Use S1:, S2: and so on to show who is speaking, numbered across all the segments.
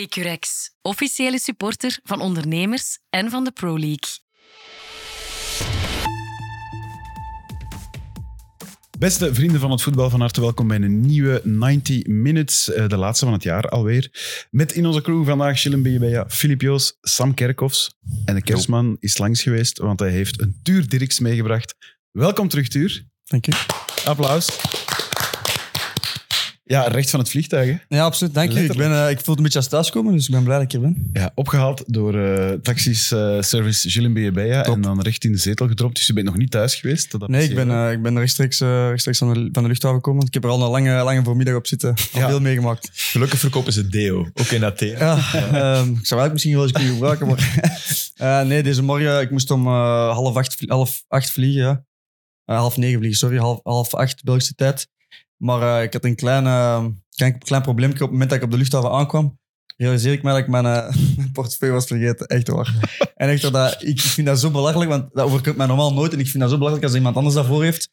S1: Securex, officiële supporter van ondernemers en van de Pro League.
S2: Beste vrienden van het voetbal, van harte welkom bij een nieuwe 90 Minutes, eh, de laatste van het jaar alweer. Met in onze crew vandaag Chillen Bejebeja, Filip Joos, Sam Kerkhoffs. En de kerstman is langs geweest, want hij heeft een Tuur Dirks meegebracht. Welkom terug, Tuur.
S3: Dank je.
S2: Applaus. Ja, recht van het vliegtuig. hè.
S3: Ja, absoluut. Dank je. Ik, ben, eh, ik voel het een beetje als thuiskomen, dus ik ben blij dat ik er ben.
S2: Ja, opgehaald door eh, taxis eh, service Gilles Bejebeja
S3: Top.
S2: en dan recht in de zetel gedropt. Dus je bent nog niet thuis geweest. Dat
S3: Nee, ik ben,
S2: apprecieer
S3: eh, ik ben rechtstreeks, eh, rechtstreeks van, de, van de luchthaven gekomen. Ik heb er al een lange, lange voormiddag op zitten. Al
S2: Ja.
S3: veel meegemaakt.
S4: Gelukkig verkopen ze deo, ook in Athene.
S3: Ja, ehm, ik zou eigenlijk misschien wel eens kunnen gebruiken, maar... Eh, nee, deze morgen, ik moest om eh, half, acht, vlie- half acht vliegen. Ja. Eh, half negen vliegen, sorry. Half, half acht Belgische tijd. Maar eh, ik had een klein, eh, klein, klein probleempje op het moment dat ik op de luchthaven aankwam. Realiseer ik mij dat ik mijn, eh, mijn portefeuille was vergeten. Echt waar. En echt, dat, ik vind dat zo belachelijk, want dat overkomt mij normaal nooit. En ik vind dat zo belachelijk als iemand anders dat voor heeft.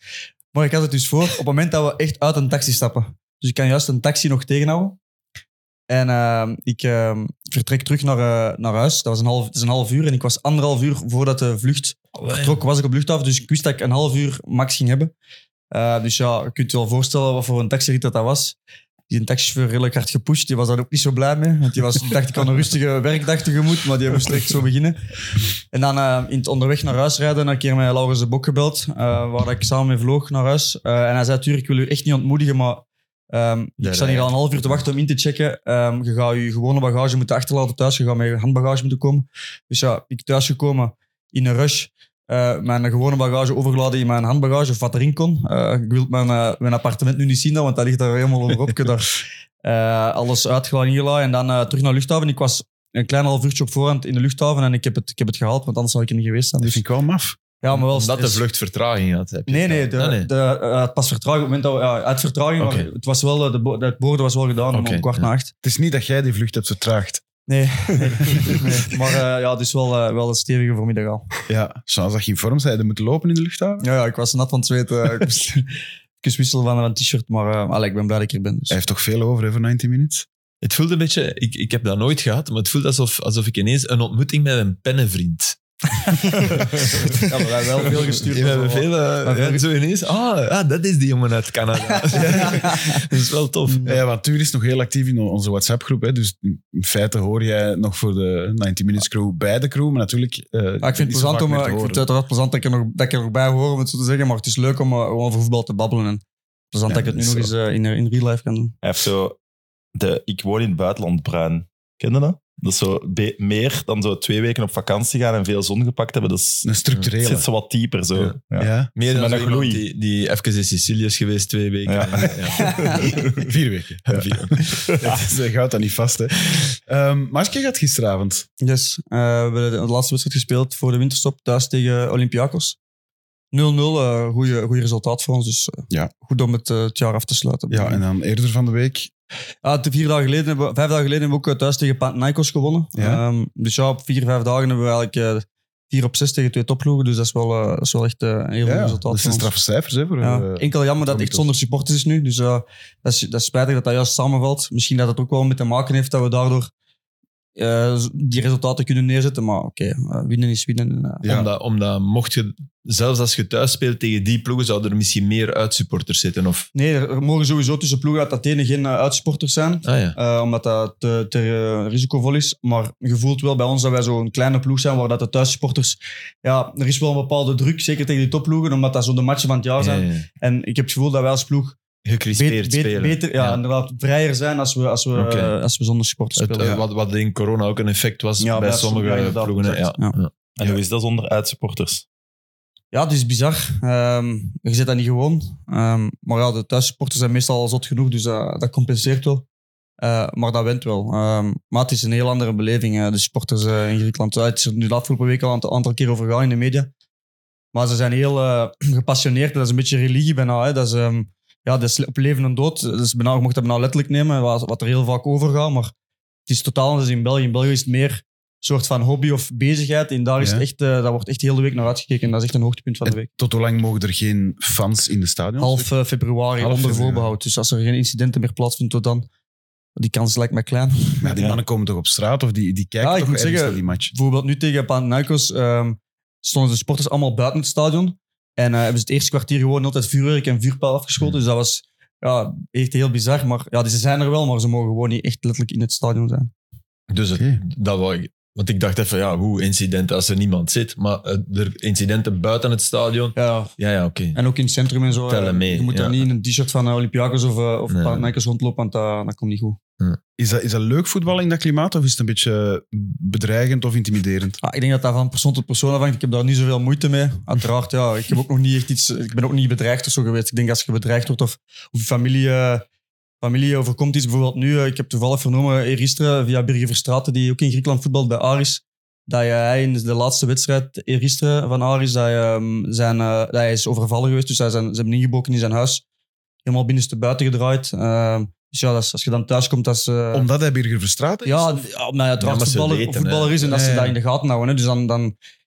S3: Maar ik had het dus voor op het moment dat we echt uit een taxi stappen. Dus ik kan juist een taxi nog tegenhouden. En ehm, ik ehm, vertrek terug naar, eh, naar huis. Dat was een half, het is een half uur. En ik was anderhalf uur voordat de vlucht vertrok, was ik op de luchthaven. Dus ik wist dat ik een half uur max ging hebben. Eh, dus ja, je kunt je wel voorstellen wat voor een taxirit dat dat was. Die taxichauffeur redelijk hard gepusht. Die was daar ook niet zo blij mee. Want die was, die dacht ik aan een rustige werkdag tegemoet. Maar die moest echt zo beginnen. En dan eh, in het onderweg naar huis rijden, een keer met Laurens de Bok gebeld. eh, waar ik samen mee vloog naar huis. Eh, en hij zei, Tuur, ik wil u echt niet ontmoedigen, maar... ehm, ik sta hier al een half uur te wachten om in te checken. Ehm, je gaat je gewone bagage moeten achterlaten thuis. Je gaat met je handbagage moeten komen. Dus ja, ik thuis gekomen in een rush. eh, mijn gewone bagage overgeladen in mijn handbagage, of wat erin kon. Eh, ik wil mijn, eh, mijn appartement nu niet zien, dan, want dat ligt daar helemaal over op. Ik heb daar eh, alles uitgeladen hier En dan eh, terug naar de luchthaven. Ik was een klein half uurtje op voorhand in de luchthaven en ik heb het, ik heb het gehaald, want anders zou ik er niet geweest zijn.
S2: Dat
S3: Dus,
S2: vind ik wel maf.
S3: ja, maar wel
S4: Omdat de
S3: stress.
S4: vlucht vertraging had. Heb je
S3: Nee, nee, de,
S4: gedaan. Ah, nee.
S3: De, eh, het pas vertraging. Op het moment dat we, ja, uit vertraging, maar
S4: Oké.
S3: het, was wel, eh, de, bo- het boorden was wel gedaan
S4: Oké,
S3: om kwart
S4: ja.
S3: na acht.
S2: Het is niet dat jij die vlucht hebt vertraagd.
S3: Nee, nee, nee. maar eh, ja, dus wel, eh, wel een stevige voormiddag al.
S2: Ja, chance dat je in vorm bent. Je moet lopen in de luchthaven.
S3: Ja, ja ik was nat van het zweten. Ik moest, ik moest wisselen van een t-shirt, maar eh, allee, ik ben blij dat ik hier ben. Dus.
S2: Hij heeft toch veel over hè, voor 90 minutes?
S4: Het voelde een beetje, ik, ik heb dat nooit gehad, maar het voelde alsof, alsof ik ineens een ontmoeting met een pennenvriend.
S3: Ja, maar wij hebben wel veel gestuurd.
S4: We hebben veel,
S3: Maar
S4: eh,
S3: veel-
S4: en zo ineens, ah, ah, dat is die jongen uit Canada. dat is wel tof.
S3: Mm.
S2: Ja, want Tuur is nog heel actief in onze WhatsApp-groep. hè. Dus in feite hoor jij nog voor de 90 Minutes crew bij de crew. Maar natuurlijk... eh,
S3: Maar ik vind
S2: niet
S3: het
S2: zo
S3: plezant
S2: vaak
S3: om, eh,
S2: meer
S3: ik
S2: te
S3: vind
S2: horen.
S3: het uiteraard plezant dat ik er nog, dat ik er nog bij hoor, om het zo te zeggen. Maar het is leuk om eh, gewoon over voetbal te babbelen. En plezant
S2: Ja,
S3: dat ik het nu
S2: dat
S3: nog
S2: is
S3: eens eh, in, in real life kan doen.
S5: Hij heeft zo de ik woon in het buitenland bruin. Ken je dat? Dat is zo be- meer dan zo twee weken op vakantie gaan en veel zon gepakt hebben. Dat is,
S2: Een
S5: het
S2: structurele.
S5: zit zo wat dieper zo.
S4: Ja.
S5: Ja.
S2: Ja,
S4: Meer dan
S5: Met
S4: zo
S5: een
S4: iemand
S5: gloei.
S4: die, die even in Sicilië is geweest twee weken.
S5: Ja.
S4: Ja.
S2: vier weken.
S4: Ja. Vier.
S2: Het is, eh, je houdt dat niet vast, hè. Ehm Marske gaat gisteravond.
S3: Yes, eh, we hebben de laatste wedstrijd gespeeld voor de winterstop, thuis tegen Olympiakos. 0-0, eh goede resultaat voor ons. Dus eh,
S2: Ja.
S3: goed om het, eh, het jaar af te sluiten.
S2: Ja, en dan eerder van de week.
S3: Ja, te- vier dagen geleden, hebben we- vijf dagen geleden hebben we ook eh, thuis tegen Panathinaikos gewonnen.
S2: Ja.
S3: Ehm, dus ja, op vier, vijf dagen hebben we eigenlijk eh, vier op zes tegen twee topploegen. Dus dat is wel, eh, dat is wel echt eh, een heel
S2: Ja,
S3: goed
S2: ja,
S3: resultaat
S2: dat
S3: voor
S2: zijn
S3: ons.
S2: straffe cijfers, hè. Voor,
S3: Ja.
S2: eh,
S3: Enkel jammer dat het echt zonder supporters is nu. Dus eh, dat, is, dat is spijtig dat dat juist samenvalt. Misschien dat het ook wel mee te maken heeft dat we daardoor eh, z- die resultaten kunnen neerzetten. Maar oké, eh, winnen is winnen. en, eh,
S2: Ja.
S4: Omdat, omdat mocht je, zelfs als je thuis speelt tegen die ploegen, zouden er misschien meer uitsupporters zitten. Of,
S3: Nee, er, er mogen sowieso tussen ploegen uit Athene geen eh, uitsporters zijn.
S4: ah ja.
S3: Eh, omdat dat te, te eh, risicovol is. Maar je voelt wel bij ons dat wij zo'n kleine ploeg zijn, waar dat de thuissporters... Ja, er is wel een bepaalde druk, zeker tegen die topploegen, omdat dat zo de matchen van het jaar zijn.
S4: Ja, ja.
S3: En ik heb het gevoel dat wij als ploeg bet-
S4: Gecrispeerd
S3: bet-
S4: spelen.
S3: beter, ja,
S4: Ja.
S3: inderdaad, vrijer zijn als we, als we,
S4: Oké.
S3: eh, als we zonder supporters
S4: Het,
S3: spelen.
S4: eh, wat, wat in corona ook een effect was
S3: Ja,
S4: bij
S3: bij
S4: sommige
S3: sommige, inderdaad,
S4: ploegen. hè. Ja.
S3: exact. Ja.
S5: En hoe is dat zonder uitsupporters?
S3: Ja, het is bizar. Ehm, je zit dat niet gewoon. Ehm, maar ja, de thuissupporters zijn meestal al zot genoeg, dus dat, dat compenseert wel. Eh, maar dat went wel. Ehm, maar het is een heel andere beleving, eh, de supporters eh, in Griekenland. Ja, het is er nu de afgelopen week al een aantal- aantal keer over gegaan in de media. Maar ze zijn heel eh, gepassioneerd. Dat is een beetje religie bijna. Hè. Dat, is, ehm, ja, dat is op leven en dood. Dat is bijna, je mocht dat bijna letterlijk nemen, wat, wat er heel vaak over gaat. Maar het is totaal anders in België. In België is het meer een soort van hobby of bezigheid. En daar, is
S2: Ja.
S3: het echt, eh, daar wordt echt heel de week naar uitgekeken. Dat is echt een hoogtepunt van de week.
S2: Tot hoe lang mogen er geen fans in de stadion?
S3: Half eh, februari
S2: Half
S3: onder
S2: februari.
S3: voorbehoud. Dus als er geen incidenten meer plaatsvinden tot dan, Die kans lijkt mij klein.
S2: Maar die
S5: Ja.
S2: mannen komen toch op straat of die, die kijken
S3: Ja, ik
S2: toch
S3: moet
S2: ergens
S3: zeggen-
S2: naar die match?
S3: Bijvoorbeeld nu tegen Panathinaikos ehm, stonden de sporters allemaal buiten het stadion. En eh, hebben ze het eerste kwartier gewoon altijd vuurwerk en vuurpijl afgeschoten. Dus dat was ja, echt heel bizar. Maar ja, die- ze zijn er wel, maar ze mogen gewoon niet echt letterlijk in het stadion zijn.
S4: Dus het-
S2: Oké.
S4: dat wou ik. Want ik dacht even, ja, hoe incidenten als er niemand zit. Maar eh, er incidenten buiten het stadion.
S3: Ja,
S4: Ja, ja, oké.
S3: en ook in het centrum en zo.
S4: Tellen
S3: eh,
S4: mee,
S3: je moet
S4: ja.
S3: dan niet in een t-shirt van eh, Olympiakos of, eh, of
S4: Nee.
S3: Panathinaikos rondlopen, want dat, dat komt niet goed.
S2: Is dat, is dat leuk voetbal in dat klimaat of is het een beetje bedreigend of intimiderend?
S3: Ah, ik denk dat dat van persoon tot persoon afhangt. Ik heb daar niet zoveel moeite mee. Uiteraard, ja. Ik, heb ook nog niet echt iets, ik ben ook niet bedreigd of zo geweest. Ik denk als je bedreigd wordt of, of je familie, eh, familie overkomt iets. Bijvoorbeeld nu, eh, ik heb toevallig vernomen eergisteren via Birger Verstraeten, die ook in Griekenland voetbalt bij Aris, dat je- hij in de laatste wedstrijd eergisteren van Aris, dat, hij, ehm, zijn, eh, dat hij is overvallen geweest. Dus hij zijn, ze hebben ingebroken in zijn huis. Helemaal binnenste buiten gedraaid. Ehm, dus ja, dat is- als je dan thuis komt, dat is... eh,
S2: Omdat hij Birger Verstraeten is?
S3: ja, ja, maar ja,
S4: Ja,
S3: trouwens,
S4: maar ze
S3: voetballer,
S4: weten,
S3: voetballer is en dat
S2: Ja,
S3: ze
S2: ja.
S3: dat in de gaten houden. Hè. Dus dan, dan,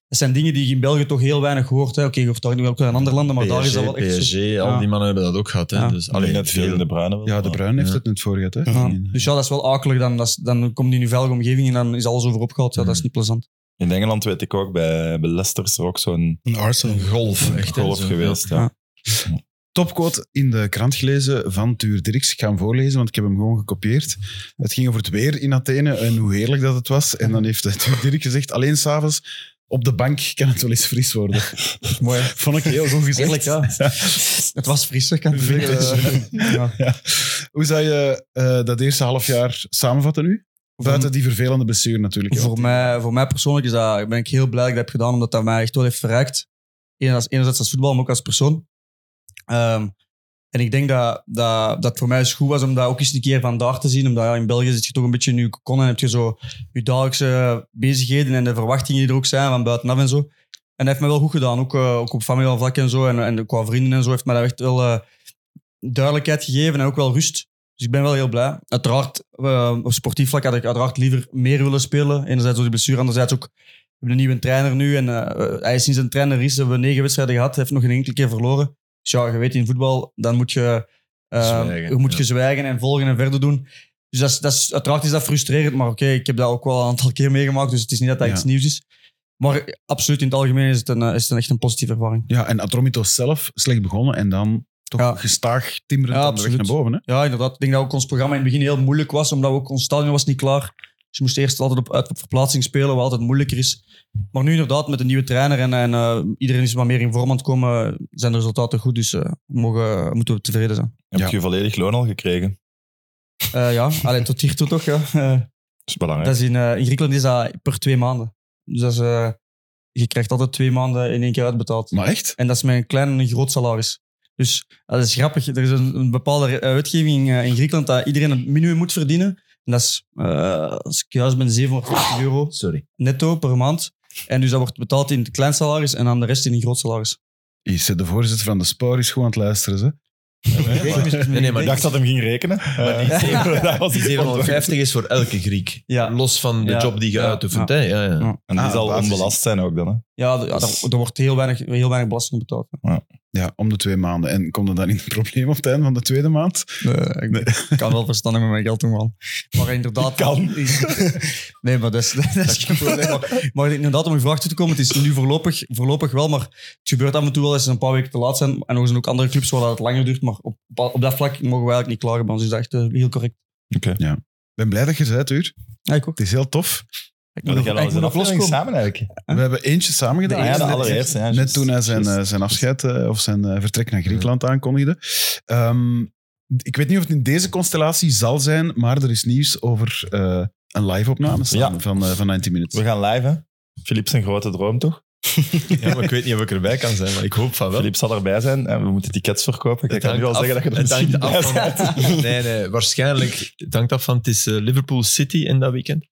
S3: dat zijn dingen die je in België toch heel weinig hoort. hè. Oké, je hoort daar nu ook wel in andere landen, maar daar is dat wel echt zo.
S4: PSG, al die mannen hebben dat ook gehad. Hè?
S3: Ja.
S4: Dus,
S5: Alleen
S4: allee,
S5: net veel in de bruine wel.
S2: Ja, De Bruin heeft
S4: Ja.
S2: het net voor gehad. Hè?
S3: Ja. Dus ja, dat is wel akelig. Dan, dat is- dan komt die in een veilige omgeving en dan is alles over opgehaald. Ja, dat is niet plezant.
S5: In Engeland weet ik ook, bij, bij Leicester is er ook zo'n
S6: Een Arsenal.
S4: golf, echt. hè,
S5: golf
S4: zo.
S5: geweest.
S3: Ja.
S5: Ja.
S2: Topquote in de krant gelezen van Tuur Dirks. Ik ga hem voorlezen, want ik heb hem gewoon gekopieerd. Het ging over het weer in Athene en hoe heerlijk dat het was. En dan heeft eh, Tuur Dirk gezegd, alleen s'avonds op de bank kan het wel eens fris worden.
S3: Mooi.
S2: Vond ik heel goed gezegd.
S3: Eerlijk, ja. Het was frisser, kan ik eh, zeggen. Ja.
S2: Ja. Hoe zou je eh, dat eerste half jaar samenvatten nu? Buiten die vervelende blessure natuurlijk. hè,
S3: Voor
S2: want- eh,
S3: mij, voor mij persoonlijk is dat, ben ik heel blij dat ik dat heb gedaan, omdat dat mij echt wel heeft verrijkt. Enerzijds, enerzijds als voetbal, maar ook als persoon. Ehm, en ik denk dat, dat dat het voor mij eens goed was om dat ook eens een keer vandaag te zien. Omdat ja, in België zit je toch een beetje in je kon en heb je zo je dagelijkse bezigheden en de verwachtingen die er ook zijn van buitenaf en zo. En dat heeft me wel goed gedaan, ook, eh, ook op familiaal vlak en zo. En, en qua vrienden en zo heeft mij dat echt wel eh, duidelijkheid gegeven en ook wel rust. Dus ik ben wel heel blij. Uiteraard, eh, op sportief vlak had ik uiteraard liever meer willen spelen. Enerzijds door die blessure, anderzijds ook... We hebben een nieuwe trainer nu. En eh, eh, hij is sinds een trainer is, hebben we negen wedstrijden gehad. heeft nog geen enkele keer verloren. Dus ja, je weet, in voetbal, dan moet je... eh,
S4: Zwijgen,
S3: je moet
S4: ja.
S3: je zwijgen en volgen en verder doen. Dus dat is, dat is, uiteraard is dat frustrerend. Maar oké, ik heb dat ook wel een aantal keer meegemaakt. Dus het is niet dat dat
S2: Ja.
S3: iets nieuws is. Maar eh, absoluut, in het algemeen is het, een, eh, is het een, echt een positieve ervaring.
S2: Ja, en Atromitos zelf slecht begonnen en dan toch
S3: Ja.
S2: gestaag timmerend
S3: Ja,
S2: aan de weg naar
S3: absoluut.
S2: boven. Hè?
S3: Ja, inderdaad. Ik denk dat ook ons programma in het begin heel moeilijk was, omdat we ook ons stadion was niet klaar. Dus we moesten eerst altijd op, uit- op verplaatsing spelen, wat altijd moeilijker is. Maar nu inderdaad, met een nieuwe trainer en, en eh, iedereen is wat meer in vorm aan het komen, eh, zijn de resultaten goed. Dus eh, we mogen, moeten we tevreden zijn.
S5: Heb
S2: Ja.
S5: je je volledig loon al gekregen?
S3: Eh, ja, Allee, tot hiertoe toch. Ja. Eh,
S5: Dat is belangrijk.
S3: dat is in, eh, in Griekenland is dat per twee maanden. Dus dat is, eh, je krijgt altijd twee maanden in één keer uitbetaald.
S2: Maar echt?
S3: En dat is met een klein en een groot salaris. Dus dat is grappig. Er is een, een bepaalde eh, wetgeving eh, in Griekenland dat iedereen het minimum moet verdienen. En dat is, eh, als ik juist ben, 750 euro
S4: Sorry.
S3: netto per maand. En dus dat wordt betaald in het klein salaris en aan de rest in een groot salaris.
S2: Hier zit de voorzitter van de Spoor is gewoon aan het luisteren. Ze.
S4: Nee, nee, maar
S5: Ik dacht dat hem ging rekenen.
S4: Maar die,
S5: Eh,
S4: zeven-
S5: dat was
S4: die
S5: ik ontdekt.
S4: 750 is voor elke Griek.
S3: Ja.
S4: Los van de
S3: Ja.
S4: job die je
S3: Ja.
S4: uitoefent. hè. Ja, ja.
S3: Ja.
S5: En die
S2: Ah,
S5: zal
S2: basis.
S5: onbelast zijn ook dan. Hè?
S3: Ja, d- ja, daar, daar wordt heel weinig, heel weinig belasting betaald.
S2: Ja, om de twee maanden. En komt er dan in een probleem op het einde van de tweede maand?
S3: ik kan wel verstandig met mijn geld doen, man. Maar inderdaad...
S5: kan.
S3: Nee, maar dat is, dat is geen probleem. Maar, maar inderdaad, om je vraag toe te komen, het is nu voorlopig, voorlopig wel, maar het gebeurt af en toe wel eens een paar weken te laat zijn. En er zijn ook andere clubs waar dat het langer duurt, maar op, op dat vlak mogen we eigenlijk niet klagen bij ons. Dus dat is echt eh, heel correct.
S2: Ik ben blij dat je er bent, Uur.
S3: Ja, ik ook.
S2: Het is heel tof.
S3: Ik
S5: Ja,
S3: moet
S5: dat
S3: nog-
S5: gaan we
S3: ik
S5: eens
S3: moet
S5: een
S3: nog
S5: aflevering
S3: loskomen.
S5: samen eigenlijk.
S2: We hebben eentje samen gedaan.
S5: Ja, ja, de
S2: Net-
S5: allereerste, ja,
S2: net
S5: juist.
S2: toen hij zijn,
S5: Juist.
S2: eh, zijn afscheid eh, of zijn eh, vertrek naar Griekenland aankondigde. Ehm, ik weet niet of het in deze constellatie zal zijn, maar er is nieuws over eh, een live-opname staan
S5: Ja.
S2: van, eh, van 90 Minutes.
S5: We gaan live, hè? Philippe zijn grote droom, toch?
S4: Ja, maar ik weet niet of ik erbij kan zijn, maar ik hoop van wel.
S5: Philippe zal erbij zijn en we moeten tickets verkopen. Ik
S4: Het
S5: kan nu
S4: hangt
S5: al
S4: af-
S5: zeggen dat je er
S4: het hangt
S5: misschien bij
S4: af van-
S5: bent.
S4: Nee, nee, waarschijnlijk. Het hangt af van, het is eh, Liverpool City in dat weekend.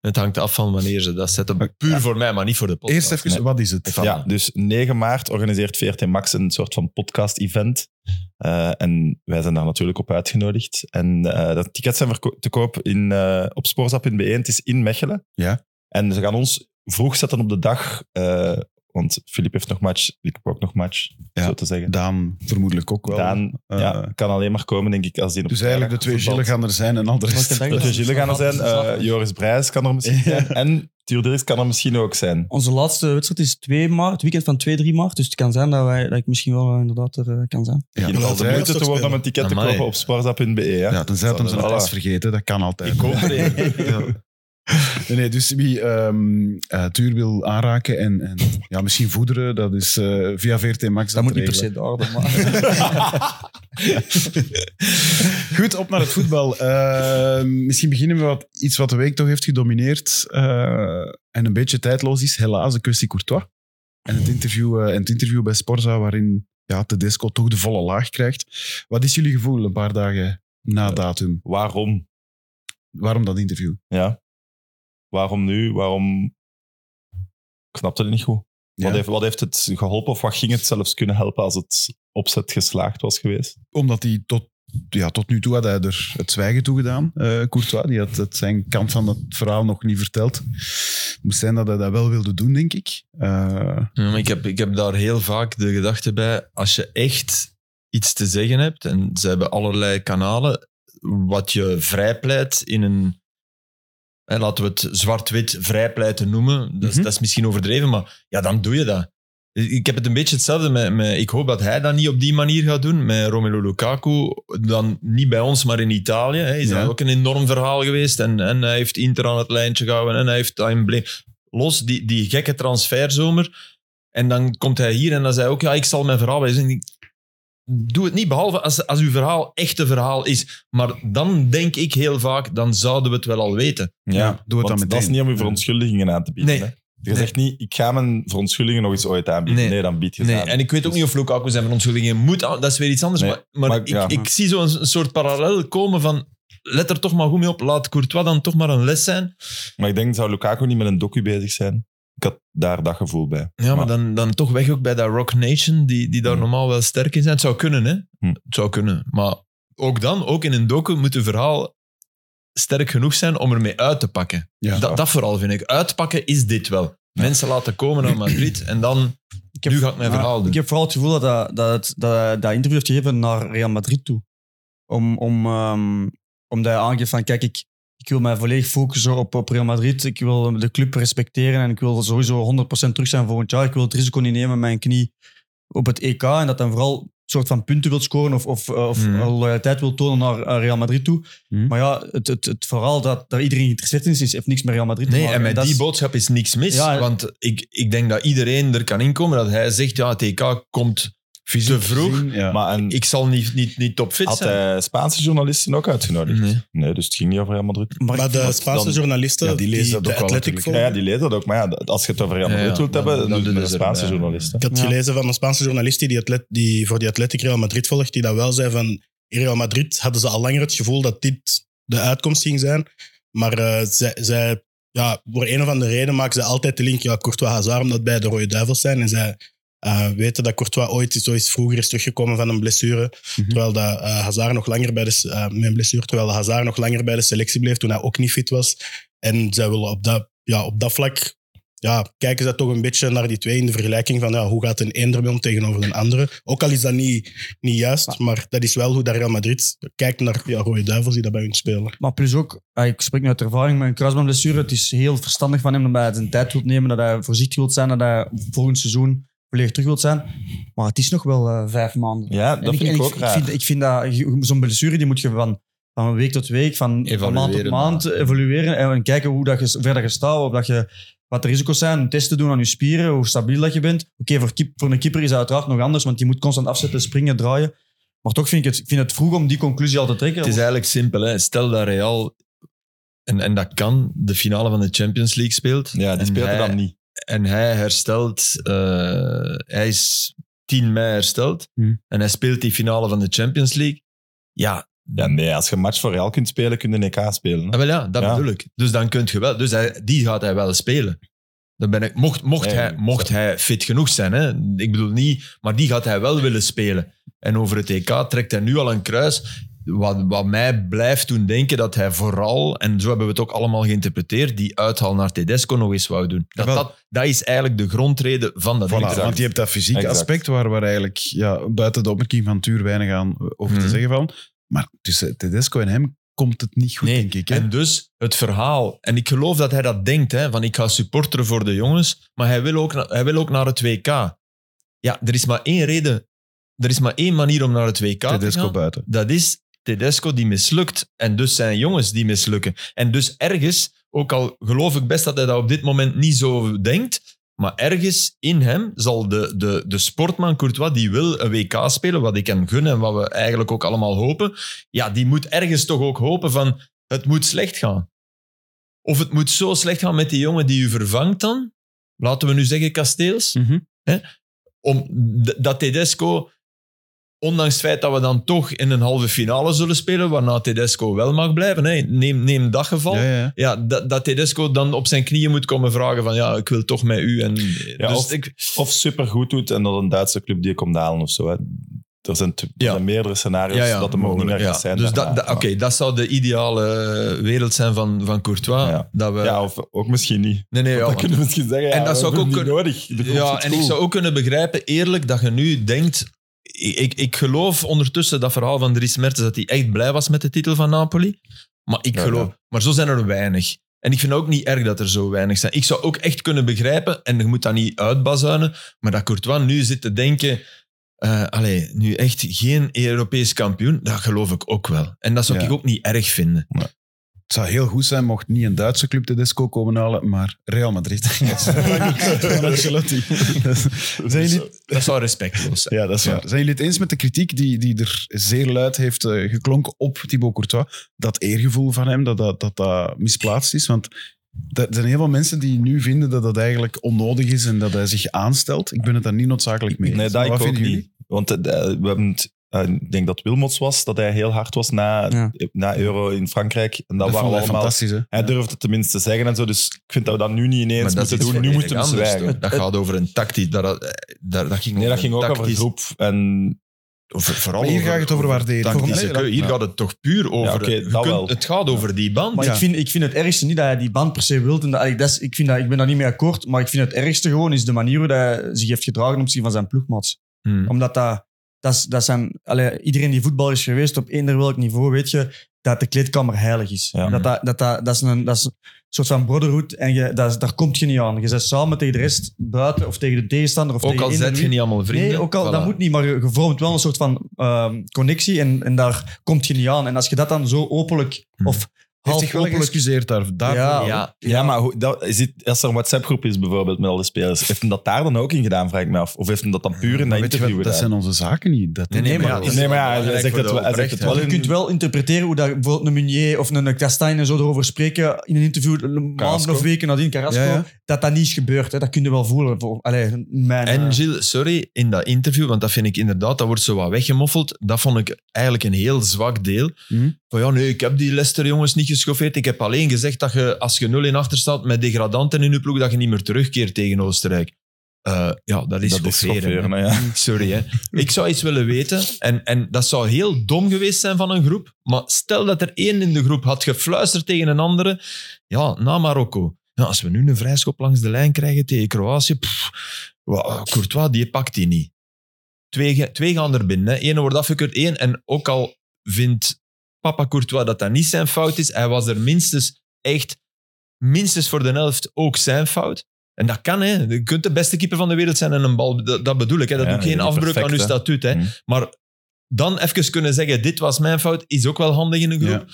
S4: Het hangt af van wanneer ze dat zetten. Puur voor mij, maar niet voor de podcast.
S2: Eerst even,
S5: Nee.
S2: wat is het?
S5: Ja, dus 9 maart organiseert VRT Max een soort van podcast-event. Eh, en wij zijn daar natuurlijk op uitgenodigd. En eh dat tickets zijn verko- te koop in, eh, op spoorzap.be. Het is in Mechelen.
S2: Ja.
S5: En ze gaan ons vroeg zetten op de dag eh, Want Filip heeft nog match, ik heb ook nog match,
S2: Ja.
S5: zo te zeggen.
S2: Daan vermoedelijk ook wel.
S5: Daan
S2: Eh,
S5: ja, kan alleen maar komen, denk ik, als die op
S2: Dus eigenlijk de
S5: vrijdag
S2: twee Gillen
S5: voetbalt.
S2: gaan er zijn en al de rest.
S3: Welke dag
S5: De
S3: was
S5: twee
S3: het?
S5: Gilles gaan er zijn.
S3: Zaterdag.
S5: eh, Joris Brijs kan er misschien zijn. En Theo Dirks kan er misschien ook zijn.
S3: Onze laatste wedstrijd is 2 maart, het weekend van 2, 3 maart. Dus het kan zijn dat, wij, dat ik misschien wel eh, inderdaad er eh, kan zijn.
S2: Ja,
S5: Je hebt al de
S2: tenzij-
S5: moeite te worden om een ticket te
S4: Amai.
S5: kopen op sportsapp.be. hè.
S2: ja, tenzij het hem zijn
S5: Voilà.
S2: adres vergeten, dat kan altijd.
S5: Ik hoop er één.
S2: Nee, nee, dus wie ehm eh Tuur wil aanraken en, en ja, misschien voederen, dat is eh, via VRT Max.
S3: Dat moet
S2: te
S3: niet per se
S2: regelen.
S3: daar, maar...
S2: Goed, op naar het voetbal. Ehm, misschien beginnen we wat iets wat de week toch heeft gedomineerd eh, en een beetje tijdloos is. Helaas, de kwestie Courtois. En het interview, eh, en het interview bij Sporza, waarin ja, Tedesco toch de volle laag krijgt. Wat is jullie gevoel een paar dagen na datum?
S5: Waarom?
S2: Waarom dat interview?
S5: Ja. Waarom nu? Waarom? Ik snapte het niet goed.
S2: Ja.
S5: Wat, heeft, wat heeft het geholpen of wat ging het zelfs kunnen helpen als het opzet geslaagd was geweest?
S2: Omdat hij tot, ja, tot nu toe had hij er het zwijgen toe gedaan, eh, Courtois. Die had het zijn kant van het verhaal nog niet verteld. Het moest zijn dat hij dat wel wilde doen, denk ik. Eh,
S4: Ja, maar ik, heb, ik heb daar heel vaak de gedachte bij, als je echt iets te zeggen hebt, en ze hebben allerlei kanalen, wat je vrijpleit in een, hè, laten we het zwart-wit vrijpleiten noemen, dat, is-
S2: Mhm.
S4: dat is misschien overdreven, maar ja, dan doe je dat. Ik heb het een beetje hetzelfde met, met... Ik hoop dat hij dat niet op die manier gaat doen, met Romelu Lukaku. Dan niet bij ons, maar in Italië. Hè, is
S2: Ja.
S4: dat ook een enorm verhaal geweest. En, en hij heeft Inter aan het lijntje gehouden en hij heeft dat embleem... Los, die, die gekke transferzomer. En dan komt hij hier en dan zei hij ook, ja, ik zal mijn verhaal wijzen. En ik- Doe het niet, behalve als, als uw verhaal echt een verhaal is. Maar dan denk ik heel vaak, dan zouden we het wel al weten.
S5: Ja,
S2: doe het dan
S5: Want
S2: meteen.
S5: dat is niet om je verontschuldigingen aan te bieden.
S4: Nee.
S5: hè. Je
S4: Nee.
S5: zegt niet, ik ga mijn verontschuldigingen nog eens ooit aanbieden.
S4: Nee.
S5: Nee, dan bied je ze
S4: Nee,
S5: aan.
S4: en ik weet ook
S5: Dus-
S4: niet of Lukaku zijn verontschuldigingen moet... aan- Dat is weer iets anders.
S5: Nee,
S4: maar maar,
S5: maar
S4: ik,
S5: ja.
S4: ik zie zo'n s- soort parallel komen van... Let er toch maar goed mee op. Laat Courtois dan toch maar een les zijn.
S5: Maar ik denk, zou Lukaku niet met een docu bezig zijn? Ik had daar dat gevoel bij.
S4: Ja, maar,
S5: Maar-
S4: dan, dan toch weg ook bij dat Rock Nation, die, die daar
S5: Hmm.
S4: normaal wel sterk in zijn. Het zou kunnen, hè.
S5: Hmm.
S4: Het zou kunnen. Maar ook dan, ook in een docu, moet een verhaal sterk genoeg zijn om ermee uit te pakken.
S2: ja.
S4: Dat, dat vooral vind ik. Uitpakken is dit wel. Mensen laten komen naar Madrid en dan...
S3: Ik heb-
S4: nu ga ik mijn
S3: Ja,
S4: verhaal doen.
S3: Ik heb vooral het gevoel dat dat, dat, het- dat, hij dat interview heeft gegeven naar Real Madrid toe. Om, om, ehm om dat aangeeft van, kijk, ik, ik wil mij volledig focussen op, op Real Madrid. Ik wil de club respecteren en ik wil sowieso 100% terug zijn volgend jaar. Ik wil het risico niet nemen met mijn knie op het EK. En dat dan vooral een soort van punten wil scoren of, of, eh, of
S4: Mhm.
S3: loyaliteit wil tonen naar eh, Real Madrid toe.
S2: Mhm.
S3: Maar ja, het, het, het verhaal dat daar iedereen geïnteresseerd in is, is, heeft niks met Real Madrid te
S4: Nee,
S3: maken.
S4: en met
S3: dat
S4: die
S3: is-
S4: boodschap is niks mis.
S3: Ja.
S4: want ik, ik denk dat iedereen er kan inkomen dat hij zegt, ja, het EK komt te vroeg.
S2: Ja.
S5: Maar en
S4: Ik zal niet, niet, niet topfit
S5: had
S4: zijn.
S5: hij Spaanse journalisten ook uitgenodigd? Nee.
S4: Nee.
S5: dus het ging niet over Real Madrid.
S3: Maar
S6: Maar
S3: ik-
S6: de Spaanse
S5: dan-
S6: journalisten,
S2: ja, die
S6: die,
S2: lezen dat
S6: de
S2: ook wel
S6: Athletic
S2: natuurlijk.
S5: Ja,
S6: volgen,
S5: ja, die lezen dat ook. Maar ja, dat- als je het over Real
S4: Ja,
S5: Madrid
S4: ja,
S5: wilt
S4: dan-
S5: hebben,
S4: dan
S5: dan, doe
S4: doen
S5: je het
S4: ze
S5: met een Spaanse
S4: erbij.
S5: journalisten.
S6: Ik had
S3: Ja.
S6: gelezen van een Spaanse journalist die, die, atlet, die voor die Athletic Real Madrid volgt, die dat wel zei van in Real Madrid hadden ze al langer het gevoel dat dit de uitkomst ging zijn. Maar eh, zij, zij, ja, voor een of andere reden maken ze altijd de link, ja, Courtois Hazard, omdat bij de Rode Duivels zijn. En zij eh, weten dat Courtois ooit zo eens vroeger is teruggekomen van een blessure.
S2: Mhm.
S6: Terwijl dat, eh, Hazard nog langer bij de, s- eh, met een blessure, terwijl dat Hazard nog langer bij de selectie bleef toen hij ook niet fit was. En zij willen op dat, ja, op dat vlak ja, kijken ze toch een beetje naar die twee in de vergelijking van ja, hoe gaat een een ermee om tegenover een andere. Ook al is dat niet, niet juist, maar dat is wel hoe dat Real Madrid kijkt naar ja, rode duivels die dat bij hun spelen.
S3: Maar plus ook, ah, ik spreek nu uit ervaring met een kruisbandblessure. Het is heel verstandig van hem dat hij zijn tijd wilt nemen, dat hij voorzichtig wilt zijn, dat hij volgend seizoen volledig terug wilt zijn. Maar het is nog wel eh, vijf maanden.
S5: Ja,
S3: En
S5: dat vind
S3: en
S5: ik ook
S3: Ik
S5: raar.
S3: vind, ik vind dat je- zo'n blessure die moet je van, van week tot week, van, van maand tot
S4: Evalueren.
S3: maand evolueren en, en kijken hoe dat je verder staat, of dat je, wat de risico's zijn, testen doen aan je spieren, hoe stabiel dat je bent. Oké, voor, keep- voor een keeper is dat uiteraard nog anders, want die moet constant afzetten, springen, draaien. Maar toch vind ik het, ik vind het vroeg om die conclusie al te trekken.
S4: Het is eigenlijk simpel. Hè. Stel dat Real, en, en dat kan, de finale van de Champions League speelt.
S5: Ja, die
S4: En
S5: speelde
S4: hij-
S5: dan niet.
S4: En hij herstelt, eh, hij is 10 mei hersteld.
S5: Hm.
S2: Hmm.
S4: En hij speelt die finale van de Champions League. Ja,
S5: Ja, nee, als je een match voor Real kunt spelen, kun je een EK spelen.
S4: Ah,
S5: hè.
S4: wel ja, dat
S5: Ja.
S4: bedoel ik. Dus dan kunt je wel. Dus hij, die gaat hij wel spelen. Dan ben ik, mocht mocht,
S5: Nee,
S4: hij,
S5: nee,
S4: mocht hij fit genoeg zijn, hè? ik bedoel niet, maar die gaat hij wel willen spelen. En over het EK trekt hij nu al een kruis. wat, wat mij blijft doen denken, dat hij vooral, en zo hebben we het ook allemaal geïnterpreteerd, die uithaal naar Tedesco nog eens wou doen. Dat,
S2: Jawel.
S4: dat, dat is eigenlijk de grondreden van dat
S2: Voilà,
S4: interview.
S2: want je hebt dat fysieke
S5: Exact.
S2: aspect waar, waar eigenlijk ja, buiten de opmerking van Tuur weinig aan over te
S4: Mhm.
S2: zeggen van. Maar tussen Tedesco en hem komt het niet goed,
S4: Nee,
S2: denk ik. Hè?
S4: En dus het verhaal, en ik geloof dat hij dat denkt, hè, van ik ga supporteren voor de jongens, maar hij wil, ook, na- hij wil ook naar het WK. Ja, er is maar één reden, er is maar één manier om naar het WK te
S2: Tedesco
S4: gaan.
S2: buiten.
S4: Dat is Tedesco die mislukt. En dus zijn jongens die mislukken. En dus ergens, ook al geloof ik best dat hij dat op dit moment niet zo denkt, maar ergens in hem zal de, de, de sportman Courtois, die wil een WK spelen, wat ik hem gun en wat we eigenlijk ook allemaal hopen, ja, die moet ergens toch ook hopen van het moet slecht gaan. Of het moet zo slecht gaan met die jongen die u vervangt dan, laten we nu zeggen Kasteels,
S2: Mhm.
S4: om, d- dat Tedesco, ondanks het feit dat we dan toch in een halve finale zullen spelen, waarna Tedesco wel mag blijven, hè, neem, neem dat geval.
S2: Ja,
S4: Ja.
S2: ja, ja.
S4: dat, dat Tedesco dan op zijn knieën moet komen vragen van ja, ik wil toch met u. En, dus
S5: of-
S4: ik,
S5: Of supergoed doet en dat een Duitse club die je komt halen of zo. Hè. Er zijn, te- er
S4: Ja.
S5: zijn meerdere scenario's
S4: ja, ja,
S5: dus dat hem ook niet meer
S4: ja.
S5: gaat zijn.
S4: Dus
S5: daarna.
S4: dat, dat- Oké, dat zou de ideale eh, wereld zijn van, van Courtois.
S5: Ja.
S4: Dat we,
S5: Ja, of ook misschien niet.
S4: nee, nee, ja,
S5: dat
S4: want-
S5: kunnen we misschien zeggen. Ja,
S4: En dat
S5: we
S4: zou ik
S5: hebben
S4: ook
S5: hem niet nodig. De groep
S4: Ja,
S5: zit
S4: en ik
S5: goed.
S4: zou ook kunnen begrijpen, eerlijk, dat je nu denkt... Ik, ik, ik geloof ondertussen dat verhaal van Dries Mertens, dat hij echt blij was met de titel van Napoli. Maar ik
S5: Ja,
S4: geloof...
S5: ja.
S4: Maar zo zijn er weinig. En ik vind het ook niet erg dat er zo weinig zijn. Ik zou ook echt kunnen begrijpen, en je moet dat niet uitbazuinen, maar dat Courtois nu zit te denken... eh allee, nu echt geen Europees kampioen, dat geloof ik ook wel. En dat zou
S2: Ja.
S4: ik ook niet erg vinden.
S2: Het zou heel goed zijn mocht niet een Duitse club Tedesco komen halen, maar Real Madrid. Van Ancelotti.
S4: Dus,
S2: Zijn jullie,
S4: Dat zou respectloos zijn.
S2: Ja, dat is waar. Zijn jullie het eens met de kritiek die, die er zeer luid heeft eh, geklonken op Thibaut Courtois? Dat eergevoel van hem, dat dat, dat, dat misplaatst is? Want er zijn heel veel mensen die nu vinden dat dat eigenlijk onnodig is en dat hij zich aanstelt. Ik ben het daar niet noodzakelijk mee.
S5: Nee,
S2: eens.
S5: dat
S2: Maar
S5: ik
S2: wat
S5: ook
S2: vinden
S5: niet.
S2: jullie?
S5: Want eh, eh, we hebben het, eh, ik denk dat Wilmots was, dat hij heel hard was na,
S3: Ja.
S5: na Euro in Frankrijk. En dat,
S2: Dat,
S5: waren
S2: vond
S5: we
S2: ik
S5: allemaal...
S2: fantastisch, hè?
S5: Hij durfde het tenminste zeggen en zo, dus ik vind dat we dat nu niet ineens moeten doen. Nu moeten we zwijgen.
S4: Dat gaat over een tactisch... Dat, dat, dat ging
S5: Nee, dat
S4: over
S5: ging
S4: een
S5: ook over
S4: tactisch-
S5: groep. En
S4: Voor- vooral
S2: Maar hier gaat het over waardering.
S4: tactische
S2: Voor mij-
S4: keu- Hier
S2: ja.
S4: gaat het toch puur over...
S5: oké,
S4: je
S5: dat
S4: kunt-
S5: wel.
S4: Het gaat over die band.
S3: Maar
S2: Ja.
S3: ik, vind, ik vind het ergste niet dat hij die band per se wilt. En dat, ik, dat is- ik, vind dat, ik ben daar niet mee akkoord. Maar ik vind het ergste gewoon is de manier hoe dat hij zich heeft gedragen op zich van zijn ploegmaats.
S4: Hmm.
S3: Omdat dat, dat, is- dat zijn, allee, iedereen die voetballer is geweest op eender welk niveau, weet je dat de kleedkamer heilig is.
S5: Ja.
S3: Dat, dat, dat, dat, dat is een, dat is een soort van brotherhood en je, dat, is- daar komt je niet aan. Je zit samen tegen de rest buiten of tegen de tegenstander of
S4: Ook
S3: tegen
S4: al
S3: eender
S4: zet je
S3: wie.
S4: niet allemaal vrienden.
S3: Nee, ook al,
S4: voilà.
S3: dat moet niet, maar je, je vormt wel een soort van ehm, connectie en, en daar komt je niet aan. En als je dat dan zo openlijk
S4: Hmm.
S3: of
S2: Hij heeft zich
S3: half
S2: wel
S3: openlijk...
S2: geëxcuseerd daar, daarvoor.
S3: Ja.
S4: Ja,
S5: Ja, maar hoe, dat, is het- als er een WhatsApp-groep is bijvoorbeeld met al de spelers, heeft hem dat daar dan ook in gedaan, vraag ik me af? Of heeft hem dat dan puur in dat
S2: Maar weet je wat,
S5: interview
S2: dat
S5: gedaan?
S2: zijn onze zaken niet. Dat
S4: Nee, nee, maar ja, dat is
S5: Nee, maar ja, hij
S4: belangrijk
S5: zegt
S4: voor
S5: het
S4: de
S5: wel- hij zegt het wel
S3: Je
S5: in-
S4: oprechtheid.
S3: kunt wel interpreteren hoe daar bijvoorbeeld een Meunier of een Castaigne en zo erover spreken in een interview een maanden
S5: Carrasco.
S3: of weken nadien, Carrasco,
S2: Ja, ja.
S3: dat dat niet is gebeurd. Hè. Dat kun je wel voelen. Voor, allee, in mijn, eh,
S4: En Gilles, sorry, in dat interview, want dat vind ik inderdaad, dat wordt zo wat weggemoffeld. Dat vond ik eigenlijk een heel zwak deel.
S2: Mhm.
S4: Van ja, nee, ik heb die Leicester jongens niet geschoffeerd. Ik heb alleen gezegd dat je, als je 0 in achter staat met degradanten in je ploeg, dat je niet meer terugkeert tegen Oostenrijk. Eh, ja, dat is
S5: dat is
S4: schofferen. hè.
S5: schofferen, hè, ja.
S4: Sorry, hè. Ik zou iets willen weten. En, en dat zou heel dom geweest zijn van een groep. Maar stel dat er één in de groep had gefluisterd tegen een andere. Ja, na Marokko. Ja, als we nu een vrijschop langs de lijn krijgen tegen Kroatië. pff, wa- Courtois, die pakt die niet. Twee, ge- twee gaan er binnen. Hè. Eén wordt afgekeurd, één. En ook al vindt papa Courtois dat dat niet zijn fout is, hij was er minstens echt, minstens voor de helft ook zijn fout. En dat kan, hè. Je kunt de beste keeper van de wereld zijn en een bal... Dat, dat bedoel ik, hè. Dat
S5: Ja,
S4: doet
S5: je
S4: geen
S5: bent
S4: afbreuk
S5: perfect,
S4: aan uw
S5: hè.
S4: statuut, hè.
S5: Mm.
S4: Maar dan even kunnen zeggen, dit was mijn fout, is ook wel handig in een groep.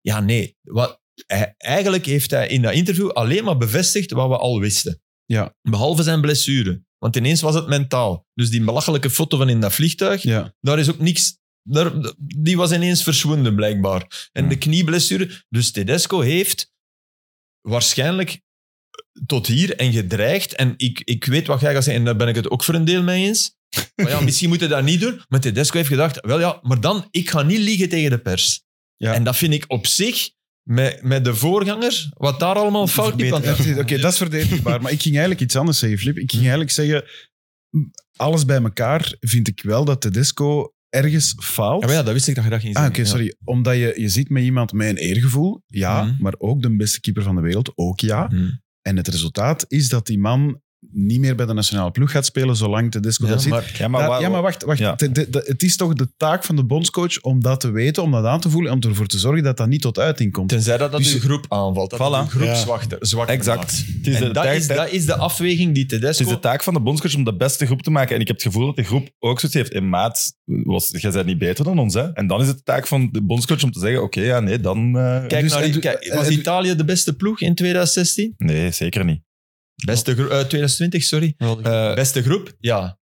S4: Ja, nee. Wat, hij- eigenlijk heeft hij in dat interview alleen maar bevestigd wat we al wisten.
S2: Ja.
S4: Behalve zijn blessure. Want ineens was het mentaal. Dus die belachelijke foto van in dat vliegtuig,
S2: Ja.
S4: daar is ook niks. Daar, die was ineens verschwunden, blijkbaar. En
S5: Ja.
S4: de knieblessure. Dus Tedesco heeft waarschijnlijk tot hier en gedreigd. En ik, ik weet wat jij gaat zeggen, en daar ben ik het ook voor een deel mee eens. Maar ja, misschien moeten we dat niet doen. Maar Tedesco heeft gedacht: wel ja, maar dan, ik ga niet liegen tegen de pers.
S2: Ja.
S4: En dat vind ik op zich, met, met de voorganger, wat daar allemaal fout liep. want-
S2: Ja, precies. Dus Oké, dat is verdedigbaar. Maar ik ging eigenlijk iets anders zeggen, Flip. Ik ging eigenlijk zeggen, alles bij elkaar vind ik wel dat Tedesco ergens faalt...
S4: Ja, maar ja, dat wist ik dat je dat ging
S2: Ah,
S4: zeggen.
S2: oké, sorry. Omdat je, je ziet met iemand mijn eergevoel, ja,
S4: Mhm.
S2: maar ook de beste keeper van de wereld, ook ja.
S4: Ja. Hm.
S2: En het resultaat is dat die man niet meer bij de nationale ploeg gaat spelen zolang Tedesco dat
S4: Ja,
S2: zit.
S4: maar
S5: Ja, maar,
S2: Daar-
S5: waar-
S2: ja, maar wacht. wacht.
S5: Ja.
S2: De- de- de- het is toch de taak van de bondscoach om dat te weten, om dat aan te voelen, om ervoor te zorgen dat dat niet tot uiting komt.
S4: Tenzij dat dat
S2: Dus-
S4: uw groep aanvalt. Dat
S5: Voilà.
S4: dat uw groep
S6: Ja.
S4: zwakte, zwakte
S5: Exact.
S4: maakt.
S5: Het is, Dus de Dus
S4: En dat
S5: taak,
S4: is, dat is de afweging die
S5: het is
S4: Tedesco...
S5: de taak van de bondscoach om de beste groep te maken. En ik heb het gevoel dat de groep ook zoiets heeft. En maat, was, jij bent niet beter dan ons. Hè? En dan is het de taak van de bondscoach om te zeggen, oké, ja, nee, dan... eh,
S4: Kijk
S2: Dus-
S4: naar,
S2: en-
S4: kijk,
S2: en-
S4: was
S2: en-
S4: Italië de beste ploeg in 2016?
S5: Nee, zeker niet.
S4: Beste gro- eh, 2020, sorry. Eh, beste groep? Ja.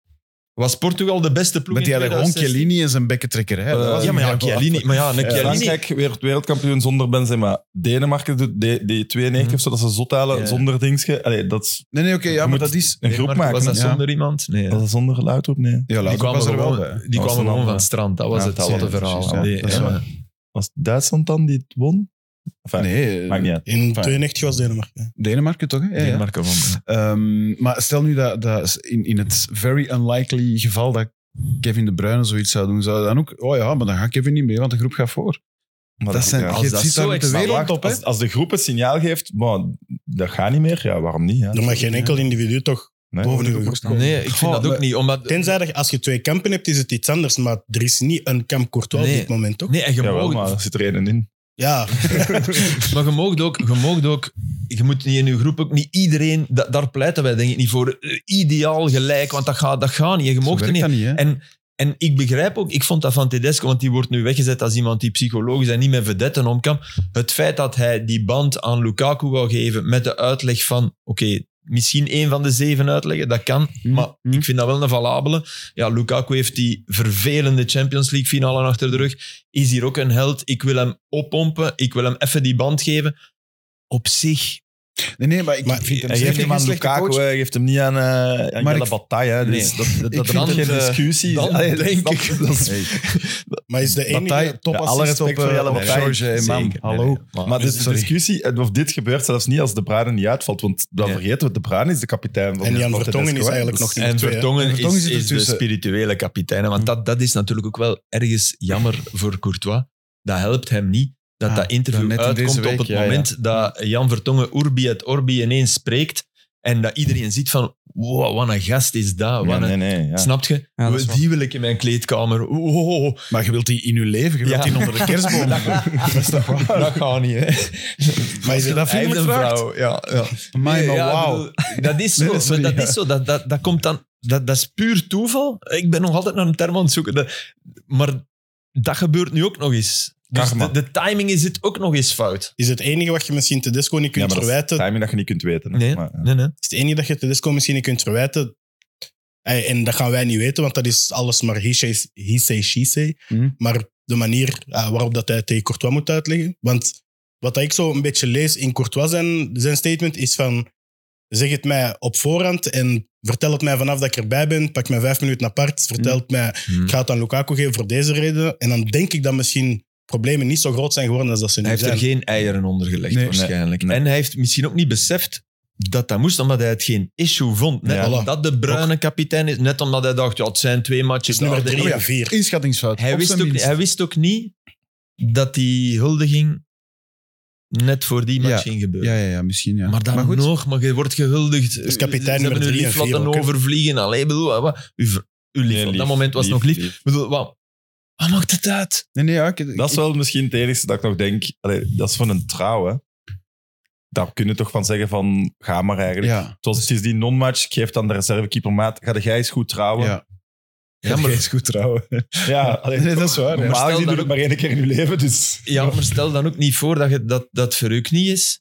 S4: Was Portugal de beste ploeg
S2: Met die
S4: in
S2: hadden gewoon
S4: 2016?
S2: Chiellini en zijn bekkentrekker. Hè? Dat
S4: Eh,
S2: was
S4: ja, maar ja,
S2: inderdaad-
S4: Chiellini. Maar ja, een
S5: Ja,
S4: Chiellini.
S5: Frankrijk werd wereldkampioen zonder Benzema. Denemarken doet de- die 92 of zo, dat ze zot halen
S4: Ja.
S5: zonder dingetje. Allee, dat is
S2: Nee, nee, oké, ja,
S5: Je
S2: maar
S5: moet-
S2: dat is...
S5: een groep
S4: Nee, maar
S5: maken.
S4: Was dat
S5: hè?
S4: zonder iemand? Nee.
S5: Was dat zonder luidroep? Nee.
S2: Ja,
S4: Die
S2: Laudrup
S4: kwamen
S2: was er wel
S4: gewoon,
S2: bij.
S4: die
S5: was
S4: kwamen
S5: er
S4: gewoon
S5: wel
S4: van
S5: bij.
S4: het strand. Dat was
S5: Ja,
S4: het al, wat een
S2: ja,
S4: verhaal.
S2: precies, ja.
S4: Nee, eh,
S5: Dat is
S4: ja.
S5: waar. Was het Duitsland dan die het won? Enfin,
S2: Nee,
S5: Maakt
S2: eh,
S5: niet uit.
S6: In 92 was Denemarken.
S2: Denemarken toch? Hè? Ja, ja.
S5: Denemarken won.
S2: Ehm, maar stel nu dat, dat in, in het very unlikely geval dat Kevin De Bruyne zoiets zou doen, zou dan ook... Oh ja, maar dan gaat Kevin niet mee, want de groep gaat voor.
S5: Maar
S2: dat zijn,
S5: ja,
S4: als
S2: je
S4: dat
S2: ziet daar
S4: zo
S2: met de
S4: extra
S2: wereld
S5: wacht,
S2: op, hè?
S5: als, als de groep het signaal geeft, "Bon, dat gaat niet meer, ja, waarom niet? Ja?
S6: Er mag geen enkel individu toch
S5: Nee.
S6: boven de groep komen.
S4: Nee, ik vind
S2: Goh,
S4: dat ook
S2: maar-
S4: niet. Omdat,
S6: Tenzij dat je- als je twee kampen hebt, is het iets anders. Maar er is niet een kamp Courtois
S4: Nee.
S6: op dit moment, toch?
S4: Nee, en je
S5: Jawel,
S4: mag-
S5: maar er zit er één in.
S6: Ja,
S4: Maar je moogt ook, je moogt ook, je moet niet in je groep ook niet iedereen, da- daar pleiten wij denk ik niet voor, eh, ideaal gelijk, want dat gaat dat gaat niet. Je
S2: Zo
S4: moogt
S2: werkt
S4: er niet.
S2: dat niet, hè?
S4: En, en ik begrijp ook, ik vond dat van Tedesco, want die wordt nu weggezet als iemand die psychologisch en niet met vedetten om kan. Het feit dat hij die band aan Lukaku wou geven met de uitleg van, oké, misschien één van de zeven uitleggen, dat kan. Maar
S2: Mhm.
S4: ik vind dat wel een valabele. Ja, Lukaku heeft die vervelende Champions League finale achter de rug. Is hier ook een held. Ik wil hem oppompen. Ik wil hem even die band geven. Op zich.
S2: Nee, nee, maar ik
S6: Maar
S2: vind hem zeker
S5: Hij geeft hem
S2: dus geen
S5: aan
S2: slechte
S5: Lukaku,
S2: coach.
S5: hij geeft hem niet aan eh aan
S2: Maar
S5: Jelle
S2: ik-
S5: Bataille. hè.
S4: Nee.
S5: Dus dat, dat, dat
S4: vind
S5: brandt geen
S4: het, eh,
S5: discussie.
S4: dan
S5: Allee,
S4: denk
S5: snap
S4: ik-
S5: je? Dat is-
S2: Hey.
S6: maar is de
S2: Bataille,
S6: enige...
S5: Ja, alle
S2: topassist op,
S5: respect voor Jelle
S2: eh, op
S5: Bataille.
S2: George, eh, man.
S4: Zeker.
S2: Hallo.
S4: Nee, nee. Maar,
S5: Maar dus de
S2: sorry.
S5: discussie, of dit gebeurt zelfs niet als de Bruyne niet uitvalt. Want dan
S4: Nee.
S5: vergeten we, de Bruyne is de kapitein van
S6: En
S5: van
S6: Jan
S5: Tedesco,
S6: Vertongen is
S5: hè.
S6: eigenlijk
S5: Dus-
S6: nog niet.
S4: en
S6: twee, hè.
S4: Vertongen,
S2: En Vertongen
S4: is,
S2: zit
S4: is de
S2: ertussen.
S4: spirituele kapitein. hè, Want dat, dat is natuurlijk ook wel ergens jammer voor Courtois. Dat helpt hem niet. Dat
S2: Ah,
S4: dat
S2: dan
S4: interview
S2: net in
S4: uitkomt
S2: deze
S4: op
S2: week,
S4: het
S2: ja, ja.
S4: moment dat Jan Vertongen Urbi het Orbi ineens spreekt. En dat iedereen ziet van, wow, wat een gast is dat. Wat
S5: Ja,
S4: een-
S5: nee, nee. Ja.
S4: Snapt je?
S3: Ja, dat is waar.
S4: die wil ik in mijn kleedkamer. Oh, oh, oh.
S2: Maar je wilt die in je leven, je wilt
S4: Ja.
S2: die onder de kerstboom. dat is toch waar?
S4: Dat gaat niet, hè?
S6: Maar
S2: dat
S6: is het-
S4: Hij heeft
S2: vriendelijk
S4: een
S2: vraagt.
S4: vrouw. Ja, ja.
S2: Amai, maar
S4: Nee, ja,
S2: wauw.
S4: bedoel, Dat is zo.
S2: Nee, nee, sorry,
S4: maar dat
S2: ja.
S4: is zo. Dat, dat, dat komt dan... Dat, dat is puur toeval. Ik ben nog altijd naar een term aan het zoeken. Dat- maar dat gebeurt nu ook nog eens. Dus
S5: Karma.
S4: de, de timing is het ook nog eens fout.
S6: is het enige wat je misschien Tedesco niet
S5: Ja,
S6: kunt
S5: maar dat is
S6: verwijten?
S5: timing dat je niet kunt weten. hè.
S4: Nee,
S5: Maar, ja.
S4: nee, nee.
S6: is het enige dat je Tedesco misschien niet kunt verwijten. Ey, En dat gaan wij niet weten, want dat is alles maar he say, he say, she say.
S2: Mhm.
S6: Maar de manier eh, waarop dat hij het tegen Courtois moet uitleggen. Want wat dat ik zo een beetje lees in Courtois zijn, zijn statement is van... Zeg het mij op voorhand en vertel het mij vanaf dat ik erbij ben. Pak mij vijf minuten apart. Vertel
S4: Mhm.
S6: het mij, ik ga het aan Lukaku geven voor deze reden. En dan denk ik dat misschien problemen niet zo groot zijn geworden als dat ze nu
S4: Hij heeft
S6: zijn.
S4: er geen eieren onder gelegd,
S2: Nee.
S4: waarschijnlijk.
S5: Nee.
S4: En hij heeft misschien ook niet beseft dat dat moest, omdat hij het geen issue vond. Net
S5: Ja.
S4: omdat de bruine kapitein is. Net omdat hij dacht, ja, het zijn twee matches.
S6: Dus nummer
S4: daar, de-
S6: drie
S4: Ja.
S6: en vier.
S2: Inschattingsfout.
S4: Hij
S2: op
S4: wist,
S2: zijn
S4: ook,
S2: minst.
S4: hij wist ook niet dat die huldiging net voor die match ging gebeuren.
S2: Ja, ja, ja, misschien, ja.
S4: Maar dan
S2: goed.
S4: nog, maar je wordt gehuldigd.
S6: Dus kapitein
S4: Ze
S6: nummer
S4: hebben uw
S6: drie en
S4: lief
S6: vier
S4: laten
S6: ook, hè?
S4: overvliegen. Allee, bedoel, wat? Uw, ver- uw lief,
S5: Nee,
S4: op dat moment was het nog lief. Ik bedoel, wat, wat maakt het uit?
S2: Nee, nee, ja, ik-
S5: Dat is wel misschien het enige dat ik nog denk. Allee, dat is van een trouw, hè. Daar kunnen toch van zeggen van, ga maar eigenlijk.
S2: Ja,
S5: Zoals het is die non-match, ik geef dan de reservekeeper maat. Ga jij eens goed trouwen?
S2: ja.
S4: Ja, maar,
S2: is goed trouwen.
S5: Ja, allee,
S2: Nee, dat is waar, ja. Maar
S5: Normaal
S4: stel
S5: gezien
S4: dat
S5: doe je het
S4: ook-
S5: maar één keer in je leven, dus...
S4: ja, maar stel dan ook niet voor dat je, dat, dat voor u knie is.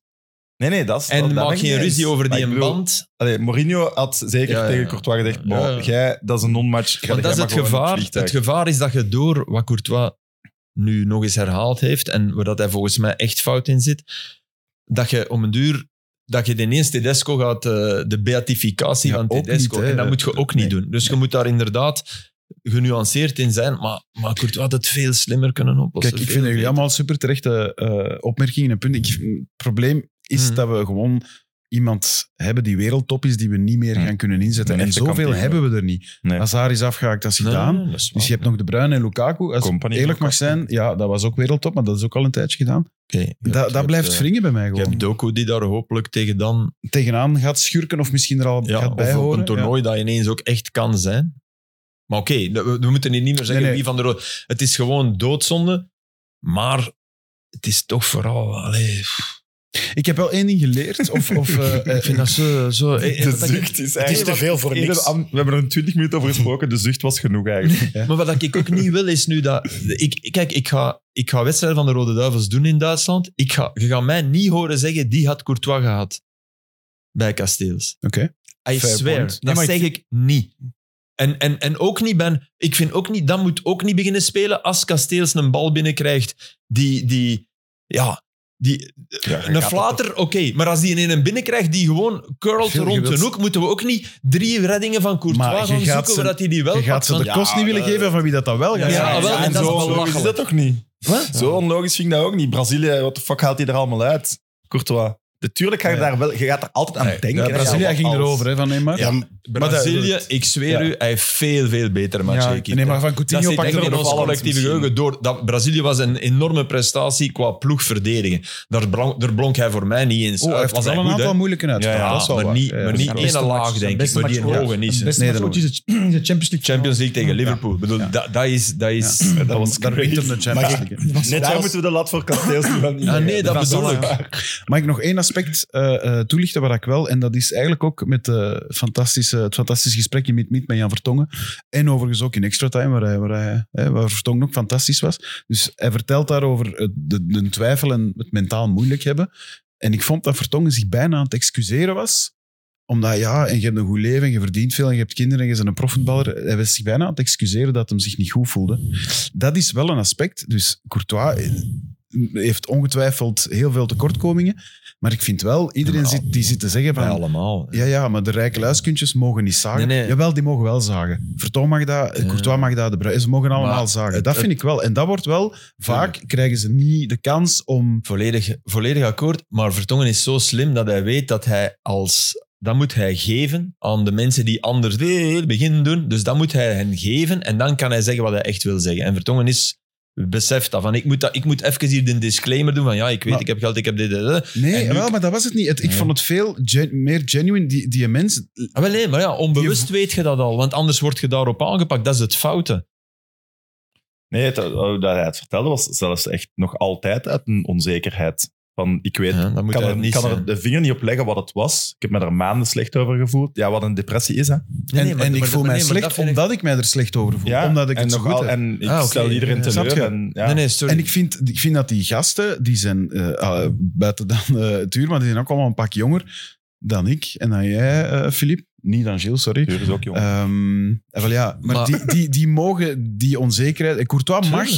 S5: Nee, nee, dat is...
S4: En
S5: dat- dat
S4: maak
S5: ben ik
S4: geen
S5: niet eens.
S4: ruzie over
S5: Maar
S4: die
S5: ik
S4: een
S5: bedoel,
S4: band.
S5: Allee, Mourinho had zeker
S4: Ja, ja,
S5: tegen
S4: ja.
S5: Courtois gezegd,
S4: Ja,
S5: "Bon,
S4: ja.
S5: jij, dat is een non-match. Ga
S4: Want
S5: jij
S4: dat is
S5: maar
S4: het
S5: gewoon in
S4: gevaar.
S5: vliegtuig."
S4: Het gevaar is dat je door wat Courtois nu nog eens herhaald heeft en waar dat hij volgens mij echt fout in zit, dat je om een duur dat je ineens Tedesco gaat eh, de beatificatie
S2: Ja,
S4: van
S2: ook
S4: Tedesco.
S2: niet, hè.
S4: en dat moet je ook niet doen. Dus je moet daar inderdaad genuanceerd in zijn. Maar, maar Courtois had het veel slimmer kunnen oplossen.
S2: Kijk, ik
S4: Veel
S2: vind dat jullie
S4: beter.
S2: allemaal super terechte eh, opmerkingen en punten. Ik, het probleem is
S4: Mhm.
S2: dat we gewoon iemand hebben die wereldtop is, die we niet meer
S5: Hm.
S2: gaan kunnen inzetten.
S5: Een
S2: En
S5: echte
S2: zoveel
S5: kampioen.
S2: hebben we er niet.
S5: Nee.
S2: Hazard is afgehaakt, dat is
S4: Nee,
S2: gedaan.
S4: dat is waar.
S2: Dus je hebt nog De Bruyne en Lukaku. Als ik
S5: Company
S2: eerlijk
S5: ook
S2: mag
S5: af.
S2: zijn, ja, dat was ook wereldtop, maar dat is ook al een tijdje gedaan.
S4: Oké, je hebt-
S2: Dat,
S4: je
S2: dat
S4: hebt,
S2: blijft
S4: eh,
S2: wringen bij mij
S4: Je
S2: gewoon.
S4: hebt Doku die daar hopelijk tegen dan
S2: Tegenaan gaat schurken of misschien er al
S4: ja,
S2: gaat
S4: of
S2: bij
S4: op
S2: horen.
S4: een
S2: ja.
S4: toernooi dat ineens ook echt kan zijn. Maar oké, we, we moeten hier niet meer zeggen
S2: Nee, nee.
S4: wie van de rood. Het is gewoon doodzonde, maar het is toch vooral. Allee, pff.
S2: Ik heb wel één ding geleerd. Of, of, eh, eh,
S4: ik vind dat zo. zo eh, eh,
S5: De
S4: wat ik-
S5: zucht is
S6: Het is
S5: eigenlijk...
S6: te veel voor
S5: Ieder
S6: niks.
S5: am- we hebben er 20 minuten over gesproken, de zucht was genoeg eigenlijk.
S4: Maar wat ik ook niet wil is nu dat. Ik, kijk, ik ga, ik ga wedstrijden van de Rode Duivels doen in Duitsland. Ik ga, je gaat mij niet horen zeggen die had Courtois gehad bij Kasteels.
S2: Oké.
S4: I
S2: Fair
S4: swear.
S2: point.
S4: Dat
S3: maar ik-
S4: zeg ik niet. En, en, en ook niet ben. Ik vind ook niet. Dat moet ook niet beginnen spelen als Kasteels een bal binnenkrijgt die. die ja, die,
S5: Ja,
S4: een flater, oké. Maar als die in een binnenkrijgt die gewoon curlt
S2: Gilles, je
S4: rond
S2: wilt-
S4: de hoek, moeten we ook niet drie reddingen van
S2: Maar je
S4: Courtois gaan
S2: gaat
S4: zoeken
S2: ze-
S4: waar dat hij die wel
S2: je gaat
S4: pakt,
S2: ze de
S4: want-
S2: kost niet willen geven van wie dat dan wel gaat
S4: Ja,
S2: zijn.
S4: wel, en
S5: en
S4: dat is
S5: zo onlogisch
S4: belachelijk.
S5: is dat toch niet?
S4: Wat?
S5: Zo onlogisch vind ik dat ook niet. Brazilië, wat de fuck haalt hij er allemaal uit? Courtois. Natuurlijk ga je
S2: Ja.
S5: daar wel... Je gaat er altijd aan
S4: Nee,
S5: denken.
S2: Ja,
S5: hè,
S2: Brazilië
S5: aan
S2: ging
S5: alles.
S2: erover hè, van Neymar.
S6: Ja,
S4: Brazilië, ik zweer
S5: Ja.
S4: u, hij heeft veel, veel beter match
S5: Ja,
S4: gekiept.
S2: Nee, maar van
S4: dat
S2: Coutinho
S4: zit
S2: pakte
S4: denk ik in
S2: er
S4: ons
S5: opvallend
S4: collectieve
S5: misschien.
S4: geheugen door. Dat, Brazilië was een enorme prestatie qua ploeg verdedigen. Daar, blank- daar blonk hij voor mij niet eens
S2: Oh,
S4: uit.
S2: hij heeft
S4: Was
S2: wel
S4: hij
S2: een
S4: goed,
S2: aantal
S4: hè?
S2: moeilijke uitspraken.
S5: Ja,
S4: Ja,
S2: dat is wel
S4: maar
S2: waar. Eh,
S4: niet,
S2: Ja,
S4: maar
S2: dat is
S4: niet
S2: waar.
S3: beste
S4: één
S3: match-
S4: laag,
S3: zijn
S4: denk ik.
S3: beste
S4: Maar die
S3: match ooit.
S4: hoge niet. hè.
S3: Beste
S2: Nee,
S3: match
S2: dat
S3: ooit is het- is de Champions League.
S4: Champions League tegen Liverpool. Ik bedoel,
S2: Ja.
S4: Dat, dat is... Dat is
S5: Ja, dat was
S2: Daar wint hem de Champions
S6: Maar ik-
S2: League. hè.
S6: Net
S5: Daar
S6: als-
S5: moeten we de lat voor kasteels niet van
S4: Ah, nee, dat bedoel ik.
S2: Mag ik nog één aspect eh, eh, toelichten waar ik wel, en dat is eigenlijk ook met de fantastische, het fantastische gesprek in Meet Meet met Jan Vertongen, en overigens ook in Extra Time, waar, hij, waar, hij, hè, waar Vertongen ook fantastisch was. Dus hij vertelt daarover eh, de, de twijfel en het mentaal moeilijk hebben. En ik vond dat Vertongen zich bijna aan het excuseren was, omdat ja, en je hebt een goed leven, en je verdient veel, en je hebt kinderen, en je bent een profvoetballer. Hij was zich bijna aan het excuseren dat hij zich niet goed voelde. Dat is wel een aspect. Dus Courtois eh, heeft ongetwijfeld heel veel tekortkomingen. Maar ik vind wel, iedereen
S4: Ja, maar
S2: zit, die zit te zeggen
S4: Bij
S2: van...
S4: allemaal.
S2: Ja, ja, maar de rijke luiskuntjes mogen niet zagen.
S4: Nee, nee.
S2: Jawel, die mogen wel zagen. Vertoon mag dat, eh,
S4: Ja.
S2: Courtois mag dat, de Bruyne- Ze mogen allemaal
S4: Maar
S2: zagen.
S4: het-
S2: dat vind ik wel. En dat wordt wel... Vaak krijgen ze niet de kans om...
S4: Volledig, volledig akkoord. Maar Vertongen is zo slim dat hij weet dat hij als... Dat moet hij geven aan de mensen die anders beginnen doen. Dus dat moet hij hen geven. En dan kan hij zeggen wat hij echt wil zeggen. En Vertongen is... Beseft dat. Van, ik, moet dat ik moet even hier de disclaimer doen van ja, ik weet,
S2: Maar-
S4: ik heb geld, ik heb dit, dit, dit.
S2: Nee,
S4: En nu-
S2: wel, maar dat was het niet. Het, ik
S4: Nee.
S2: vond het veel gen- meer genuine. Die, die mens...
S4: Ah, wel nee, maar ja, onbewust weet je dat al. Want anders word je daarop aangepakt. Dat is het foute.
S5: Nee, het- oh, dat hij het vertelde was zelfs echt nog altijd uit een onzekerheid. Van, ik weet,
S4: Ja, dan moet
S5: kan,
S4: hij
S5: er,
S4: niet
S5: kan er
S4: zijn.
S5: de vinger niet op leggen wat het was. Ik heb me er maanden slecht over gevoeld. Ja, wat een depressie is, hè.
S4: Nee,
S2: en
S4: nee, maar-
S2: en ik
S4: maar-
S2: voel
S4: maar-
S2: mij
S4: nee, maar
S2: slecht
S4: dat vind ik-
S2: omdat ik mij er slecht over voel. omdat ik
S5: en
S2: het zo goed
S5: nogal-
S2: heb.
S5: En ik
S4: Ah, oké.
S5: stel iedereen
S4: Ja.
S5: teleur.
S2: Snap je?
S5: En, ja.
S4: Nee, nee, sorry.
S2: En ik vind, ik vind dat die gasten, die zijn eh, ah, buiten dan eh, het uur, maar die zijn ook allemaal een pak jonger dan ik en dan jij, eh, Filip. Niet dan Gilles, sorry.
S5: Tuur is ook jong.
S2: Ehm, en wel ja, maar,
S4: Maar-
S2: Die, die, die mogen die onzekerheid... eh, Courtois mag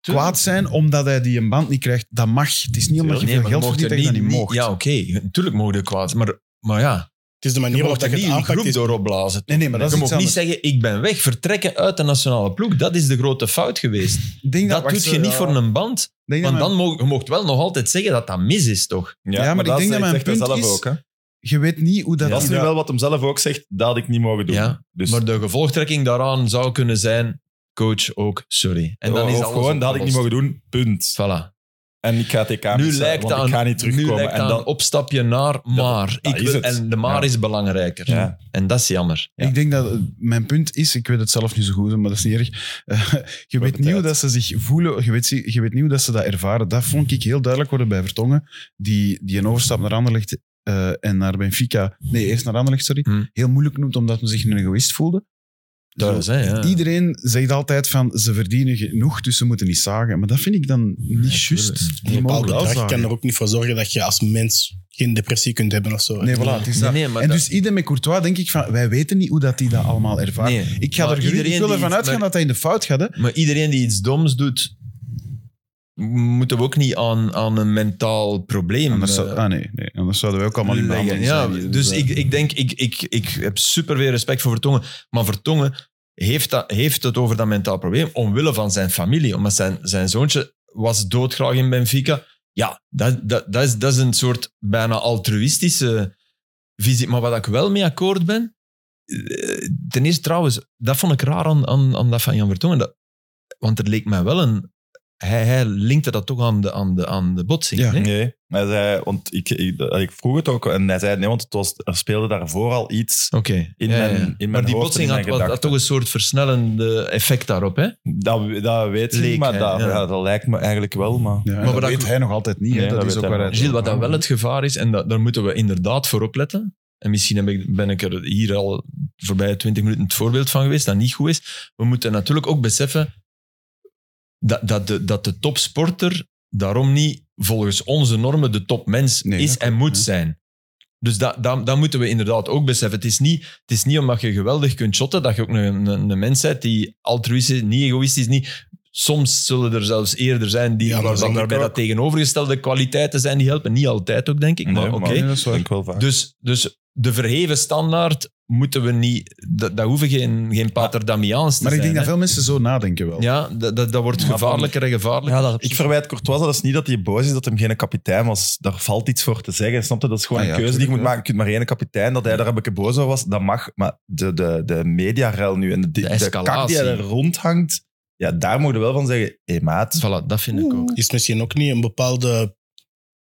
S2: kwaad zijn omdat hij die een band niet krijgt. Dat mag. Het is niet omdat je
S4: Nee,
S2: veel
S4: maar
S2: geld
S4: mocht
S2: verdient
S4: er
S2: dat je dat niet mocht.
S4: Ja, oké. Natuurlijk mogen we kwaad. Maar, maar ja,
S6: Het is
S4: je
S6: de manier waarop
S4: mocht
S6: dat
S4: er
S6: je
S4: niet
S6: het
S4: een
S6: aanpakt.
S4: groep
S6: is-
S4: door opblazen.
S2: Nee, nee, maar dat
S4: je
S2: is iets
S4: mocht niet
S2: anders.
S4: zeggen, ik ben weg. Vertrekken uit de nationale ploeg. Dat is de grote fout geweest.
S2: Ik denk
S4: Dat
S2: wacht,
S4: doet je
S2: eh,
S4: niet voor een band.
S2: denk dat
S4: Want
S2: mijn-
S4: dan moog, je mocht wel nog altijd zeggen dat dat mis is, toch?
S2: ja, maar ik
S5: dat
S2: denk dat
S5: zegt
S2: mijn
S5: hij
S2: punt
S5: zelf
S2: is-
S5: Ook, hè.
S2: Je weet niet hoe dat...
S5: Dat is
S2: die-
S5: nu wel wat hem zelf ook zegt, dat had ik niet mogen doen.
S4: Ja,
S5: dus,
S4: Maar de gevolgtrekking daaraan zou kunnen zijn, coach ook, sorry. En dan is
S5: of
S4: alles
S5: Oh, gewoon, dat had ik niet
S4: opgelost.
S5: mogen doen, punt.
S4: Voilà.
S5: En ik ga TK
S4: nu
S5: missen,
S4: lijkt
S5: want
S4: dat
S5: ik ga
S4: een,
S5: niet
S4: nu
S5: terugkomen.
S4: lijkt
S5: En
S4: dat een
S5: dan,
S4: opstapje naar maar.
S5: dat
S4: ik
S5: is
S4: wil,
S5: het.
S4: en de maar
S5: Ja.
S4: is belangrijker.
S5: Ja.
S4: En dat is jammer.
S5: Ja.
S2: Ik denk dat eh, mijn punt is, ik weet het zelf niet zo goed, maar dat is niet erg. Eh, je weet niet hoe
S5: tijd.
S2: dat ze zich voelen, je weet, zie- je weet niet hoe dat ze dat ervaren. Dat vond ik heel duidelijk worden bij Vertongen, die, die een overstap naar Anderlecht eh, en naar Benfica, nee, eerst naar Anderlecht, sorry,
S4: Hm.
S2: heel moeilijk noemt omdat men zich een egoïst voelde.
S4: Thuis, hè, ja.
S2: Iedereen zegt altijd van ze verdienen genoeg, dus ze moeten niet zagen. Maar dat vind ik dan niet juist.
S4: tuurlijk.
S6: Een
S2: Die
S6: bepaald
S2: mogen wel
S6: bedrag kan
S2: zagen.
S6: er ook niet voor zorgen dat je als mens geen depressie kunt hebben of zo.
S2: Nee, voilà, het is
S4: Nee,
S2: dat.
S4: nee, maar
S2: en
S4: dat-
S2: dus idem met Courtois denk ik van, wij weten niet hoe dat die dat allemaal ervaren.
S4: Nee,
S2: Ik, ga er,
S4: maar
S2: gerust- ik
S4: iedereen
S2: wil
S4: die
S2: ervan
S4: iets-
S2: uitgaan
S4: maar-
S2: dat hij in de fout gaat. Hè?
S4: Maar iedereen die iets doms doet, moeten we ook niet aan, aan een mentaal probleem
S2: Anders,
S4: eh,
S2: zou- ah, nee, nee, anders zouden wij ook allemaal in
S4: leggen.
S2: behandeling
S4: Ja,
S2: zijn.
S4: dus ik, ik denk, ik, ik, ik heb superveel respect voor Vertongen. Maar Vertongen heeft, dat, heeft het over dat mentaal probleem omwille van zijn familie. Omdat zijn, zijn zoontje was doodgraag in Benfica. Ja, dat, dat, dat, is, dat is een soort bijna altruïstische visie. Maar wat ik wel mee akkoord ben, eh, ten eerste trouwens, dat vond ik raar aan, aan, aan dat van Jan Vertongen. Dat, want er leek mij wel een... Hij, hij linkte dat toch aan de, aan de, aan de botsing.
S2: Ja.
S4: hè?
S5: Nee, hij zei, want ik, ik, ik vroeg het ook en hij zei nee, want het was, er speelde daarvoor al iets
S4: Oké.
S5: in
S4: Ja,
S5: mijn,
S4: ja.
S5: In mijn
S4: maar die
S5: hoofd en
S4: botsing
S5: in mijn
S4: had, had- had
S5: gedachten.
S4: toch een soort versnellende effect daarop, hè?
S5: Dat, dat weet ik
S4: Leek,
S5: niet, maar
S4: hè,
S5: dat,
S4: ja.
S5: ja, dat lijkt me eigenlijk wel. Maar,
S2: Ja, en
S4: Maar
S2: dat
S4: wat
S2: weet
S4: ik-
S2: hij nog altijd niet. hè.
S5: Nee,
S2: dat
S5: dat
S2: is
S5: weet
S2: ook
S5: hij
S2: waar hij-
S5: nog niet.
S4: Gilles, wat dan wel het gevaar is, en dat, daar moeten we inderdaad voor opletten, en misschien heb ik, ben ik er hier al voorbij 20 minuten het voorbeeld van geweest, dat niet goed is. We moeten natuurlijk ook beseffen dat, dat, de, dat de topsporter daarom niet volgens onze normen de topmens
S2: Nee,
S4: is
S2: dat
S4: en moet
S2: ja.
S4: zijn. Dus dat, dat, dat moeten we inderdaad ook beseffen. Het is, niet, het is niet omdat je geweldig kunt shotten dat je ook een, een, een mens bent die altruïstisch, niet egoïstisch, niet... Soms zullen er zelfs eerder zijn die
S6: Ja, maar
S4: waar-
S6: dat is
S4: waarbij
S6: ook-
S4: dat tegenovergestelde kwaliteiten zijn die helpen. Niet altijd ook, denk ik.
S5: Nee,
S4: maar oké.
S5: maar-
S2: Ja, dat is
S5: dat
S2: waar.
S5: denk ik wel vaak.
S4: Dus, dus de verheven standaard moeten we niet... Dat, dat hoeven geen, geen pater Damiaans te
S2: Maar ik
S4: zijn.
S2: denk dat
S4: hè.
S2: veel mensen zo nadenken wel.
S4: Ja, dat, dat, dat wordt
S5: Maar van-
S4: gevaarlijker en gevaarlijker.
S3: Ja, dat is op
S5: Ik
S3: zich-
S5: verwijt Courtois dat is niet dat hij boos is dat hem geen kapitein was. Daar valt iets voor te zeggen. Snap je? Dat is gewoon
S2: Ah
S5: een
S2: ja,
S5: keuze die je moet
S2: tuurlijk,
S5: maken. Je kunt maar één kapitein. Dat hij daar een beetje boos over was, dat mag. Maar de, de, de mediarel nu en de, de, kak
S4: escalatie.
S5: die er rondhangt, ja, daar moet je wel van zeggen, hé maat.
S4: Voilà, dat vind ik ook.
S6: Is het misschien ook niet een bepaalde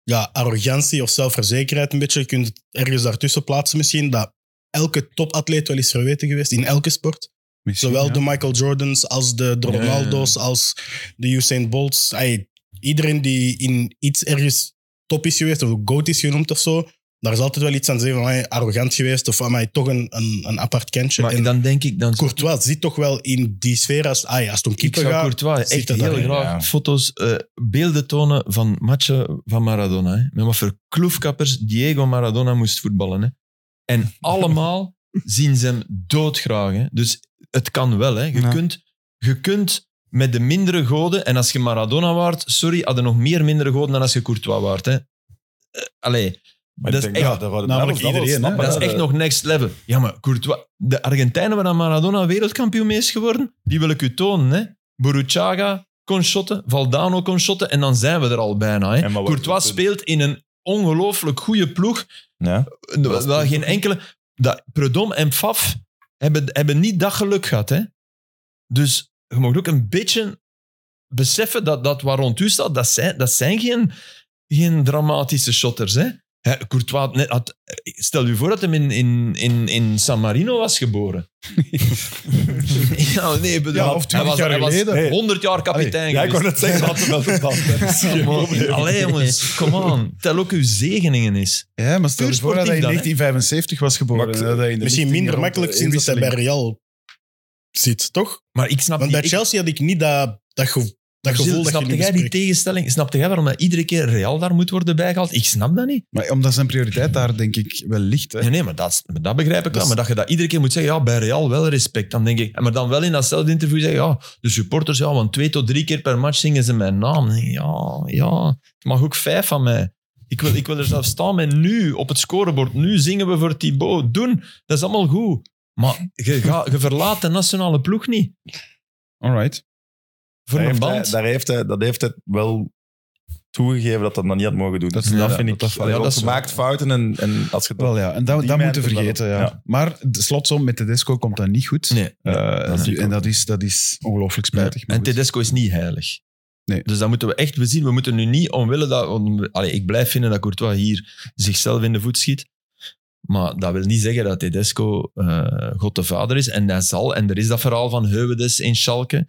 S6: ja, arrogantie of zelfverzekerheid een beetje. Je kunt het ergens daartussen plaatsen misschien. Dat elke topatleet wel is verweten geweest in elke sport.
S2: Misschien,
S6: Zowel
S2: ja.
S6: de Michael Jordans als de, de
S4: Ja.
S6: Ronaldo's als de Usain Bolts. Ay, iedereen die in iets ergens top is geweest of goat is genoemd of zo. Daar is altijd wel iets aan te zeggen van ay, arrogant geweest of van mij toch een, een, een apart kentje.
S4: Maar
S6: en
S4: dan denk ik... Dan
S6: Courtois zit toch wel in die sfeer als, ay, als het om
S4: ik
S6: keeper
S4: zou
S6: gaat.
S4: Courtois
S6: zit
S4: echt
S6: dat
S4: heel
S6: daarin,
S4: graag
S5: ja.
S4: foto's, eh, beelden tonen van matchen van Maradona. Hè. Met wat voor kloefkappers Diego Maradona moest voetballen. Hè. En allemaal zien ze hem doodgraag. Hè. Dus het kan wel. Hè. Je,
S3: Ja.
S4: kunt, je kunt met de mindere goden, en als je Maradona waart, sorry, hadden nog meer mindere goden dan als je Courtois waart. Hè. Eh, allee,
S5: Maar
S4: Dat
S5: ik
S4: is
S5: denk
S4: echt-
S5: de Rode
S2: namelijk
S5: Duivels dat wel
S2: iedereen, hè.
S5: snappen,
S4: dat is
S5: hè.
S4: echt nog next level. Ja, maar Courtois, de Argentijnen waar dan Maradona wereldkampioen mee is geworden, die wil ik u tonen. Hè. Boruchaga kon shotten, Valdano kon shotten en dan zijn we er al bijna. Hè.
S5: En maar wat-
S4: Courtois speelt in een ongelooflijk goede ploeg.
S5: Ja.
S4: Wel, wel geen enkele... Dat, Predom en Faf hebben, hebben niet dat geluk gehad. Hè. Dus je mag ook een beetje beseffen dat, dat waar rond u staat, dat zijn, dat zijn geen, geen dramatische shotters. Hè. Hè, Courtois had net, had- stel u voor dat hem in, in, in, in San Marino was geboren. ja, nee, bedoel,
S2: Ja, of
S4: hij
S2: 20
S4: was,
S2: jaar
S4: hij was
S2: geleden.
S4: 100 jaar kapitein
S5: ja, ik wou
S4: geweest.
S5: het zeggen. Laten we wel
S4: Ja, maar- Allee jongens, come on. Tel ook uw zegeningen is.
S2: Ja, maar stel
S4: Puur
S2: je voor dat hij in
S4: sportief dan, hè.
S2: 1975 was geboren.
S5: Maar ik-
S2: en dat hij in de
S6: Misschien
S2: 19e
S6: minder
S2: rond- eh,
S6: makkelijk sinds dat hij bij
S2: inwisseling.
S6: Real zit, toch?
S4: Maar ik snap
S6: Want
S4: Ah, die-
S6: bij
S4: ik-
S6: Chelsea had ik niet dat, dat, gevo- dat
S4: Gilles,
S6: gevoel dat je
S4: snapte
S6: nu
S4: jij die
S6: bespreekt.
S4: tegenstelling? Snapte jij waarom dat iedere keer Real daar moet worden bijgehaald? Ik snap dat niet.
S2: Maar omdat zijn prioriteit daar denk ik wel ligt. Hè.
S4: Nee, nee maar dat, maar dat begrijp ik wel.
S2: Dus-
S4: Maar dat je dat iedere keer moet zeggen, ja, bij Real wel respect. Dan denk ik, maar dan wel in datzelfde interview zeggen, ja, de supporters, ja, want twee tot drie keer per match zingen ze mijn naam. Dan denk ik, Ja, ja, het mag ook vijf van mij. Ik wil, ik wil er zelf staan met nu, op het scorebord. Nu zingen we voor Thibaut. Doen, dat is allemaal goed. Maar je, ga- je verlaat de nationale ploeg niet.
S2: Alright.
S4: Voor
S5: Daar
S4: een
S5: heeft
S4: band.
S5: hij- Daar heeft hij, dat heeft hij wel toegegeven dat dat dan niet had mogen doen.
S2: Dat
S5: Dat,
S2: is- ja,
S5: vind ik.
S2: dat- dat- ja,
S5: want
S4: dat is
S5: ze
S4: wel-
S5: maakt fouten en, en als je dat...
S2: Wel ja, en dat,
S5: Die
S2: dat
S5: mij
S2: moeten we
S5: toch wel
S2: vergeten.
S5: op.
S2: Ja.
S5: Ja.
S2: Maar de slotsom met Tedesco komt dan niet goed.
S4: Nee.
S2: Eh,
S5: dat zie ik
S2: en
S5: ook.
S2: dat is, dat is ongelooflijk spijtig. maar
S4: En
S2: goed.
S4: Tedesco is niet heilig.
S2: Nee.
S4: Dus dat moeten we echt bezien. We moeten nu niet omwille dat... om- allee, ik blijf vinden dat Courtois hier zichzelf in de voet schiet. Maar dat wil niet zeggen dat Tedesco eh, God de Vader is. En dat zal... En er is dat verhaal van Heuwedes in Schalke.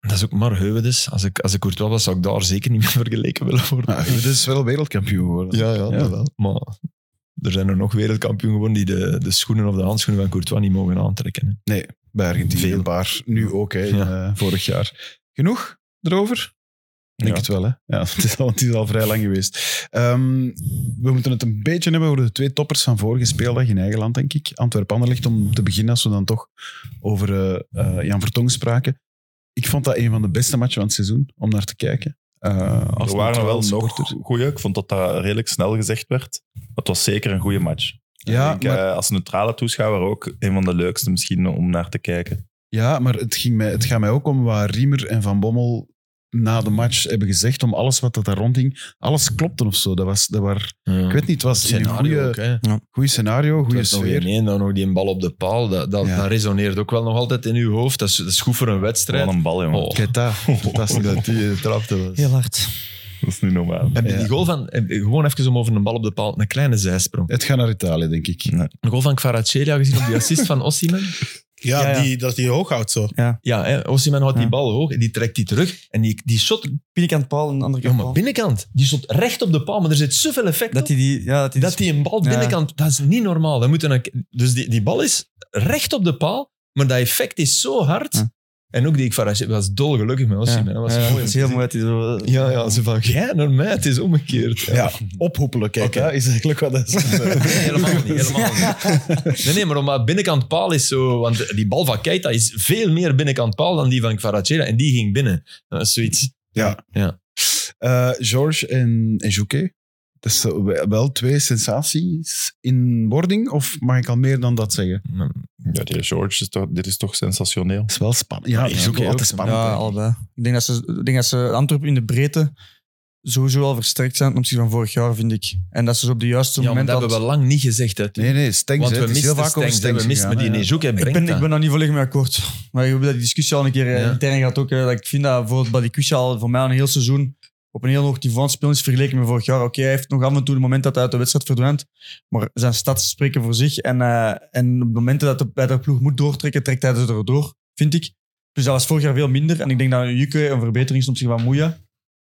S4: Dat is ook maar Heuwedes. Als ik, als ik Courtois was, zou ik daar zeker niet mee vergeleken willen worden.
S2: Maar dit is wel wereldkampioen geworden.
S4: ja,
S2: dat
S4: wel. Maar er zijn er nog wereldkampioen geworden die de, de schoenen of de handschoenen van Courtois niet mogen aantrekken. hè.
S2: Bij Argentinië
S4: Veel.
S2: een paar. Nu ook, hè, in,
S4: Ja.
S2: eh, vorig jaar. Genoeg erover? Ik denk
S5: Ja.
S2: het wel, hè. Ja, het, is al, het is al vrij lang geweest. Ehm, we moeten het een beetje hebben over de twee toppers van vorige speeldag in eigen land, denk ik. Antwerpen-Anderlecht, om te beginnen, als we dan toch over eh, eh, Jan Vertong spraken. Ik vond dat een van de beste matchen van het seizoen, om naar te kijken. Eh, als
S5: er waren er wel
S2: neutrale
S5: nog
S2: supporter.
S5: goeie. Ik vond dat dat redelijk snel gezegd werd. Het was zeker een goede match.
S2: Ja,
S5: ik denk,
S2: maar,
S5: eh, als neutrale toeschouwer ook een van de leukste misschien om naar te kijken.
S2: ja, maar het, ging mij, het gaat mij ook om waar Riemer en Van Bommel na de match hebben gezegd om alles wat dat daar rondhing, alles klopte of zo. Dat was, dat waren, ik weet niet, het was in een
S4: scenario ook,
S2: goede,
S4: hè. Het
S2: goede scenario, goede
S4: was nog
S2: sfeer.
S4: in één, dan nog die bal op de paal. Dat, dat,
S2: Ja.
S4: dat resoneert ook wel nog altijd in uw hoofd. Dat is, dat is goed voor een wedstrijd.
S5: Wat een bal, jongen.
S4: Oh.
S2: Keita, fantastisch dat die eh, trapte. was.
S3: Heel hard.
S5: Dat is niet normaal.
S4: Heb je
S2: Ja.
S4: die goal van, heb- gewoon even om over een bal op de paal, een kleine zijsprong.
S2: Het gaat naar Italië, denk ik.
S4: Een goal van Kvaratskhelia gezien op die assist van Osimhen.
S6: Ja,
S3: Ja, ja.
S6: Die, dat die hoog houdt zo.
S4: Ja, hè, Osimhen houdt
S3: Ja.
S4: die bal hoog en die trekt die terug. En die, die shot,
S3: Binnenkant paal en andere
S4: ja,
S3: kant
S4: maar
S3: paal.
S4: binnenkant, die shot recht op de paal. Maar er zit zoveel effect
S3: Dat
S4: op.
S3: hij die... Ja, dat hij
S4: dat die een bal
S3: Ja.
S4: binnenkant, dat is niet normaal. Dan moeten een, dus die, die bal is recht op de paal, maar dat effect is zo hard.
S3: Ja.
S4: En ook die Kvaratskhelia was dolgelukkig met Osimhen. Dat was
S3: ja,
S4: mooi.
S3: Dat is heel mooi dat hij zo...
S4: Ja, ja, ze van, jij naar mij, het is omgekeerd.
S2: Ja, ophoepelen, kijk. hè, is eigenlijk wat dat is.
S4: Nee, helemaal niet. Helemaal niet. Nee, nee, maar omdat binnenkant paal is zo... Want die bal van Keita is veel meer binnenkant paal dan die van Kvaratskhelia. En die ging binnen. Dat is zoiets.
S2: Ja.
S4: Ja.
S2: Eh, George en, en Jouquet. Dat is eh, wel twee sensaties in wording, of mag ik al meer dan dat zeggen?
S5: Ja, die George, is toch, dit is toch sensationeel.
S2: Dat is wel spannend. Ja, dat is ook
S4: Jouquet
S2: altijd
S4: ook.
S2: spannend.
S3: Ja,
S2: hè.
S3: allebei. Ik denk dat ze, ik denk dat ze Antwerpen in de breedte sowieso al versterkt zijn ten opzichte van vorig jaar, vind ik. En dat ze op de juiste
S4: Ja, maar
S3: moment...
S4: dat hebben we
S3: al-
S4: lang niet gezegd. Hè.
S2: Nee, nee, Stengs.
S4: Want
S2: hè.
S4: we
S2: Het is heel
S4: misten
S2: vaak over
S4: Stengs. hè.
S2: Stengs
S4: We misten
S2: gegaan,
S4: die
S2: hè.
S4: Nejouk. Hij
S3: ik
S4: brengt
S3: ben, ik
S4: dat.
S3: ben daar niet volledig mee akkoord. Maar we hebben die discussie al een keer eh,
S4: Ja.
S3: intern gehad ook. eh, dat ik vind dat voor Badikwisha al voor mij al een heel seizoen op een heel hoog niveau aan het spelen is vergeleken met vorig jaar. Oké, hij heeft nog af en toe een moment dat hij uit de wedstrijd verdwijnt. Maar zijn stats spreken voor zich. En, eh, en op de momenten dat hij bij de ploeg moet doortrekken, trekt hij ze erdoor, vind ik. Dus dat was vorig jaar veel minder. En ik denk dat Jukke een verbetering is ten opzichte van Moeja.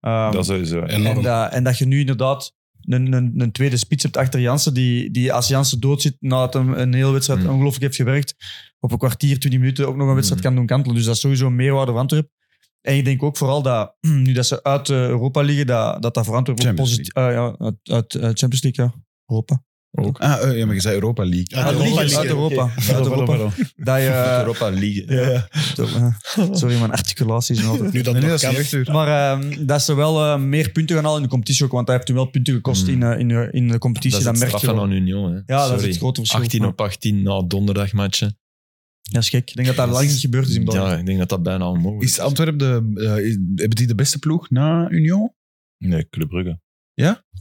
S3: Ehm,
S5: Dat sowieso.
S6: En
S3: en, dat- en dat je nu inderdaad een, een, een tweede spits hebt achter Jansen, die, die als Jansen dood zit nadat hem een hele wedstrijd
S4: Mm.
S3: ongelooflijk heeft gewerkt, op een kwartier, twintig minuten ook nog een wedstrijd
S4: Mm.
S3: kan doen kantelen. Dus dat is sowieso een meerwaarde voor Antwerp. En ik denk ook vooral dat nu dat ze uit eh, Europa liggen, dat dat, dat voor Antwerp ook
S2: Champions
S3: positief... eh, ja, uit, uit eh, Champions League, ja. Europa.
S2: Ah, eh, ja, maar je zei Europa League.
S6: Uit
S3: Uit
S6: Europa
S3: Europa.
S6: League,
S3: Uit Europa. Uit
S2: Pardon,
S3: Europa.
S2: pardon, pardon.
S3: Dat je...
S4: Europa League.
S3: Sorry, mijn articulatie is nog altijd...
S6: Nu dat
S2: Nee, nee,
S6: nog
S2: dat is
S6: kan.
S2: niet echt uur.
S3: Maar ehm, dat ze wel eh, meer punten gaan halen in de competitie ook, want hij heeft hem wel punten gekost
S4: Mm.
S3: in, eh, in, eh, in de competitie.
S4: Dat
S3: Dat,
S4: is het
S3: merk je
S4: straffen
S3: wel.
S4: aan Union. Hè.
S3: Ja, dat is
S4: Sorry.
S3: het grote verschil.
S4: 18 op 18 na donderdagmatchen.
S3: Ja, is gek. Ik denk dat dat lang niet gebeurd is in België.
S4: Ja, ik denk dat dat bijna onmogelijk
S2: Is Antwerpen de, eh, is- hebben die de beste ploeg na Union?
S5: Nee, Club Brugge.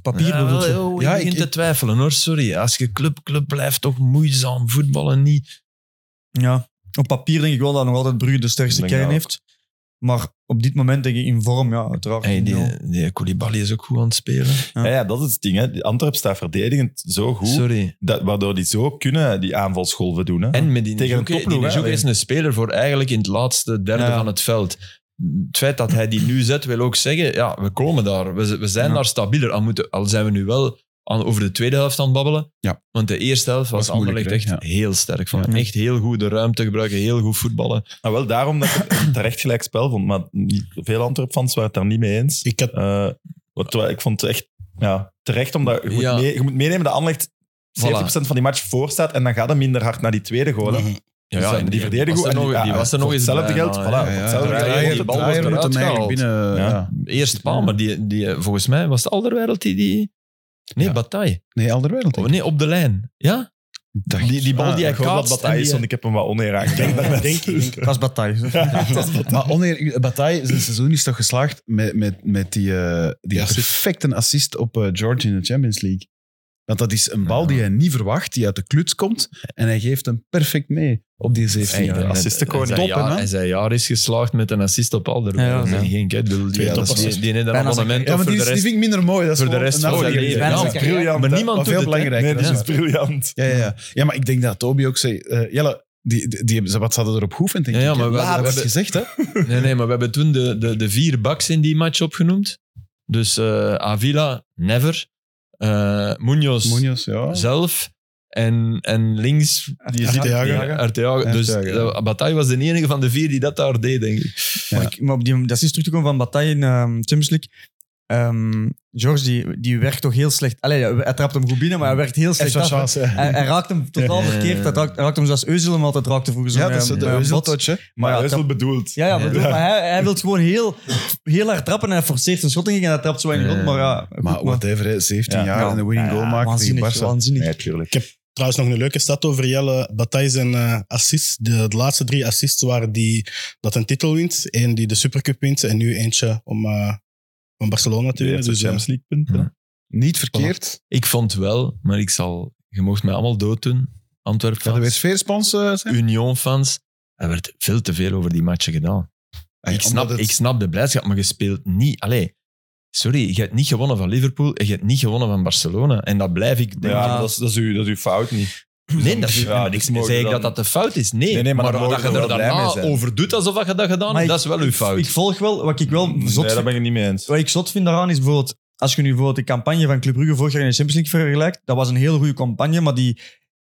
S3: Papier bijvoorbeeld.
S4: wel, joh, ik
S2: Ja,
S4: begin
S2: ik-
S4: te twijfelen hoor, sorry. Als je club, club blijft toch moeizaam voetballen niet.
S3: Ja. Op papier denk ik wel dat nog altijd Brugge de sterkste
S5: Denk dat
S3: kern
S5: ook.
S3: heeft. Maar op dit moment denk ik in vorm, ja, uiteraard.
S4: Hey,
S3: Ja.
S4: die, eh, die Koulibaly is ook goed aan het spelen.
S3: Ja.
S5: Ja. ja, dat is het ding. Hè. Die Antwerp staat verdedigend zo goed,
S4: Sorry.
S5: dat, waardoor die zo kunnen die aanvalsgolven doen. Hè.
S4: En met die
S5: Tegen een
S4: Njoeke-
S5: topploeg,
S4: die
S5: hè?
S4: Njoeke is een speler voor eigenlijk in het laatste derde
S3: Ja.
S4: van het veld. Het feit dat hij die nu zet, wil ook zeggen, ja, we komen daar. We, z- we zijn
S3: Ja.
S4: daar stabieler. Al, moeten, al zijn we nu wel aan, over de tweede helft aan het babbelen.
S2: Ja.
S4: Want de eerste helft was,
S2: Was moeilijker,
S4: Anderlecht echt
S2: hè?
S4: heel sterk. Van.
S3: Ja.
S4: Echt heel goed de ruimte gebruiken, heel goed voetballen.
S5: Nou, wel daarom dat ik het een terecht gelijk spel vond, maar niet- veel Antwerp-fans waren het daar niet mee eens.
S6: Ik had
S5: Eh, wat, wat- ik vond het echt ja, terecht, omdat je moet,
S4: Ja.
S5: mee- je moet meenemen dat Anderlecht 70% van die match voor staat en dan gaat het minder hard naar die tweede goal. hè.
S6: Mhm.
S5: Dus dan- die verdedigen
S4: was
S5: goed
S4: er
S5: en
S4: nog,
S5: ja,
S4: die was er nog
S5: voor
S4: eens
S5: hetzelfde
S4: bij,
S5: geld,
S4: nou,
S5: voilà,
S4: ja.
S5: voor hetzelfde
S4: Draaier-
S5: geld.
S4: die bal wordt
S2: Draaier moet
S4: eruit
S2: hem eigenlijk
S4: gehaald.
S2: binnen... eh,
S5: Ja.
S2: ja.
S4: Eerste paal, maar die, die, volgens mij was het Alderwereld die... die nee,
S2: Ja.
S4: Bataille.
S2: Nee, Alderweireld.
S4: Oh, nee, op de lijn. Ja?
S2: Dacht-
S4: Die, die bal
S5: Ah,
S4: die hij
S5: ik hoop dat
S4: kaatst. en
S5: Bataille is,
S4: die-
S5: want ik heb hem wat oneer aangekeken.
S6: denk, denk, ik denk,
S3: Dat is bataille.
S2: Maar oneer, Bataille, zijn seizoen is toch geslaagd met, met, met die, eh, die
S6: Ja, assist.
S2: perfecte assist op eh, George in de Champions League. Want dat is een bal die hij niet verwacht, die uit de kluts komt. En hij geeft hem perfect mee op die 17
S5: Echt,
S2: jaar.
S5: hè?
S2: Ja,
S5: assistenkoning.
S4: Hij zijn
S2: Top, hè,
S4: jaar-
S2: man?
S4: Hij zijn jaar is geslaagd met een assist op Alderweireld.
S3: Ja, ja.
S4: Dat is geen gek. Ik bedoel, Die,
S6: Twee
S4: dat is-
S6: topassers.
S4: die, die heeft een
S3: Bijna
S4: abonnement
S2: maar
S4: op voor
S2: die,
S4: de
S2: is, die
S4: rest,
S2: vind ik minder mooi. Dat is
S4: voor de
S2: gewoon
S4: rest
S2: een
S4: van zijn
S2: afzet.
S4: leven.
S3: Bijna
S4: Ja,
S3: zijn
S4: maar-
S3: carrière.
S5: briljant.
S4: Maar
S5: hè.
S4: niemand
S2: Maar
S4: doet
S2: veel
S4: het, hè.
S2: belangrijker.
S5: Nee, dit
S2: hè.
S5: is briljant.
S2: Ja, ja, ja. ja, maar ik denk dat Toby ook zei... eh Jelle, die, die, die, hebben- wat hadden erop geoefend, denk
S4: Ja, ja,
S2: ik. hè?
S4: maar we-
S2: dat
S4: we-
S2: werd
S4: we-
S2: gezegd, hè?
S4: Nee, nee, maar we hebben toen de, de, de vier backs in die match opgenoemd. Dus eh, Avila, never. Eh Munoz,
S2: Munoz, ja.
S4: zelf. En, en links... Die zit-
S6: Arteaga.
S4: Ja, Arteaga. Dus
S2: Arteaga.
S4: eh, Bataille was de enige van de vier die dat daar deed, denk ik.
S3: Maar, ik, maar op die, dat is dus terug te komen van Bataille in ehm, Champions League. Ehm, George, die, die werkt toch heel slecht. Allee, ja, hij trapt hem goed binnen, maar hij werkt heel slecht
S2: Extra
S3: af.
S2: chance, hè.
S3: Hij, hij raakt hem totaal
S4: Ja.
S3: verkeerd. Hij raakt, hij raakt hem zoals Euzel hem altijd raakte vroeger.
S2: Ja,
S3: zo'n,
S2: dat is
S3: eh,
S2: de
S3: eh, bot.
S2: heuveltouch, hè.
S5: Maar
S3: ja,
S5: dat is wel
S3: dat-
S5: bedoeld.
S3: Ja, ja,
S4: Ja.
S3: bedoel, maar hij, hij wil gewoon heel, heel hard trappen en hij forceert een schot in en hij trapt zo in de grond. Maar ja, goed,
S2: Maar whatever, hè, 17
S5: Ja.
S2: jaar
S3: Ja.
S2: en een winning
S3: Ja,
S2: goal maken tegen
S3: waanzinnig,
S2: Barca.
S3: waanzinnig.
S5: Nee, tuurlijk.
S6: Trouwens, nog een leuke stad over Jelle. Bataille zijn eh, assist. De, de laatste drie assists waren die dat een titel wint. Eén die de Supercup wint. En nu eentje om, eh, om Barcelona te
S5: Die
S6: winnen.
S5: heeft de
S6: Dus, eh,
S5: Champions League punten.
S4: Ja.
S2: Niet verkeerd.
S4: Ik vond wel, maar ik zal... Je mocht mij allemaal dood doen,
S2: Gaan we weer
S4: Antwerpen-fans,
S2: sfeerspons eh, zijn?
S4: Union-fans. Er werd veel te veel over die matchen gedaan.
S2: Ah, ja,
S4: ik, snap,
S2: omdat het-
S4: ik snap de blijdschap, maar je speelt niet... Allee, sorry, je hebt niet gewonnen van Liverpool en je hebt niet gewonnen van Barcelona. En dat blijf ik...
S5: Ja, maar dat is, dat, is uw, dat is uw fout niet.
S4: Nee, dat is
S5: Ja,
S4: niks.
S5: dus mogen
S4: Zeg ik
S5: dan-
S4: dat dat de fout is? Nee,
S5: Nee, nee, maar
S4: maar,
S5: dan
S4: dat
S5: mogen
S4: je
S5: we
S4: er
S5: wel blij mee
S4: daarna
S5: zijn.
S4: over doet alsof dat je dat gedaan
S3: Maar
S4: hebt,
S3: ik-
S4: dat is wel uw fout.
S3: Ik volg wel, wat ik wel zot
S5: nee,
S3: vind-
S5: daar ben ik het niet mee eens.
S3: Wat ik zot vind daaraan is bijvoorbeeld, als je nu bijvoorbeeld de campagne van Club Brugge vorig jaar in de Champions League vergelijkt, dat was een hele goede campagne, maar die,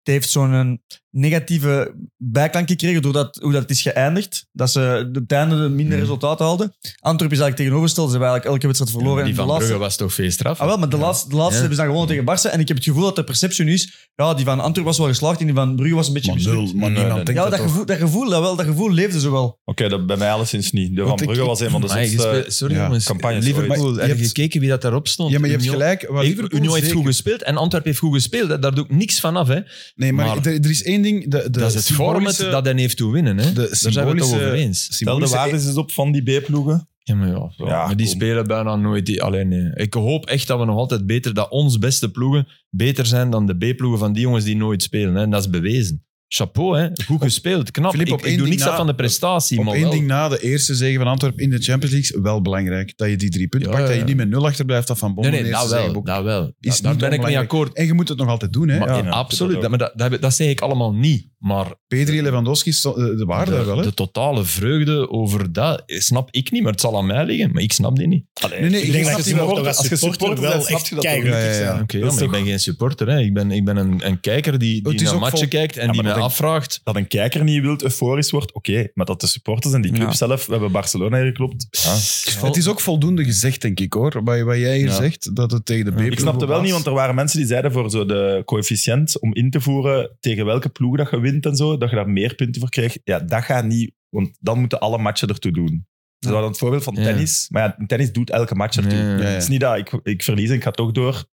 S3: die heeft zo'n een negatieve bijklank gekregen doordat hoe dat is geëindigd. Dat ze op het einde minder
S4: Hmm.
S3: resultaten haalden. Antwerpen is eigenlijk tegenovergesteld. Ze hebben eigenlijk elke wedstrijd verloren.
S4: die
S3: en
S4: van
S3: de laatste,
S4: Brugge was toch feeststraf?
S3: Ah, wel, maar de laatste, de laatste
S4: Ja.
S3: hebben ze dan gewonnen tegen Barça. En ik heb het gevoel dat de perceptie nu is, ja, die van Antwerpen was wel geslaagd en die van Brugge was een beetje
S2: Maar
S3: mislukt.
S2: nul, maar
S5: Nee,
S2: niemand
S5: nee,
S2: denkt
S3: Ja, dat
S2: dat toch.
S3: gevoel, dat, gevoel, dat, wel, dat gevoel leefde zo wel.
S5: Oké, dat bij mij alleszins niet. De Van
S2: Want ik-
S5: Brugge was een van de
S4: Maar je
S5: zotste...
S4: speelt- sorry
S2: eh, ja,
S4: jongens,
S5: campagnes
S2: ooit.
S4: Liverpool,
S2: Maar
S4: heb
S2: je
S4: je
S2: hebt-
S4: gekeken wie dat daarop stond?
S2: Ja, maar je hebt
S4: Union.
S2: gelijk. Wat
S4: Hey,
S2: Liverpool
S4: Union heeft
S2: zeker-
S4: goed gespeeld en Antwerpen heeft goed gespeeld. Daar- Daar doe ik niks van af. Hè.
S2: Nee, maar,
S4: Maar-
S2: er, er is één ding. De, de
S4: dat is het format
S2: symbolische-
S4: dat hij heeft toe winnen. Hè.
S2: de
S4: Daar zijn we het toch
S2: symbolische-
S4: over eens.
S5: Stel de
S2: symbolische-
S5: waarde eens op van die B-ploegen.
S4: Ja, maar, ja, zo.
S5: Ja,
S4: maar die
S5: kom.
S4: spelen bijna nooit. Die, alleen, nee. Ik hoop echt dat we nog altijd beter, dat ons beste ploegen beter zijn dan de B-ploegen van die jongens die nooit spelen. Hè. En dat is bewezen. Chapeau, hè. goed gespeeld, knap.
S2: Filip, op
S4: ik, ik
S2: één
S4: doe
S2: ding
S4: niks af
S2: na-
S4: van de prestatie.
S2: Op
S4: maar
S2: één
S4: wel.
S2: ding na de eerste zegen van Antwerpen in de Champions League is wel belangrijk. Dat je die drie punten
S4: Ja,
S2: pakt, dat je
S4: ja.
S2: niet met nul achterblijft dat van
S4: Nee,
S2: Bommel.
S4: nee,
S2: in de
S4: dat
S2: eerste
S4: wel.
S2: zege ook.
S4: Dat wel.
S2: Is niet
S4: daar ben ik mee
S2: onbelangrijk.
S4: akkoord.
S2: En je moet het nog altijd doen. Hè?
S4: Maar,
S2: Ja.
S4: eh,
S5: ja,
S4: absoluut,
S5: dat
S4: dat, maar dat, dat, dat zeg ik allemaal niet. Maar
S2: Pedri en Lewandowski, sto- eh, de waarde
S4: de,
S2: wel. Hè?
S4: de totale vreugde over dat eh, snap ik niet, maar het zal aan mij liggen. Maar ik snap die niet.
S2: nee, nee,
S6: ik
S2: ik
S6: denk
S2: snap
S6: dat je
S2: die
S6: ze mocht
S2: wel.
S5: wel.
S6: als
S5: Als je
S6: supporter,
S5: supporter
S6: wel
S5: bent, snap
S6: echt
S5: je dat
S6: keigelukkig
S2: ook. Ja, ja, ja.
S6: zijn.
S2: Oké,
S4: Oké,
S5: Dat is
S4: maar ik
S5: toch-
S4: ben geen supporter. Hè. Ik ben, ik ben een, een kijker die,
S2: Het
S4: die
S2: is
S4: naar
S2: ook
S4: matchen
S2: vol-
S4: kijkt en
S5: Ja,
S4: die
S5: maar
S4: mij
S5: dat-
S4: afvraagt.
S5: Dat een kijker niet wild euforisch wordt, oké. Maar dat de supporters en die club
S3: Ja.
S5: zelf... We hebben Barcelona hier geklopt. Ja.
S2: Ah. Het is ook voldoende gezegd, denk ik hoor. Wat, wat jij hier
S5: Ja.
S2: zegt, dat het tegen de B-ploeg
S5: Ik snapte wel
S2: was.
S5: niet, want er waren mensen die zeiden voor zo de coëfficiënt om in te voeren tegen welke ploeg dat je wint en zo, dat je daar meer punten voor krijgt. Ja, dat gaat niet, want dan moeten alle matchen ertoe doen. Ze hadden het voorbeeld van
S4: Ja.
S5: tennis, maar ja, tennis doet elke match ertoe.
S4: Ja, ja, ja.
S2: Ja, ja.
S5: Het is niet dat ik, ik verlies en ik ga toch door.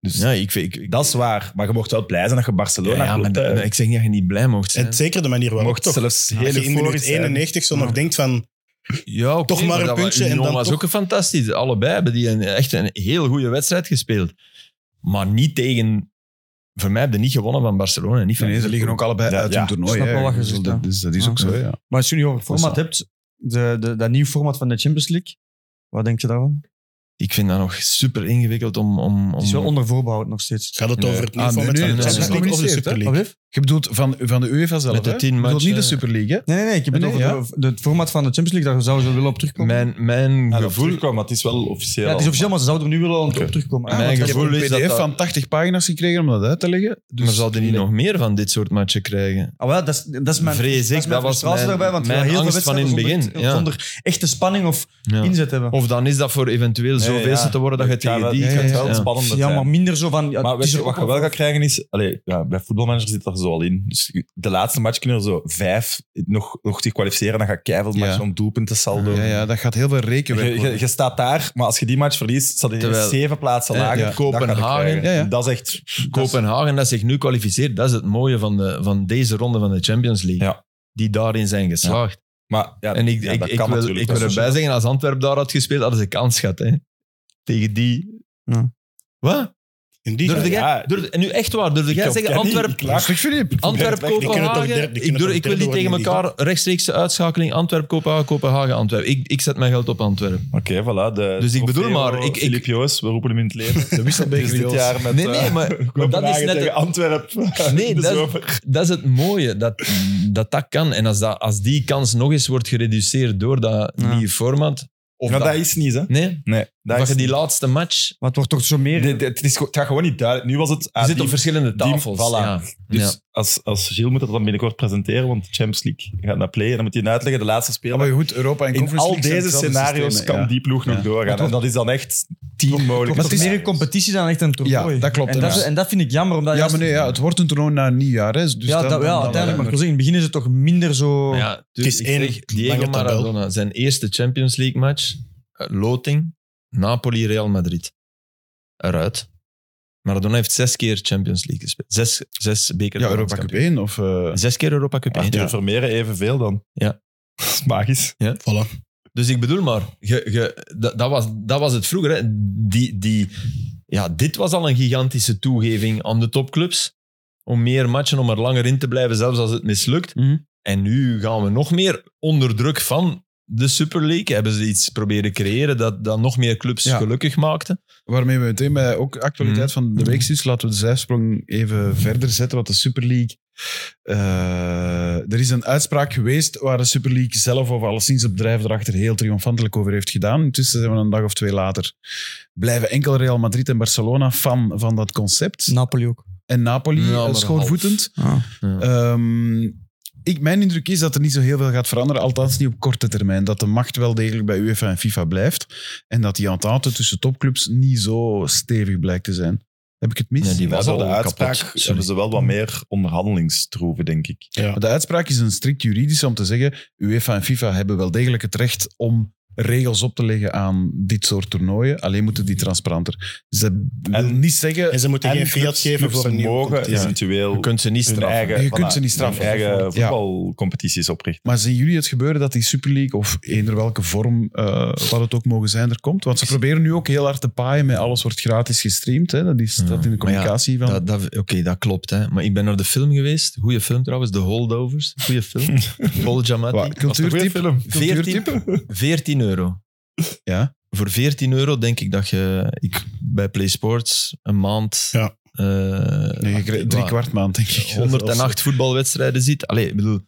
S5: Dus
S4: Ja, ik, vind- ik, ik,
S5: dat is waar, maar je mocht wel blij zijn dat je
S4: ja,
S5: Barcelona
S4: ja, maar
S5: klopt. hè.
S4: dat- ik zeg niet dat je niet blij mocht zijn.
S6: En zeker de manier
S5: je
S6: waarop.
S5: mocht
S6: Toch,
S5: zelfs heel
S6: als je in minuut
S5: euforisch zijn.
S6: 91 zo nog
S5: Ja.
S6: denkt van...
S4: Ja, oké,
S6: Toch maar een
S4: dat wa-
S6: puntje en
S4: Union
S6: dan
S4: was
S6: toch-
S4: ook een fantastisch. Allebei hebben die een, echt een heel goede wedstrijd gespeeld. Maar niet tegen... Voor mij hebben ze niet gewonnen van Barcelona. en Niet van
S2: Nee, ze
S4: Liverpool.
S2: liggen ook allebei
S5: Ja,
S2: uit
S5: ja.
S2: hun toernooi.
S3: Snap
S2: hè.
S3: wel wat je
S2: Dus
S3: zegt,
S2: dat-
S3: ja.
S2: dus dat is ook
S3: Ja.
S2: zo, ja.
S3: Maar als je nu over het format
S2: zo.
S3: hebt, de, de, dat nieuwe format van de Champions League, wat denk je daarvan?
S4: Ik vind dat nog super ingewikkeld om... om,
S3: Het is wel
S4: om
S3: onder voorbehoud nog steeds.
S6: Gaat het
S4: Nee.
S6: over het
S2: Ah,
S6: nieuw
S2: nee,
S6: format
S2: nee,
S6: van de
S4: dat is
S6: Champions League of de
S2: gecommuniceerd,
S6: Super
S2: hè?
S6: League?
S2: Je bedoelt van, van de UEFA zelf,
S4: Met de
S2: hè?
S4: tien
S2: Je bedoelt
S4: matchen,
S2: niet de Super League, hè?
S3: Nee, nee, nee. Ik heb het
S2: Nee,
S3: over
S2: ja.
S3: de- de- het format van de Champions League. Daar zouden ze willen op terugkomen.
S4: mijn mijn
S5: Ja, Ah, dat
S4: gevoel...
S5: terugkwam, maar het is wel officieel.
S3: ja, het is
S5: al.
S3: officieel, maar ze zouden er nu willen
S5: Oké.
S3: op terugkomen.
S4: Ja,
S3: Ah,
S4: mijn
S2: Ik
S3: want-
S2: heb
S4: gevoel
S2: een
S4: is dat
S2: pdf
S4: dat-
S2: van 80 pagina's gekregen om dat uit te leggen. Dus
S4: maar zouden die nog meer van dit soort matchen krijgen?
S3: Ah, wel, dat, is, dat is mijn
S4: Vrees ik,
S3: dat, is mijn
S4: dat was
S3: frustratie
S4: mijn-
S3: daarbij, want we
S4: mijn
S3: gaan heel
S4: angst
S3: veel
S4: van in het
S3: wedstrijden
S4: begin, ja.
S3: Zonder, zonder echte spanning of
S4: Ja.
S3: inzet hebben.
S4: Of dan is dat voor eventueel zo
S5: Nee,
S4: bezig
S5: ja.
S4: te worden dat je
S5: Het gaat
S4: tegen
S5: wel-
S4: die...
S5: het gaat wel
S4: Ja.
S5: spannender
S3: ja,
S5: zijn.
S3: maar minder zo van... Ja,
S5: maar
S3: het
S5: weet
S3: is
S5: je,
S3: er
S5: wat
S3: ook
S5: je wel gaat krijgen is... Allee, ja, bij voetbalmanager zit dat zo al in. Dus de laatste match kunnen er zo vijf nog, nog te kwalificeren. Dan ga ik keiveel matchen
S2: Ja.
S5: om doelpunten saldo.
S2: Ja, ja, dat gaat heel veel
S5: Je,
S2: rekenwerk
S5: je,
S2: worden.
S5: je staat daar, maar als je die match verliest, staat je
S4: Terwijl-
S5: zeven plaatsen
S4: Ja,
S5: lager.
S4: ja.
S5: Dat ga je
S4: Kopenhagen.
S5: krijgen.
S2: Ja, ja.
S5: Dat is echt...
S2: Dus
S4: Kopenhagen dat zich nu kwalificeert, dat is het mooie van, de, van deze ronde van de Champions League.
S5: Ja.
S4: Die daarin zijn geslaagd.
S5: Maar ja,
S4: en ik,
S5: ja,
S4: ik,
S5: dat
S4: ik
S5: kan
S4: wil,
S5: natuurlijk.
S4: ik wil
S5: Dat is
S4: erbij
S5: zo.
S4: zeggen, als Antwerp daar had gespeeld, hadden ze kans gehad. Hè? Tegen die...
S3: Ja.
S4: Wat?
S6: In die
S4: Durfde
S5: Ja,
S4: jij?
S5: ja.
S4: durfde- en nu echt waar, durfde
S5: Ik
S4: jij
S5: ontken
S4: zeggen
S5: niet,
S4: Antwerp...
S5: ik laag.
S2: Rustig, Filip.
S4: Antwerp,
S6: Die kunnen toch
S4: Kopenhagen.
S6: derde-
S4: ik,
S6: die kunnen
S4: durf-
S6: toch
S4: ik wil niet
S6: derde
S4: tegen
S6: worden in die
S4: elkaar rechtstreekse uitschakeling. Antwerp, Kopenhagen, Kopenhagen, Antwerp. Ik, ik zet mijn geld op Antwerp.
S5: Oké, voilà. De
S4: Dus ik bedoel
S5: trofeo
S4: maar, ik- ik-
S5: Filip Joos, we roepen hem in het leven.
S2: De
S5: Het is
S2: wisselbeker,
S5: Dus dit jaar met
S4: Nee, nee,
S5: eh,
S4: maar, maar dat is
S5: Kopenhagen
S4: net...
S5: tegen Antwerpen. Dus
S4: Nee,
S5: De
S4: dat is-
S5: zomer.
S4: Dat is het mooie, dat dat, dat kan. En als, dat, als die kans nog eens wordt gereduceerd door dat
S3: Ja.
S4: nieuwe format... Of
S5: Maar
S4: dat,
S5: dat is niet, hè?
S4: nee,
S5: Nee,
S4: dat,
S5: dat is
S4: je die
S5: niet.
S4: laatste match...
S3: Maar het wordt toch zo meer...
S5: Dit- dit- het, is, gewoon- het gaat gewoon niet duidelijk. Nu was het...
S4: Je
S5: ah,
S4: zit
S5: die-
S4: op verschillende
S5: die-
S4: tafels.
S5: voilà.
S4: ja.
S5: Dus
S4: Ja.
S5: als, als Gilles moet dat dan binnenkort presenteren, want de Champions League gaat naar play. En dan moet hij uitleggen, de laatste
S2: Ja,
S5: speler.
S2: Ah, maar goed, Europa en
S5: in
S2: Conference
S5: al
S2: League zijn
S5: deze
S2: hetzelfde
S5: scenario's
S2: systemen,
S5: kan
S2: ja.
S5: die ploeg nog
S2: Ja.
S5: doorgaan. En dat is dan echt tien
S3: Toch
S5: mogelijke
S3: het is meer een
S5: scenario's.
S3: competitie dan echt een toernooi.
S2: Ja, dat klopt,
S3: En dat, is-
S2: ja.
S3: en dat vind ik jammer, omdat...
S2: Ja,
S3: juist-
S2: maar nee, ja, het wordt een toernooi na een nieuwjaar. Hè, dus
S3: ja, dat, ja, uiteindelijk. Maar ik wil zeggen, in het begin is het toch minder zo...
S4: Maar ja,
S6: Het is
S4: ik
S6: één
S4: zeg, Diego
S6: lange tabel.
S4: Maradona, zijn eerste Champions League match, eh, loting, Napoli-Real Madrid. Eruit. Maradona heeft zes keer Champions League gespeeld. Zes, zes beker.
S2: Ja, Europa Cup 1 of... eh,
S4: Zes keer Europa Cup
S5: Arthur
S4: 1. Ja.
S5: Vermeer evenveel dan.
S4: Ja.
S5: Dat is magisch.
S6: Voilà.
S4: Dus ik bedoel maar, ge, ge- dat, dat, was, dat was het vroeger. Hè. Die, die, ja, dit was al een gigantische toegeving aan de topclubs. Om meer matchen, om er langer in te blijven, zelfs als het mislukt.
S3: Mhm.
S4: En nu gaan we nog meer onder druk van de Super League. Hebben ze iets proberen creëren dat, dat nog meer clubs
S2: Ja.
S4: gelukkig maakte.
S2: Waarmee we meteen bij ook actualiteit
S4: Mhm.
S2: van de week is. Laten we de zijsprong even verder zetten. Wat de Super League. eh, er is een uitspraak geweest waar de Super League zelf, of alleszins het bedrijf erachter, heel triomfantelijk over heeft gedaan. Intussen zijn we een dag of twee later. Blijven enkel Real Madrid en Barcelona fan van dat concept.
S3: Napoli ook.
S2: en Napoli
S4: Ja, maar
S2: eh, schoorvoetend.
S3: Ah.
S2: Ehm, ik, mijn indruk is dat er niet zo heel veel gaat veranderen, althans niet op korte termijn. Dat de macht wel degelijk bij UEFA en FIFA blijft en dat die entente tussen topclubs niet zo stevig blijkt te zijn. Heb ik het mis?
S4: Nee, die
S5: Maar
S4: was
S5: door
S4: al
S5: de uitspraak
S4: kapot. Sorry.
S5: hebben ze wel wat meer onderhandelingstroeven, denk ik.
S6: Ja.
S2: Maar de uitspraak is een strikt juridisch om te zeggen: UEFA en FIFA hebben wel degelijk het recht om regels op te leggen aan dit soort toernooien. Alleen moeten die transparanter. Dus dat wil
S5: En-
S2: niet zeggen.
S6: En ze moeten geen fiat
S5: clubs-
S6: geven
S5: clubs
S6: voor een nieuw
S5: mogen
S6: competitie.
S5: eventueel
S4: Je kunt ze niet
S5: hun
S4: straffen.
S5: eigen,
S2: Je kunt ze niet
S5: hun
S2: straffen.
S5: eigen
S2: Ja.
S5: voetbalcompetities oprichten.
S2: Maar zien jullie het gebeuren dat die Super League, of eender welke vorm, eh, wat het ook mogen zijn, er komt? Want ze proberen nu ook heel hard te paaien met alles wordt gratis gestreamd. Hè? Dat is
S4: Ja,
S2: dat in de
S4: maar ja,
S2: communicatie van...
S4: Dat, dat, Oké, dat klopt. Hè. Maar ik ben naar de film geweest. Goeie film trouwens, The Holdovers. Goeie film. Paul
S2: Wat,
S4: Giamatti.
S2: cultuurtip?
S5: film.
S2: Cultuurtip?
S4: 14, 14 euro.
S2: Ja.
S4: Voor 14 euro denk ik dat je ik, bij PlaySports een maand.
S6: Ja.
S4: eh,
S2: Nee, je krijgt drie
S4: waar,
S2: kwart maand, denk ik.
S4: 108 voetbalwedstrijden ziet. Allee, ik bedoel,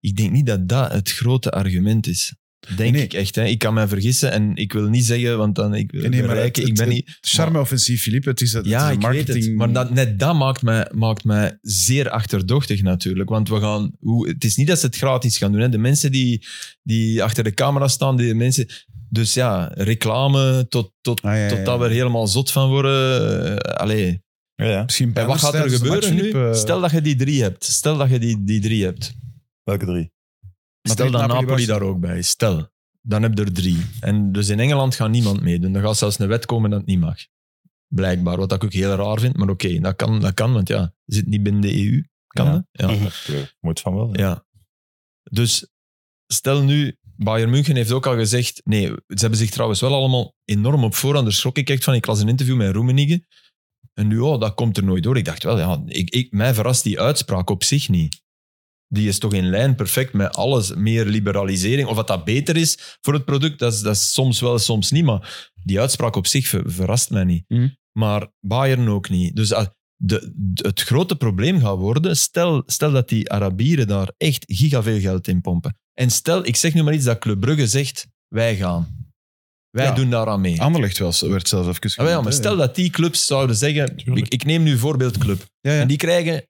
S4: ik denk niet dat dat het grote argument is. Denk
S2: Nee.
S4: ik echt. Hè. Ik kan mij vergissen en ik wil niet zeggen, want dan ik,
S2: Nee, nee, maar
S4: bereiken,
S2: het-
S4: ik ben
S2: het-
S4: niet.
S2: Charme-offensief, Philippe. Het is, het is
S4: Ja,
S2: een
S4: ik
S2: marketing...
S4: weet het. Maar dat, net dat maakt mij, maakt mij zeer achterdochtig natuurlijk. Want we gaan, hoe, het is niet dat ze het gratis gaan doen. Hè. De mensen die, die achter de camera staan, die mensen... Dus ja, reclame, tot, tot,
S2: Ah, ja, ja, ja.
S4: totdat we er helemaal zot van worden. Eh, allee.
S5: Ja, ja.
S2: Misschien
S4: En wat
S2: banners
S4: gaat er
S2: tijdens de
S4: gebeuren
S2: match,
S4: nu?
S2: Philippe, eh,
S4: Stel dat je die drie hebt. Stel dat je die, die drie hebt.
S5: Welke drie?
S4: Stel dat
S2: Napoli,
S4: Napoli
S2: Barca.
S4: daar ook bij is. Stel. Dan heb je er drie. En dus in Engeland gaat niemand meedoen. Dan gaat zelfs een wet komen dat het niet mag. Blijkbaar. Wat ik ook heel raar vind. Maar oké, dat, kan, dat kan. Want ja, je zit niet binnen de EU. Kan
S5: Ja. Mhm.
S4: dat? Ja.
S5: eh, Moet van wel. hè.
S4: Ja. Dus stel nu, Bayern München heeft ook al gezegd. Nee, ze hebben zich trouwens wel allemaal enorm op voorhand. Daar schrok ik echt van. Ik las een interview met Roemenigge. En nu, oh, dat komt er nooit door. Ik dacht wel, ja, ik, ik, mij verrast die uitspraak op zich niet. Die is toch in lijn perfect met alles. Meer liberalisering. Of wat dat beter is voor het product, dat is, dat is soms wel, soms niet. Maar die uitspraak op zich ver- verrast mij niet.
S2: Mhm.
S4: Maar Bayern ook niet. Dus ah, de, de- het grote probleem gaat worden, stel, stel dat die Arabieren daar echt gigaveel geld in pompen. En stel, ik zeg nu maar iets dat Club Brugge zegt, wij gaan. Wij
S2: Ja. Ah,
S4: doen daaraan mee.
S2: Anderlecht wel, zo werd zelfs even
S4: Ah, wel,
S2: genoemd,
S4: maar
S2: hè.
S4: stel dat die clubs zouden zeggen, ik, ik neem nu voorbeeld Club,
S2: Ja, ja.
S4: en die krijgen,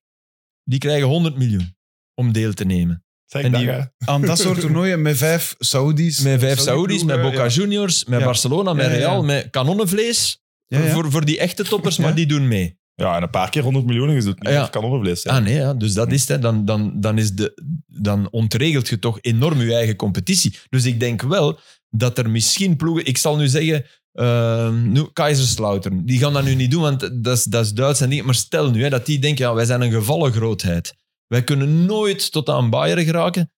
S4: die krijgen 100 miljoen om deel te nemen.
S5: Zeg
S4: En
S5: dat,
S4: die-
S5: hè.
S2: Aan dat soort toernooien met vijf Saoedi's.
S4: Met vijf Saoedi's, met
S2: ploegen,
S4: Boca Juniors, met
S2: Ja.
S4: Barcelona, met
S2: Ja, ja, ja.
S4: Real, met kanonnenvlees,
S2: Ja, ja.
S4: Voor, voor die echte toppers, maar
S2: Ja.
S4: die doen mee.
S5: Ja, en een paar keer 100 miljoen is het niet.
S4: Ja.
S5: Ja. kan overvlees zijn.
S4: Ah nee, ja. dus dat is het. hè. Dan, dan, dan, is de, dan ontregelt je toch enorm je eigen competitie. Dus ik denk wel dat er misschien ploegen... Ik zal nu zeggen, eh, nu, Kaiserslautern. Die gaan dat nu niet doen, want dat is, dat is Duits en dingen. Maar stel nu hè, dat die denken, ja, wij zijn een gevallen grootheid. Wij kunnen nooit tot aan Bayern geraken.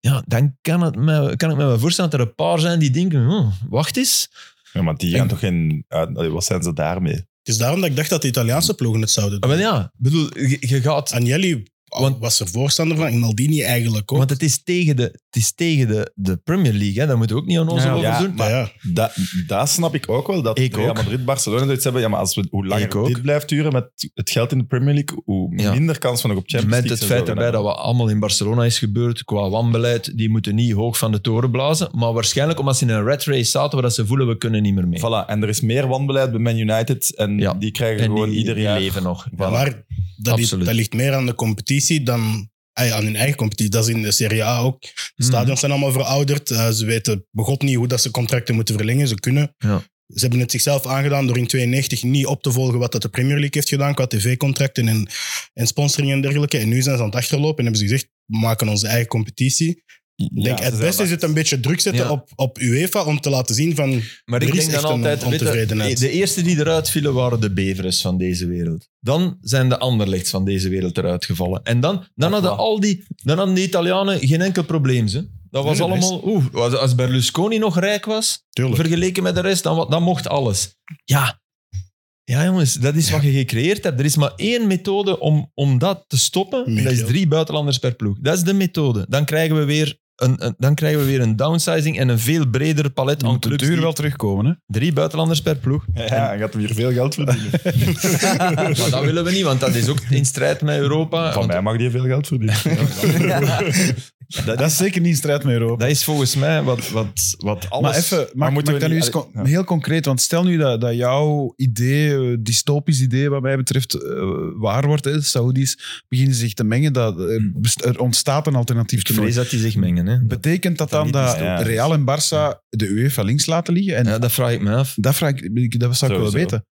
S4: Ja, dan kan, het me, kan ik me wel voorstellen dat er een paar zijn die denken, "Hm, wacht eens.
S5: Ja, maar die gaan toch geen... uit- Allee, Wat zijn ze daarmee?
S6: Het is daarom dat ik dacht dat de Italiaanse ploegen het zouden
S4: Ah,
S6: doen.
S4: Wel ja, ik bedoel, je, je
S6: Ah,
S4: gaat...
S6: Agnelli oh,
S4: Want-
S6: was er voorstander van, en Maldini eigenlijk ook.
S4: Want het is tegen de, het is tegen de, de Premier League, hè. daar moeten we ook niet aan ons
S5: Ja,
S4: over
S5: ja.
S4: doen.
S6: maar ja,
S5: Dat, dat snap ik ook wel. Dat
S4: Ik
S5: Real
S4: ook.
S5: Madrid, Barcelona zoiets hebben. Ja, maar als we, hoe
S4: Ik
S5: langer
S4: ook.
S5: dit blijft duren met het geld in de Premier League, hoe
S4: Ja.
S5: minder kans van nog op Champions
S4: Met
S5: League.
S4: het feit erbij dat wat allemaal in Barcelona is gebeurd qua wanbeleid, die moeten niet hoog van de toren blazen. Maar waarschijnlijk omdat ze in een red race zaten, waar dat ze voelen we kunnen niet meer mee.
S5: Voilà, en er is meer wanbeleid bij Man United en
S4: Ja.
S5: die krijgen
S4: en
S5: gewoon
S4: die,
S5: ieder
S4: die
S5: jaar...
S4: leven nog. Voilà.
S6: maar dat, ligt-
S4: Absoluut.
S6: dat ligt meer aan de competitie dan ah ja, aan hun eigen competitie. Dat is in de Serie A ook. De stadions zijn allemaal verouderd. Eh, ze weten begot niet hoe dat ze contracten moeten verlengen. Ze kunnen.
S4: Ja.
S6: Ze hebben het zichzelf aangedaan door in 92 niet op te volgen wat dat de Premier League heeft gedaan qua tv-contracten en, en sponsoring en dergelijke. En nu zijn ze aan het achterlopen en hebben ze gezegd, we maken onze eigen competitie. Ik denk, het beste is het een beetje druk zetten
S4: Ja.
S6: op, op UEFA om te laten zien van...
S4: Maar
S6: Er
S4: ik
S6: is
S4: denk dan
S6: echt een
S4: altijd, weet je,
S6: ontevredenheid.
S4: de eerste die eruit vielen waren de bevers van deze wereld. Dan zijn de anderlichts van deze wereld eruit gevallen. En dan, dan, hadden, al die, dan hadden die Italianen geen enkel probleem. Ze. Dat was
S6: Nee, dat is-
S4: allemaal... Oeh, als- als Berlusconi nog rijk was,
S6: Tuurlijk.
S4: vergeleken met de rest, dan, wa- dan mocht alles. Ja. Ja, jongens, dat is wat je gecreëerd hebt. Er is maar één methode om, om dat te stoppen. En
S6: Meer
S4: dat is
S6: geld.
S4: drie buitenlanders per ploeg. Dat is de methode. Dan krijgen we weer een, een- dan krijgen we weer een downsizing en een veel breder palet
S2: Dan
S4: aan
S2: moet de
S4: clubs.
S2: duur
S4: die-
S2: wel terugkomen. Hè?
S4: Drie buitenlanders per ploeg.
S5: Ja, je gaat hem hier veel geld verdienen.
S4: Maar dat willen we niet, want dat is ook in strijd met Europa.
S5: Van
S4: Want
S5: mij mag die veel geld verdienen.
S2: Dat, dat is zeker niet in strijd met Europa.
S4: Dat is volgens mij wat, wat, wat alles...
S2: maar even, maak,
S5: Maar moeten
S2: maak
S5: we
S2: dat nu eens
S5: niet- allee,
S2: con-
S5: ja.
S2: heel concreet. Want stel nu dat, dat jouw idee, eh, dystopisch idee wat mij betreft, eh, waar wordt. Hè, Saoedi's beginnen zich te mengen. Dat, eh, best- er ontstaat een alternatief
S4: Ik vrees
S2: toernooi.
S4: dat die zich mengen. Hè. Dat,
S2: Betekent dat
S4: Dat
S2: dan
S4: niet
S2: dat
S5: dystopisch.
S2: Real en Barça de UEFA links laten liggen? En
S4: ja, dat vraag ik me af.
S2: dat, vraag ik, ik- dat zou ik wel
S5: Sowieso.
S2: weten.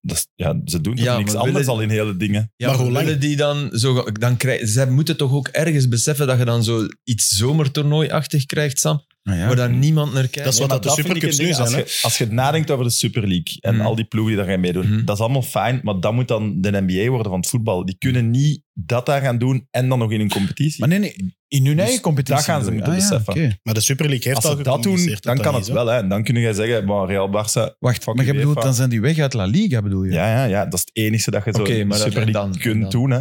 S5: Dat is- ja, ze doen toch
S4: Ja,
S5: niks
S4: maar
S5: anders
S4: willen-
S5: al in hele dingen.
S4: Ja,
S6: Maar
S4: maar
S6: hoe lang?
S4: willen die dan zo... ge- Dan krijg, ze moeten toch ook ergens beseffen dat je dan zo iets zomertoernooi-achtig krijgt, Sam?
S2: Nou ja.
S4: Waar dan niemand naar kijkt?
S6: Dat is wat
S5: maar
S6: dat de
S5: vind ik een
S6: Supercups
S5: ding.
S6: nu zijn,
S5: Als
S6: hè?
S5: je, als je nadenkt over de Super League en
S4: Mm.
S5: al die ploegen die daarin meedoen,
S4: Mm.
S5: dat is allemaal fijn, maar dat moet dan de NBA worden van het voetbal. Die kunnen niet dat daar gaan doen en dan nog in een competitie.
S2: Maar nee, nee, in hun
S5: Dus
S2: eigen competitie.
S5: dat gaan ze
S2: bedoel je.
S5: moeten
S2: Ah, ja,
S5: beseffen.
S6: Maar de Super League heeft
S5: als
S6: al
S5: ze dat doen,
S6: gecommuniceerd
S5: dan
S6: dat
S5: kan
S6: dat
S5: het
S6: niet
S5: wel. Hè. En dan kun je zeggen, maar Real Barça...
S2: Wacht,
S5: fuck
S2: maar je
S5: UEFA.
S2: bedoelt, dan zijn die weg uit La Liga, bedoel je?
S5: Ja, ja, ja, dat is het enige dat je zo
S4: Oké,
S5: in de
S4: maar dat-
S5: Super League
S4: dan-
S5: kunt
S4: dan-
S5: doen. Hè.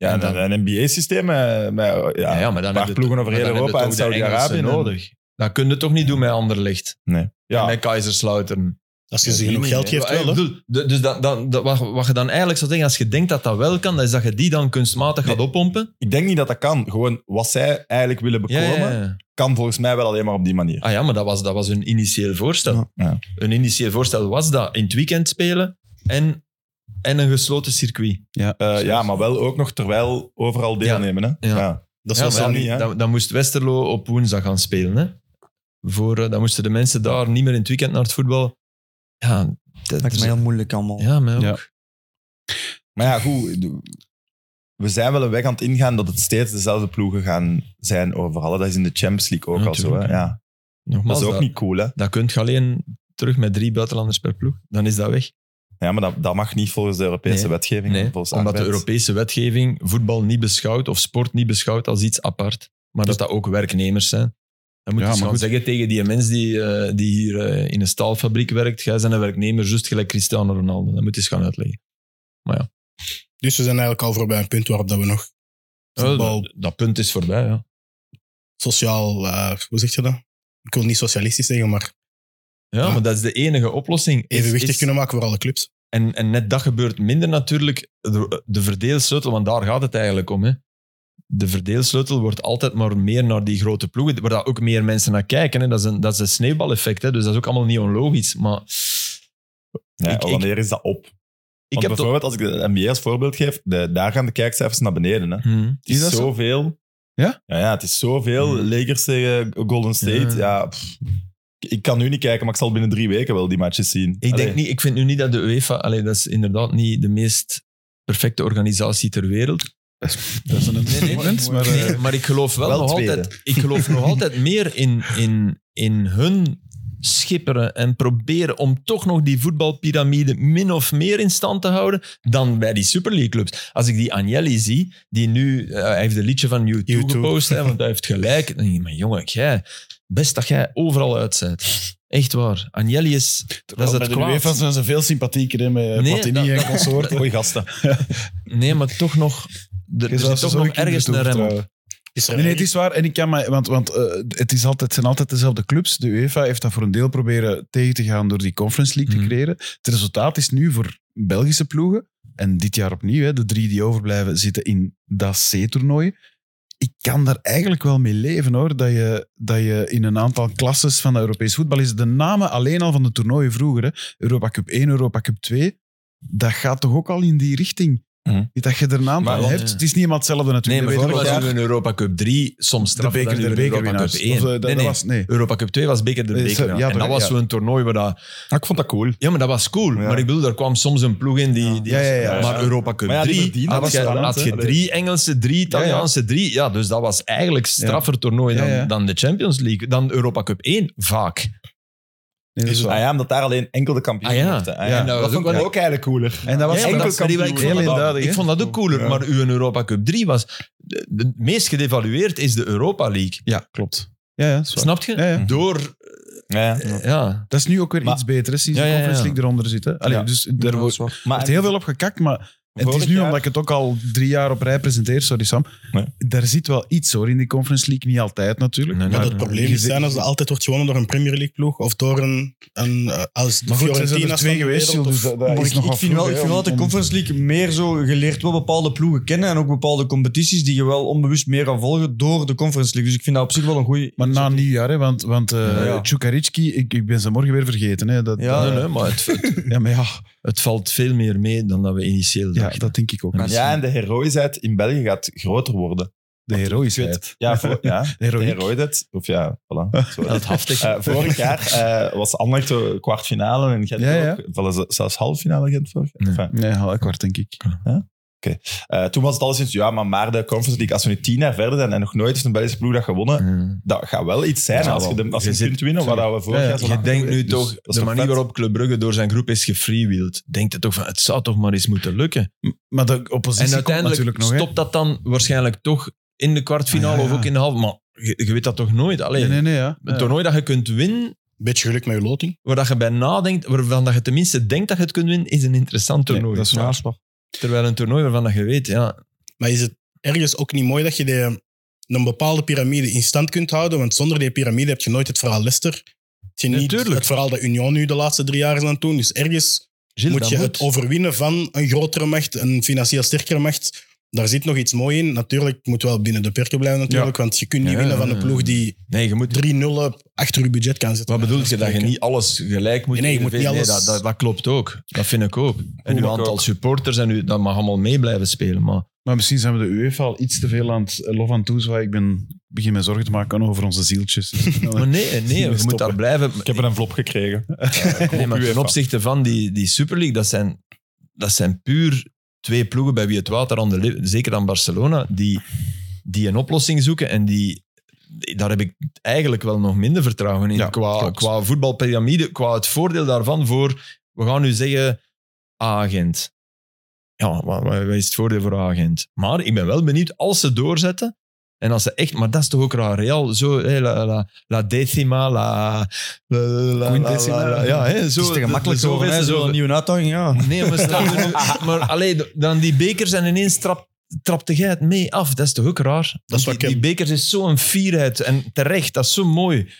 S5: Ja,
S4: En
S5: en
S4: dan-
S5: een NBA-systeem. eh, Met, met- ja,
S4: Ja, ja, maar dan
S5: een paar
S4: heb je
S5: ploegen
S4: toch- maar
S5: over heel
S4: dan heb je
S5: Europa en
S4: toch de
S5: Saudi-Arabië.
S4: Engelsen
S5: nodig.
S4: nodig. Dat kun je toch niet doen met Anderlecht?
S5: Nee.
S4: Ja.
S5: Ja.
S4: Met Kaiserslautern?
S6: Als je
S5: Ja,
S6: ze
S5: die
S6: genoeg
S5: niet,
S6: geld
S5: hè.
S6: geeft, wel. hè.
S4: Ik bedoel, de- dus dat, dan- dat- wat, wat je dan eigenlijk zou denken, als je denkt dat dat wel kan, dat is dat je die dan kunstmatig gaat
S5: Nee.
S4: oppompen.
S5: Ik denk niet dat dat kan. Gewoon wat zij eigenlijk willen
S4: Ja,
S5: bekomen,
S4: ja, ja.
S5: kan volgens mij wel alleen maar op die manier.
S4: Ah ja, maar dat was, dat was hun initieel voorstel.
S5: Ja.
S4: Hun initieel voorstel was dat in het weekend spelen en, en een gesloten circuit.
S5: Eh, ja, maar wel ook nog terwijl overal deelnemen. Hè?
S4: Ja.
S5: Ja.
S6: Dat
S4: Ja,
S6: was
S4: maar
S6: wel
S4: ja,
S5: niet,
S6: niet.
S5: hè.
S4: dan, dan moest Westerlo op woensdag gaan spelen. Hè? Voor, eh, dan moesten de mensen daar niet meer in het weekend naar het voetbal. Ja, dat,
S3: lijkt me heel moeilijk allemaal.
S4: ja, mij ook.
S2: Ja.
S5: Maar ja, goed. We zijn wel een weg aan het ingaan dat het steeds dezelfde ploegen gaan zijn overal. hè. Dat is in de Champions League ook
S4: Ja,
S5: al zo.
S4: tuurlijk,
S5: Hè?
S4: ja.
S5: Ja. Dat
S4: Nogmaals,
S5: is ook
S4: dat,
S5: niet cool, hè?
S4: dat kun je alleen terug met drie buitenlanders per ploeg. Dan is dat weg.
S5: Ja, maar dat, dat mag niet volgens de Europese
S4: Nee.
S5: wetgeving.
S4: Nee,
S5: volgens
S4: omdat de
S5: AFET.
S4: Europese wetgeving voetbal niet beschouwt of sport niet beschouwt als iets apart, maar dat dat ook werknemers zijn. Dan
S2: Ja,
S4: moet je
S2: maar
S4: gewoon
S2: goed.
S4: zeggen tegen die mens die, eh, die hier eh, in een staalfabriek werkt, jij bent een werknemer, juist gelijk Cristiano Ronaldo. Dat moet je eens gaan uitleggen.
S6: Dus we zijn eigenlijk al voorbij een punt waarop dat we nog voetbal
S4: Oh, dat, dat punt is voorbij, ja.
S6: sociaal... eh, hoe zeg je dat? Ik wil niet socialistisch zeggen, maar
S4: Ja,
S6: Ja.
S4: maar dat is de enige oplossing. Is-
S6: evenwichtig
S4: is-
S6: kunnen maken voor alle clubs.
S4: En, en net dat gebeurt minder natuurlijk. De, de verdeelsleutel, want daar gaat het eigenlijk om. Hè. De verdeelsleutel wordt altijd maar meer naar die grote ploegen, waar daar ook meer mensen naar kijken. Hè. Dat, is een, dat is een sneeuwbaleffect, hè. dus dat is ook allemaal niet onlogisch. Maar
S5: Ja,
S4: Ik- ik-
S5: wanneer is dat op?
S4: ik heb toch...
S5: bijvoorbeeld, als ik de NBA als voorbeeld geef, de, daar gaan de kijkcijfers naar beneden. Hè? Het
S4: Hm.
S5: is,
S2: Is dat zo?
S5: zoveel.
S2: Ja?
S5: ja? Ja, het is zoveel.
S4: Hmm.
S5: Lakers tegen Golden
S4: Ja.
S5: State. Ja. pff. ik kan nu niet kijken, maar ik zal binnen drie weken wel die matches zien.
S4: Ik,
S5: Allee.
S4: denk niet, ik vind nu niet dat de UEFA... Allee, dat is inderdaad niet de meest perfecte organisatie ter wereld.
S2: Dat is een understatement, maar... eh,
S4: Nee, maar ik geloof wel,
S5: wel
S4: nog
S5: tweede.
S4: altijd, ik geloof nog altijd meer in, in, in hun schipperen en proberen om toch nog die voetbalpyramide min of meer in stand te houden dan bij die Super League clubs. Als ik die Agnelli zie, die nu, eh, hij heeft een liedje van YouTube,
S6: U2.
S4: gepost, hè, want hij heeft gelijk. Dan denk ik, maar jongen, jij, best dat jij overal uit bent. Echt waar. Agnelli is, dat is
S2: Terwijl
S4: het
S2: bij de
S4: kwaad.
S2: UEFA zijn ze veel sympathieker hè, met
S4: Nee,
S2: Platini
S4: dat-
S2: en consorten.
S5: Goeie gasten.
S4: Nee, maar toch nog, er, er
S2: Je zou
S4: zit
S2: ze
S4: toch
S2: zo
S4: nog
S2: een keer
S4: ergens
S2: moeten
S4: een rem op.
S2: vertrouwen.
S6: Is er
S2: Nee, nee, het
S6: eigenlijk-
S2: is waar. En ik kan maar, want want eh, het is altijd, het zijn altijd dezelfde clubs. De UEFA heeft dat voor een deel proberen tegen te gaan door die Conference League
S4: Mhm.
S2: te creëren. Het resultaat is nu voor Belgische ploegen, en dit jaar opnieuw, hè, de drie die overblijven zitten in dat C-toernooi. Ik kan daar eigenlijk wel mee leven hoor, dat je, dat je in een aantal klasses van de Europees voetbal is. De namen alleen al van de toernooien vroeger, hè, Europa Cup 1, Europa Cup 2, dat gaat toch ook al in die richting.
S5: Mhm.
S2: Niet dat je er een aantal
S4: Maar want-
S2: hebt. Het is niet helemaal hetzelfde
S4: Nee,
S2: natuurlijk.
S4: maar
S2: We
S4: vorig
S2: weten wel
S4: jaar
S2: dat
S4: in Europa Cup 3 soms
S2: de
S4: straffe
S2: beker,
S4: dan
S2: de
S4: in Europa Cup
S2: bekerwinnaars. Of,
S4: 1.
S2: eh, dat-
S4: nee,
S2: dat
S4: nee.
S2: was- nee.
S4: Europa Cup 2 was beker de
S2: Eh,
S4: beker.
S2: ja,
S4: en dat was
S2: ja.
S4: zo'n toernooi waar dat...
S5: Ah, ik vond dat cool.
S4: Ja, maar dat was cool.
S5: Ja.
S4: Maar ik bedoel, daar kwam soms een ploeg in die... die
S2: Ja, ja, ja.
S4: Maar Europa Cup
S5: Maar ja, die
S4: 3
S5: verdienen,
S4: had,
S5: dat
S4: je,
S5: was talent,
S4: had je
S5: hè.
S4: drie Engelse, drie Italiaanse, drie... Ja, dus dat was eigenlijk straffer toernooi
S2: Ja,
S4: dan,
S2: ja.
S4: dan de Champions League. Dan Europa Cup 1, vaak.
S2: Nee, dat is waar.
S5: Ah ja, omdat daar alleen enkel de kampioen
S4: Ah ja.
S5: mochten. Ah
S4: Ja,
S5: ja.
S4: en dat
S5: Dat,
S4: was
S5: vond
S4: ook
S5: ik
S4: wel-
S5: ook eigenlijk cooler.
S2: En dat was
S4: Ja, maar
S5: enkel
S4: dat- maar die-
S5: kampioen.
S4: ik
S2: heel
S4: vond dat-
S2: inderdaad.
S4: Ik vond dat ook cooler, maar uw Europa Cup 3 was... De, de meest gedevalueerd is de Europa League.
S2: Ja, klopt. Ja, ja, dat is waar.
S4: Snap je?
S2: Ja, ja.
S4: Door...
S5: Ja.
S4: Ja.
S2: Dat is nu ook weer
S5: Maar-
S2: iets beter, hè, sinds
S4: Ja,
S2: de
S4: ja, ja.
S2: Conference League eronder zit. hè. Allee,
S5: Ja.
S2: Dus daar wordt
S5: Maar
S2: heel veel op gekakt, maar En het is nu, omdat ik het ook al drie jaar op rij presenteer, sorry Sam,
S5: Nee.
S2: daar zit wel iets hoor in die Conference League. Niet altijd natuurlijk.
S4: Nee, nee,
S6: Maar
S4: nee.
S6: het probleem is zijn als dat altijd wordt gewonnen door een Premier League ploeg of door een, een eh, als
S2: Maar goed, er zijn
S6: Fiorentina
S2: er twee
S6: van de
S2: geweest,
S6: wereld,
S2: Gilles, dus
S6: of-
S2: dat, dat
S3: Maar
S2: is
S3: ik,
S2: nogal
S3: ik vind wel, ik vind wel dat de Conference League meer zo geleerd wordt bepaalde ploegen kennen en ook bepaalde competities die je wel onbewust meer gaat volgen door de Conference League. Dus ik vind dat op zich wel een goede...
S2: Maar na nieuwjaar, hè, want, want eh
S5: Ja, ja.
S2: Tjukaritski, ik, ik ben ze morgen weer vergeten. Hè, dat,
S3: Ja,
S2: dat-
S4: nee, nee, maar het, het,
S2: ja, maar ja,
S4: het valt veel meer mee dan dat we initieel
S2: ja,
S4: dachten.
S2: dat denk ik ook.
S5: Ja, en de heroïsheid in België gaat groter worden.
S2: de heroïsheid.
S5: Ja, voor, ja.
S2: De
S5: de
S2: heroïek.
S5: heroïsheid. Of ja, voilà. Sorry.
S4: Dat haftig.
S5: Eh, vorig jaar eh, was Anderlecht de kwartfinale en Gent
S2: Ja, ja.
S5: ook. Wel, ze- zelfs halffinale Gent vorig jaar.
S4: Nee.
S5: Enfin,
S2: Nee, half kwart denk ik.
S5: Eh, toen was het al sinds, ja, maar, maar de Conference League, als we nu tien jaar verder zijn en nog nooit heeft een Belgische ploeg dat gewonnen,
S4: Mm.
S5: dat gaat wel iets zijn
S4: Ja,
S5: als je, de, als je
S4: je
S5: het
S4: zit-
S5: kunt winnen, wat dat we vorig
S2: Ja, ja.
S5: jaar
S4: Je denkt nu toch,
S5: Dus dat is
S4: de
S5: toch
S4: manier
S5: vet?
S4: waarop Club Brugge door zijn groep is gefreewheeld, denkt het toch van, het zou toch maar eens moeten lukken.
S2: Maar de oppositie
S4: en
S2: komt
S4: uiteindelijk
S2: natuurlijk nog. hè.
S4: stopt dat dan waarschijnlijk toch in de kwartfinale
S2: Ah, ja, ja.
S4: of ook in de halve. Maar je, je weet dat toch nooit? Allee,
S2: Nee, nee, nee. Ja.
S4: Een toernooi dat je kunt winnen,
S6: beetje geluk met je loting.
S4: waar dat je bij nadenkt, waarvan dat je tenminste denkt dat je het kunt winnen, is een interessant
S2: Nee,
S4: toernooi.
S2: dat is waar. Ja,
S4: Terwijl een toernooi waarvan dat je weet, ja,
S6: Maar is het ergens ook niet mooi dat je die, eh, een bepaalde piramide in stand kunt houden? Want zonder die piramide heb je nooit het verhaal Leicester. Heb je
S4: Ja,
S6: niet
S4: tuurlijk.
S6: het verhaal dat Union nu de laatste drie jaar is aan het doen. Dus ergens
S4: Gilles,
S6: moet
S4: dat
S6: je het overwinnen van een grotere macht, een financieel sterkere macht. Daar zit nog iets mooi in. Natuurlijk het moet wel binnen de perken blijven, natuurlijk, want je kunt niet
S4: Ja,
S6: winnen van
S4: ja,
S6: een
S4: ja.
S6: ploeg die
S4: Nee, je moet
S6: 3 nullen achter je budget kan zetten.
S4: Wat bedoel je? Dat je niet alles gelijk moet
S6: Nee, nee, je moet niet
S4: innoveren?
S6: alles-
S4: dat, dat, dat klopt ook. Dat vind ik ook. En
S5: Hoe
S4: uw
S5: ook
S4: aantal
S5: ook.
S4: supporters, en u, dat mag allemaal mee blijven spelen. Maar
S2: Maar misschien zijn we de UEFA al iets te veel aan het eh, lof aan toezwaaien. Ik ben, begin me zorgen te maken over onze zieltjes.
S4: Maar nee, nee je moet
S5: stoppen.
S4: daar blijven.
S5: Ik heb er een flop gekregen.
S4: nee, maar ten
S5: UEFA.
S4: opzichte van die, die Super League, dat zijn, dat zijn puur twee ploegen bij wie het water aan de lip, zeker aan Barcelona, die, die een oplossing zoeken en die. Daar heb ik eigenlijk wel nog minder vertrouwen in.
S2: Ja,
S4: qua,
S2: klopt.
S4: qua voetbalpyramide, qua het voordeel daarvan voor, we gaan nu zeggen, agent. Ja, wat, wat is het voordeel voor agent? Maar ik ben wel benieuwd als ze doorzetten. En als ze echt, maar dat is toch ook raar. Real, zo, hé, la, la, la decima, la, la, la,
S2: Quintessima.
S4: la, la, ja, hè, zo.
S3: het is te
S4: de-
S3: gemakkelijk
S4: de
S3: zo,
S4: zoveelste
S3: hè,
S4: zo-
S3: zo'n nieuwe uitdaging, ja.
S4: Nee, maar stel je nu- Maar alleen dan die bekers en ineens trap, trapte jij het mee af. Dat is toch ook raar?
S6: Dat
S4: Want
S6: is wat
S4: die,
S6: ik-
S4: die bekers is zo'n fierheid. En terecht, dat is zo mooi.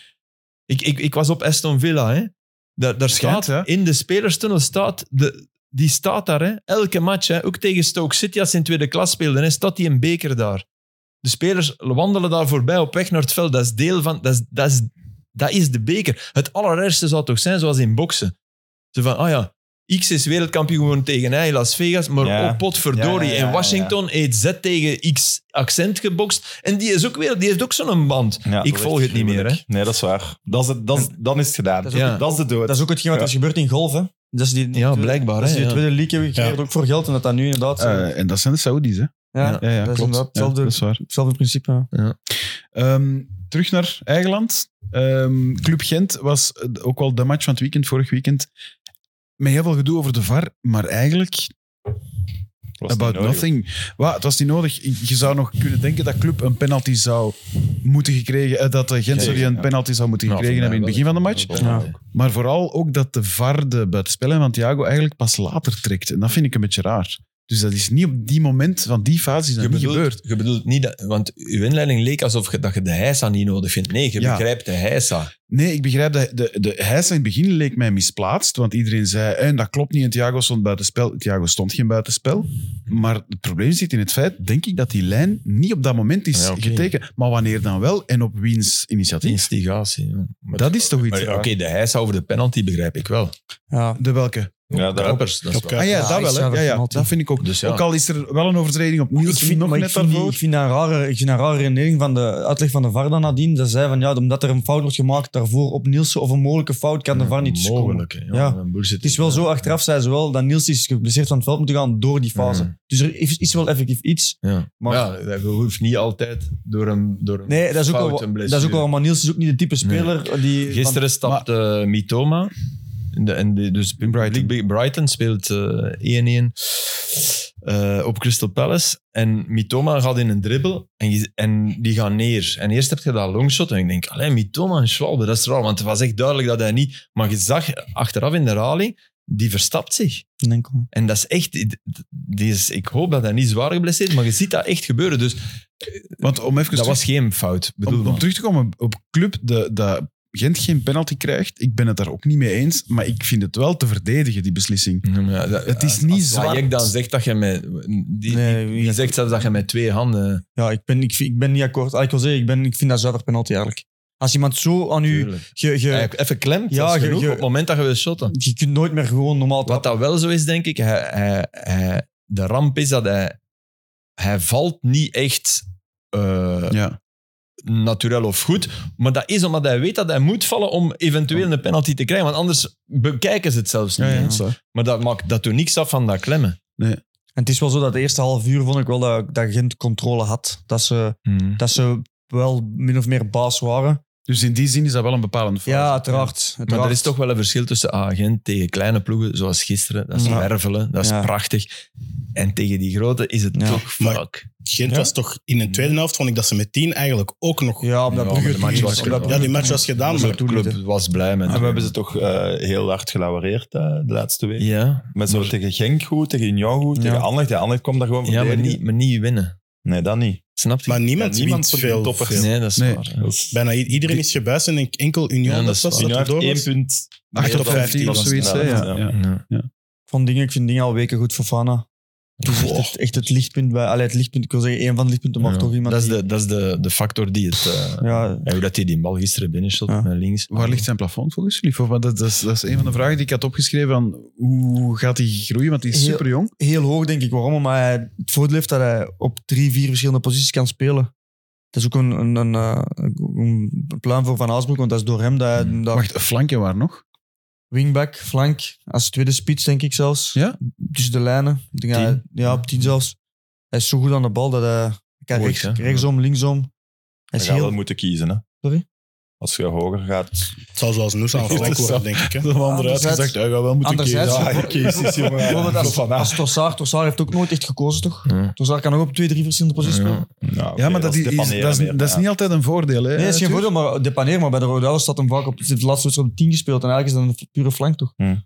S4: Ik, ik, ik was op Aston Villa, hè. Daar, daar
S2: Schijnt,
S4: staat,
S2: hè?
S4: in de spelerstunnel staat, de, die staat daar, hè. Elke match, hè. Ook tegen Stoke City, als ze in tweede klas speelden, hè, staat die een beker daar. De spelers wandelen daar voorbij op weg naar het veld. Dat is deel van... Dat is, dat is, dat is de beker. Het allerergste zou toch zijn zoals in boksen. Zo van, ah ja, X is wereldkampioen geworden tegen hij in Las Vegas, maar
S5: Ja.
S4: op potverdorie.
S5: Ja, ja, ja,
S4: in Washington heeft Z tegen X accent gebokst. En die, is ook weer, die heeft ook zo'n band.
S5: Ja,
S4: ik
S5: dat
S4: volg
S5: is
S4: het niet meer. Hè.
S5: gruwelijk. Nee, dat is waar. Dat is het, dat is, dan is het gedaan.
S3: Dat
S5: Dat
S4: is
S5: is,
S4: ook-
S5: de dood.
S3: Dat is ook hetgeen wat
S5: Ja.
S3: er gebeurt in golf, hè. Dat is die,
S4: Ja, blijkbaar,
S3: Dat is
S4: hè,
S3: die
S4: ja.
S3: tweede league hebben gecreëerd, ook voor geld. En dat dat nu inderdaad...
S2: Eh, en dat zijn de Saoedi's, hè?
S3: ja,
S2: Ja, ja,
S3: dat is
S2: klopt.
S3: inderdaad
S2: Ja,
S3: hetzelfde,
S2: dat is waar.
S3: hetzelfde principe. ja.
S2: Ehm, terug naar eigen land. Ehm, Club Gent was eh, ook wel de match van het weekend, vorig weekend. Met heel veel gedoe over de VAR, maar eigenlijk
S5: Was
S2: about
S5: niet nodig.
S2: nothing. Wa, het was niet nodig. Je zou nog kunnen denken dat Club een penalty zou moeten gekregen... eh, dat de Gent
S5: Kregen,
S2: sorry, een
S5: ja. Nou,
S2: penalty zou moeten gekregen hebben in het begin van de match. Maar vooral ook dat de VAR de buitenspelling van Thiago eigenlijk pas later trekt. En dat vind ik een beetje raar. Dus dat is niet op die moment, van die fase is dat
S4: Je
S2: niet gebeurd.
S4: bedoelt, je bedoelt niet dat, want uw inleiding leek alsof je, dat je de heisa niet nodig vindt. Nee, je
S2: Ja.
S4: begrijpt de heisa.
S2: Nee, ik begrijp dat. De, de hijs in het begin leek mij misplaatst, want iedereen zei en dat klopt niet en Thiago stond buitenspel. Thiago stond geen buitenspel. Maar het probleem zit in het feit, denk ik, dat die lijn niet op dat moment is
S4: Ah Ja, oké.
S2: getekend. Maar wanneer dan wel en op wiens initiatief?
S4: Instigatie. ja. Maar-
S2: Dat is toch iets
S4: maar Oké,
S2: raar.
S4: de heisa over de penalty begrijp ik wel.
S3: Ja.
S2: De welke?
S5: Ja, daarop.
S4: Kuipers. Dat is
S6: Op
S4: waar.
S2: Ah ja,
S3: Ja,
S2: dat wel.
S3: Xavi
S2: Hè. Ja, ja,
S3: penalty.
S2: dat vind ik ook.
S4: Dus ja.
S2: Ook al is er wel een overtreding op
S3: Ik
S2: Niels,
S3: vind,
S2: nog
S3: maar ik
S2: net
S3: vind, die-
S2: daarvoor.
S3: ik vind dat een rare, ik vind dat een rare herinnering van de uitleg van de VAR dan nadien. Dat zei van ja, omdat er een fout wordt gemaakt daarvoor op Nielsen of een mogelijke fout kan de VAR niet tussen komen.
S4: Mogelijk, hè.
S3: Ja.
S4: Ja, mijn broer zit
S3: Het is wel zo, achteraf zei ze wel dat Niels is geblesseerd van het veld moeten gaan door die fase.
S2: Mm.
S4: Mhm.
S3: Dus er is, is wel effectief iets.
S4: Ja.
S3: Maar-
S4: Maar ja, dat- je hoeft niet altijd door een, door een
S3: Nee, dat is ook,
S4: fout
S3: wel,
S4: een
S3: dat
S4: blessure.
S3: is ook wel, maar Niels is ook niet de type speler die...
S4: Gisteren stapte eh, Mitoma. En de, en de- dus Brighton. Brighton speelt eh, 1-1 eh, op Crystal Palace. En Mitoma gaat in een dribbel en, je- en die gaat neer. En eerst heb je dat longshot en ik denk, alleen Mitoma en Schwalbe, dat is raar. Want het was echt duidelijk dat hij niet... Maar je zag achteraf in de herhaling, die verstapt zich.
S3: Van, denk ik.
S4: En dat is echt... Die is, ik hoop dat hij niet zwaar geblesseerd is, maar je ziet dat echt gebeuren. Dus
S2: Want om even
S4: dat
S2: terug-
S4: was geen fout. Bedoel
S2: om, om
S4: maar.
S2: terug te komen op club de, dat Gent geen penalty krijgt, ik ben het daar ook niet mee eens, maar ik vind het wel te verdedigen, die beslissing.
S4: Ja, maar ja, dat-
S2: Het is niet
S4: als
S2: zwart.
S4: Hayek dan zegt dat je met... Die,
S3: Nee,
S4: die, die zegt zelfs dat je met twee handen...
S3: Ja, ik ben, ik, vind- ik ben niet akkoord. Ah, Ik wil zeggen, ik, ben, ik vind dat zuiver penalty eigenlijk. Als iemand zo aan u...
S4: Tuurlijk.
S3: Je,
S4: Ja,
S3: je,
S4: even klemt,
S3: Ja,
S4: ja,
S3: je-
S4: genoeg
S3: je-
S4: op het moment dat je wil shotten.
S3: je kunt nooit meer gewoon normaal...
S4: Wat dat wel zo is, denk ik, hij, hij, hij- de ramp is dat hij, hij valt niet echt eh
S2: Ja.
S4: natuurlijk of goed. Maar dat is omdat hij weet dat hij moet vallen om eventueel een penalty te krijgen. Want anders bekijken ze het zelfs niet.
S2: Ja, ja.
S4: eens. Maar dat, maakt, dat doet niks af van dat klemmen.
S3: En het is wel zo dat de eerste half uur vond ik wel dat, dat Gent controle had. Dat ze, dat ze wel min of meer baas waren.
S2: Dus in die zin is dat wel een bepalende fout.
S3: Ja, uiteraard.
S4: Maar
S3: uiteraard.
S4: er is toch wel een verschil tussen agent tegen kleine ploegen, zoals gisteren. Dat is
S3: Ja.
S4: wervelen, dat is
S3: Ja.
S4: prachtig. En tegen die grote is het
S3: Ja.
S4: toch
S6: Maar-
S4: fuck.
S6: Gent was toch in de tweede helft, vond ik dat ze met 10 eigenlijk ook nog.
S3: Ja, omdat
S4: Ja,
S3: Brugge
S4: maar de match
S3: toen-
S4: was
S3: omdat
S6: Ja,
S3: Brugge-
S6: die match was gedaan,
S4: De
S6: maar
S4: club was blij met
S5: En
S4: hem.
S5: we hebben ze toch eh, heel hard gelauwereerd eh, de laatste week.
S4: Ja,
S5: Met zo tegen Genk goed, tegen Union goed,
S3: Ja.
S5: tegen Anderlecht. Ja, Anderlecht kwam daar gewoon
S4: ja maar,
S5: verdedigen.
S4: niet, maar niet winnen.
S5: Nee, dat niet.
S4: Snap je?
S6: Maar niemand,
S5: Ja, niemand
S6: wint
S5: verdient
S6: veel.
S5: toppers.
S6: veel.
S4: nee, dat is
S2: Nee.
S4: waar.
S5: Dat is-
S6: Bijna i- iedereen is gebuist en ik- enkel Union
S4: Ja, dat
S6: dat
S4: is
S6: was
S4: waar.
S6: dat
S5: Union
S6: er
S5: heeft
S6: door
S5: één
S6: was.
S5: punt.
S2: 8
S5: meer
S2: op
S5: dan
S2: 15 of
S5: tien
S2: zoiets. hè, Ja,
S5: ja.
S2: ja.
S4: Ja.
S3: van dingen, ik vind dingen al weken goed voor Fana. Het is echt het, echt het lichtpunt bij... Allee, het lichtpunt, ik wil zeggen één van de lichtpunten, maar
S4: Ja.
S3: toch iemand
S4: dat is,
S3: die-
S4: de, dat is de, de factor die het... eh,
S3: Ja,
S4: en hoe dat hij die bal gisteren binnenshot
S3: Ja.
S4: naar links.
S2: Waar ligt zijn plafond volgens jullie? Voor? Want Dat, dat, is, dat is een van de vragen die ik had opgeschreven. Van hoe gaat hij groeien? Want die is
S3: Heel-
S2: super jong.
S3: heel hoog, denk ik. Waarom? Maar hij, het voordeel heeft dat hij op drie, vier verschillende posities kan spelen. Dat is ook een, een, een, eh, een plan voor Van Haasbroek, want dat is door hem dat
S4: Hmm.
S3: hij... dat-
S2: Wacht, een flankje waar nog?
S3: wingback, flank, als tweede spits, denk ik zelfs.
S2: Ja?
S3: Tussen de lijnen. Ik denk dat hij- ja, op tien zelfs. Hij is zo goed aan de bal dat hij hij kan
S4: Hmm. Mooi,
S3: rechts,
S4: hè?
S3: rechtsom, linksom. Hij
S5: We
S3: is
S5: gaan wel
S3: heel...
S5: moeten kiezen, hè.
S3: Sorry?
S5: Als je hoger gaat...
S6: Het zou zoals Noosa of
S5: Ja,
S6: Frank
S5: dat is
S6: worden, denk ik. Hè.
S2: De andere
S3: Anderzijds-
S2: uitgezegd, ja, wel moeten
S3: Anderzijds-
S2: kiezen.
S3: Ja,
S5: je kiest, jongen.
S3: Bijvoorbeeld als,
S5: Van
S3: als
S5: Aert.
S3: Trossard. Trossard heeft ook nooit echt gekozen, toch?
S4: Ja.
S3: Trossard kan ook op twee, drie verschillende posities
S4: Ja.
S3: spelen.
S5: Nou, oké,
S2: Ja, maar dat is,
S5: de
S2: dat is,
S5: Panera meer,
S2: dat is
S5: ja.
S2: niet altijd een voordeel. Hè,
S3: Nee, dat is geen
S2: Arthur?
S3: voordeel, maar de paneer, maar bij de Rode Duivels staat hem vaak op de laatste wedstrijd op 10 gespeeld. En eigenlijk is dat een pure flank, toch?
S5: Ja, dat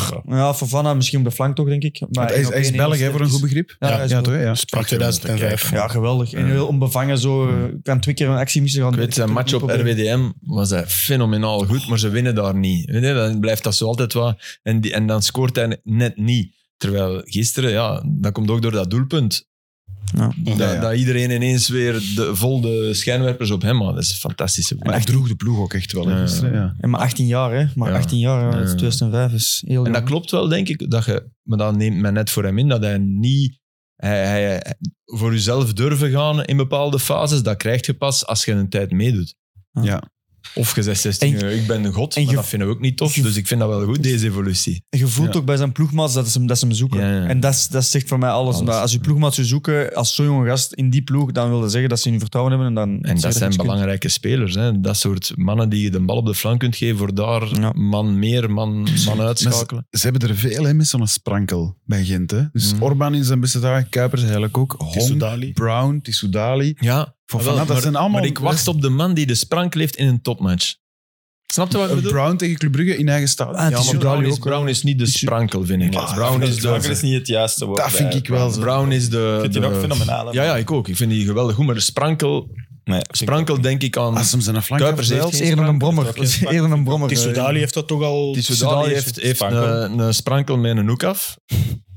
S5: is
S3: Maar
S5: waar.
S3: ja, Fofana misschien op de flank, toch, denk ik. Maar
S2: Want hij is,
S3: één op
S2: hij is
S3: één
S2: Belg hè,
S3: heel
S2: voor een goed
S3: sterk
S2: begrip.
S3: is. Ja, hij is
S2: Ja,
S3: Belg.
S2: toch? hè, Ja.
S6: Van 2005.
S5: Ja.
S3: Ja, geweldig. En heel onbevangen zo. eh, Kan twee keer een actie missen. Gaan
S4: Ik weet, zijn match op RWDM was hij fenomenaal goed, maar ze winnen daar niet. Weet je, dan blijft dat zo altijd wat. En, die, en dan scoort hij net niet. Terwijl gisteren, ja, dat komt ook door dat doelpunt.
S3: Ja.
S4: Dat,
S2: Ja, ja.
S4: dat iedereen ineens weer de, vol de schijnwerpers op hem had. Dat is een fantastische
S2: Maar hij droeg de ploeg ook echt wel. hè,
S4: Ja.
S2: gisteren, ja.
S3: En maar 18 jaar, hè? Maar
S4: Ja.
S3: 18 jaar, ja, het is
S4: Ja.
S3: 2005 is heel
S4: En dat
S3: jong.
S4: klopt wel, denk ik. Dat je, maar dat neemt men net voor hem in. Dat hij niet hij, hij, voor jezelf durven gaan in bepaalde fases. Dat krijg je pas als je een tijd meedoet.
S3: Ja.
S2: Ja.
S4: Of je zegt 16
S3: En-
S4: uur, ik ben een god.
S3: en
S4: maar
S3: je-
S4: dat vinden we ook niet tof.
S3: je-
S4: Dus ik vind dat wel goed, deze evolutie.
S3: Je voelt
S2: Ja.
S3: ook bij zijn ploegmaats dat ze hem, dat ze hem zoeken.
S4: Ja, ja.
S3: En dat, is- dat zegt voor mij alles.
S4: Alles.
S3: Omdat als je ploegmaats je zoeken, als zo'n jonge gast in die ploeg, dan wil dat zeggen dat ze in je vertrouwen hebben. En, dan
S4: En dat zijn
S3: belangrijk.
S4: belangrijke spelers. Hè. Dat soort mannen die je de bal op de flank kunt geven voor daar
S3: Ja.
S4: man meer, man, man uitschakelen.
S2: Ze hebben er veel hè, met zo'n sprankel bij Gent. Hè. Dus
S4: Mhm.
S2: Orban in zijn beste dagen, Kuipers eigenlijk ook. Hong,
S6: Tissoudali.
S2: Brown, Tissoudali.
S4: Ja,
S2: Van
S4: jawel,
S2: dat
S4: maar,
S2: zijn allemaal...
S4: maar ik wacht op de man die de sprankel heeft in een topmatch. Snap je wat ik
S2: Een
S4: bedoel?
S2: Brown tegen Club Brugge in eigen stadion.
S3: Ah, het
S4: Ja, maar
S3: Tissoudali
S4: Brown is,
S3: ook,
S4: Brown is niet de sprankel, vind ik.
S5: Ah,
S4: Brown is
S5: dat
S4: de...
S5: is niet het juiste woord.
S2: Dat vind ik wel zo.
S4: Brown is de...
S5: Ik vind die
S4: de-
S5: nog fenomenaal. hè.
S4: Ja, ja, ik ook. Ik vind die geweldig goed, maar de sprankel,
S5: Nee, ik vind-
S4: sprankel denk ik aan...
S2: Als hem zijn flank
S4: Kuipers heeft
S2: afdijlt,
S3: Dat is eerder een brommer. Dat is eerder een brommer.
S6: Tissoudali heeft dat toch al...
S4: Tissoudali
S5: heeft-
S4: heeft, heeft
S5: sprankel.
S4: een, een sprankel met een hoek af.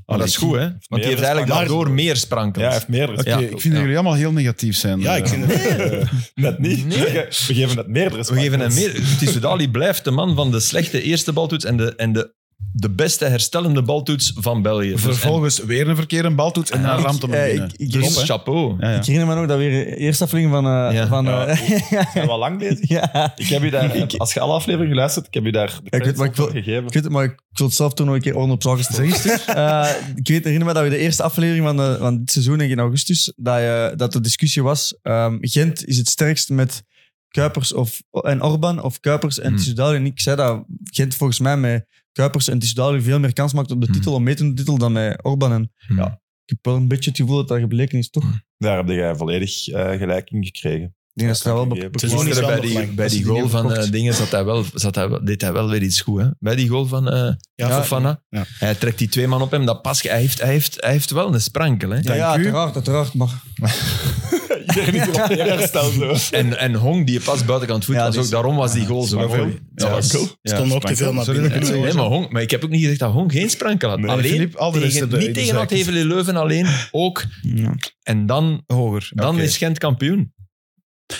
S4: Maar dat is goed, hè? Want die heeft eigenlijk
S5: sprankel.
S4: daardoor meer sprankels.
S5: Ja, hij heeft meerdere.
S2: Oké,
S5: sprankels.
S2: ik vind dat jullie allemaal heel negatief zijn. Eh,
S6: Ja, ik vind het...
S5: Net niet.
S4: Nee.
S5: We geven het meerdere
S4: We geven hem
S5: sprankels.
S4: meer. Tissoudali blijft de man van de slechte eerste baltoets en de, en de de beste herstellende baltoets van België. Dus-
S2: Vervolgens weer een verkeerde baltoets en dan
S3: ik-
S2: ramt hem
S3: eh,
S2: hem binnen.
S3: ik- ik-
S4: en-
S2: Top,
S4: dus
S2: hè?
S4: chapeau.
S2: Ja, ja.
S3: Ik herinner me nog dat we hier eerste aflevering van... eh,
S4: Ja.
S3: van eh,
S5: Zijn we al lang bezig?
S3: ja.
S5: Ik heb je daar, als je alle afleveringen luistert, ik heb je daar de
S3: Ik weet, maar ik wil-
S5: voor gegeven.
S3: Ik weet het, maar ik wil het zelf toen nog een keer onder op zagen staan. Eh, ik weet, herinner me dat we de eerste aflevering van, de, van dit seizoen, denk ik in augustus, dat, je, dat de discussie was, ehm, Gent is het sterkst met Kuipers of, en Orban of Kuipers en
S4: Hmm.
S3: Tissoudali. En ik zei dat Gent volgens mij met Kuipers en Tissoudali veel meer kans maakt op de
S4: Hmm.
S3: titel, om mee te doen de titel, dan met Orban. En
S4: Hmm.
S3: ja, ik heb wel een beetje het gevoel dat dat gebleken is, toch?
S5: Daar heb jij volledig eh, gelijk in gekregen.
S3: Ik denk dat ze daar wel be-
S5: kan ik geven.
S3: be-
S6: Het seizoen is
S4: Gisteren
S6: wel
S4: Dus bij
S6: nog
S4: die,
S6: lang.
S4: bij
S3: Als
S4: die
S3: ze die
S4: goal van
S3: verkocht.
S4: eh, dingen zat hij wel, zat hij, wel- deed hij wel weer iets goed. Hè? Bij die goal van eh
S6: ja,
S4: Fofana.
S6: ja.
S4: Hij trekt die twee man op hem. Dat pas, hij, heeft, hij, heeft, hij heeft wel een sprankel. Hè?
S3: Ja, ja, uiteraard, uiteraard. Maar
S5: Iedereen is erop neergesteld. zo.
S4: En, en Hong, die pas buitenkant voet
S3: Ja,
S4: was
S3: dus-
S4: ook. Daarom was die goal zo
S5: Sprankel.
S4: mooi. Ja,
S5: Sprankel.
S4: dat is-
S6: Er stond ook te veel naar
S2: Sorry
S6: binnen.
S2: dat ik het
S4: Nee,
S2: zo-
S4: maar, Hong, maar ik heb ook niet gezegd dat Hong geen sprankel had.
S5: Nee,
S4: alleen
S2: Philippe Alvarez
S4: tegen,
S2: heeft de-
S4: niet
S2: de
S4: tegen
S2: zaak.
S4: Hevelee Leuven, alleen ook.
S3: ja.
S4: En dan hoger. Dan
S2: Oké.
S4: is Gent kampioen.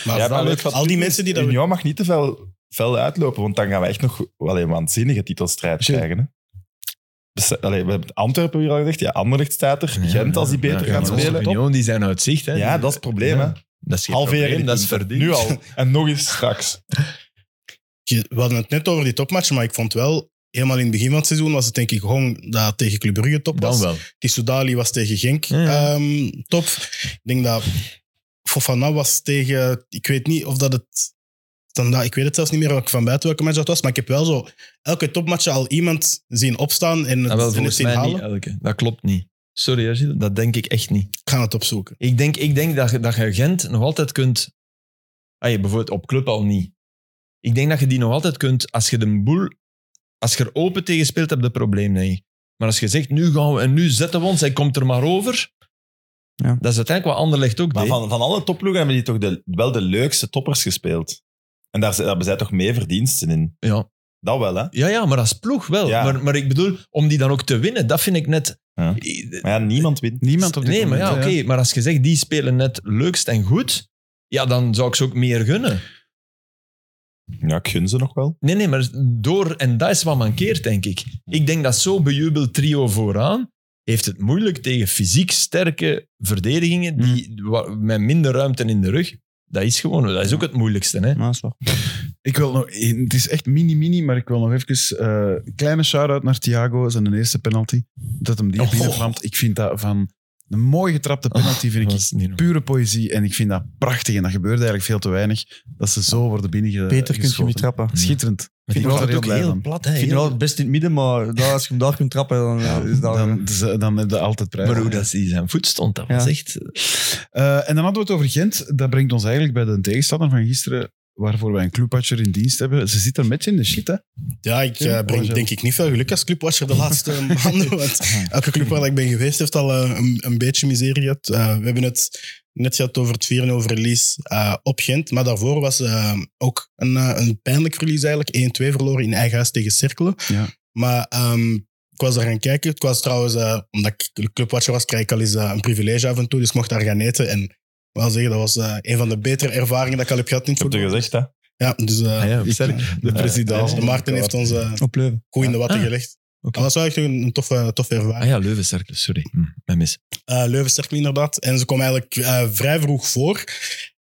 S6: Maar
S5: Ja, maar leuk
S6: al die mensen die dat...
S5: Union mag niet te veel, fel uitlopen, want dan gaan we echt nog wel een waanzinnige titelstrijd
S2: Tje.
S5: krijgen. Hè? Bes- Allee, we hebben Antwerpen hier al gezegd. Ja, Anderlecht staat er. Gent, als die beter
S4: Ja,
S5: gaan
S4: maar onze
S5: spelen.
S4: Union, die zijn uit zicht. Hè.
S5: Ja, dat is het probleem.
S4: Ja.
S5: hè.
S4: Dat is geen
S5: Half
S4: probleem,
S5: erin,
S4: dat is verdiend.
S5: Nu al. En nog eens straks.
S6: Je- We hadden het net over die topmatchen, maar ik vond wel... Helemaal in het begin van het seizoen was het denk ik Hong dat tegen Club Brugge top was.
S4: Dan wel.
S6: Tissoudali was tegen Genk
S4: Ja, ja.
S6: ehm, top. Ik denk dat Fofana was tegen... Ik weet niet of dat het... Standaard, ik weet het zelfs niet meer welke- van buiten welke match dat was, maar ik heb wel zo elke topmatch al iemand zien opstaan en het,
S4: Ah, wel,
S6: en het
S4: volgens
S6: zien
S4: mij niet
S6: halen.
S4: elke. Dat klopt niet. Sorry, hè, Gilles, dat denk ik echt niet.
S6: Ik ga het opzoeken.
S4: Ik denk, ik denk dat, je, dat je Gent nog altijd kunt... Ah, je bijvoorbeeld op club al niet. Ik denk dat je die nog altijd kunt... Als je de boel... Als je er open tegen speelt, heb je een probleem, denk ik. Maar als je zegt, nu gaan we en nu zetten we ons, hij komt er maar over.
S3: Ja.
S4: Dat is uiteindelijk wat Anderlecht ook
S5: Maar
S4: deed.
S5: van, van alle topploegen hebben die toch de, wel de leukste toppers gespeeld. En daar, zijn- daar hebben zij toch meer verdiensten in.
S4: Ja.
S5: Dat wel, hè?
S4: Ja, ja, maar als ploeg wel.
S5: Ja.
S4: Maar, maar ik bedoel, om die dan ook te winnen, dat vind ik net...
S5: Ja. Maar ja, niemand wint.
S2: Niemand op dit
S4: nee, maar
S2: moment,
S4: ja, oké.
S2: hè.
S4: Maar als je zegt, die spelen net leukst en goed, ja, dan zou ik ze ook meer gunnen.
S5: Ja, ik gun ze nog wel.
S4: Nee, nee, maar door, en dat is wat mankeert, denk ik. Ik denk dat zo'n bejubeld trio vooraan heeft het moeilijk tegen fysiek sterke verdedigingen die, wa- met minder ruimte in de rug. Dat is gewoon, dat is ook het moeilijkste. Hè?
S3: maar dat is waar.
S2: Ik wil nog, het is echt mini-mini, maar ik wil nog even eh, een kleine shout-out naar Thiago, zijn eerste penalty. Dat hem die
S4: Oh.
S2: binnenvlamt. Ik vind dat van een mooi getrapte penalty, vind
S4: Dat
S2: ik
S4: is niet normaal.
S2: pure poëzie. En ik vind dat prachtig. En dat gebeurt eigenlijk veel te weinig, dat ze zo worden binnengeschoten.
S3: Beter kun je niet trappen.
S2: Schitterend. Ik
S4: Die
S2: was
S4: was
S2: er heel
S4: ook
S2: blij
S4: heel
S2: van.
S4: plat. Hè,
S3: Ik vind
S4: heel-
S3: het wel het best in het midden, maar daar, als je hem daar kunt trappen, dan eh, is dat...
S2: Dan, dan, dan heb je altijd prijs.
S4: maar hoe dat die zijn voet stond, dat was
S3: Ja.
S4: echt...
S2: Eh, en dan hadden we het over Gent. Dat brengt ons eigenlijk bij de tegenstander van gisteren, waarvoor wij een clubwatcher in dienst hebben. Ze zit er met je in de shit, hè?
S6: Ja, ik
S2: Ja, oh,
S6: eh, breng
S2: zo.
S6: denk ik niet veel geluk als clubwatcher de laatste maanden. Want elke club waar ik ben geweest heeft al eh, een, een beetje miserie gehad. Eh, we hebben het net gehad over het 4-0 verlies eh, op Gent. Maar daarvoor was eh, ook een, eh, een pijnlijk verlies eigenlijk. 1-2 verloren in eigen huis tegen Cerkelen.
S2: Ja.
S6: Maar ehm, ik was daar gaan kijken. Het was trouwens, eh, omdat ik clubwatcher was, krijg ik al eens eh, een privilege af en toe. Dus ik mocht daar gaan eten. En ik wil zeggen, dat was eh, een van de betere ervaringen dat ik al heb gehad in
S5: Ik
S6: het
S5: heb het je
S6: voetbal.
S5: gezegd, hè?
S6: Ja, dus eh,
S4: Ah ja, sterk.
S2: De president.
S5: ja.
S6: de Maarten heeft ons... eh,
S3: Op Leuven.
S6: koe in de watten
S4: Ah,
S6: gelegd.
S4: oké.
S6: Dat was wel echt een, een toffe, toffe ervaring.
S4: Ah ja, Leuvencerkel, sorry. Hm, mijn mis.
S6: Eh, Leuven sterk inderdaad. En ze kwam eigenlijk eh, vrij vroeg voor.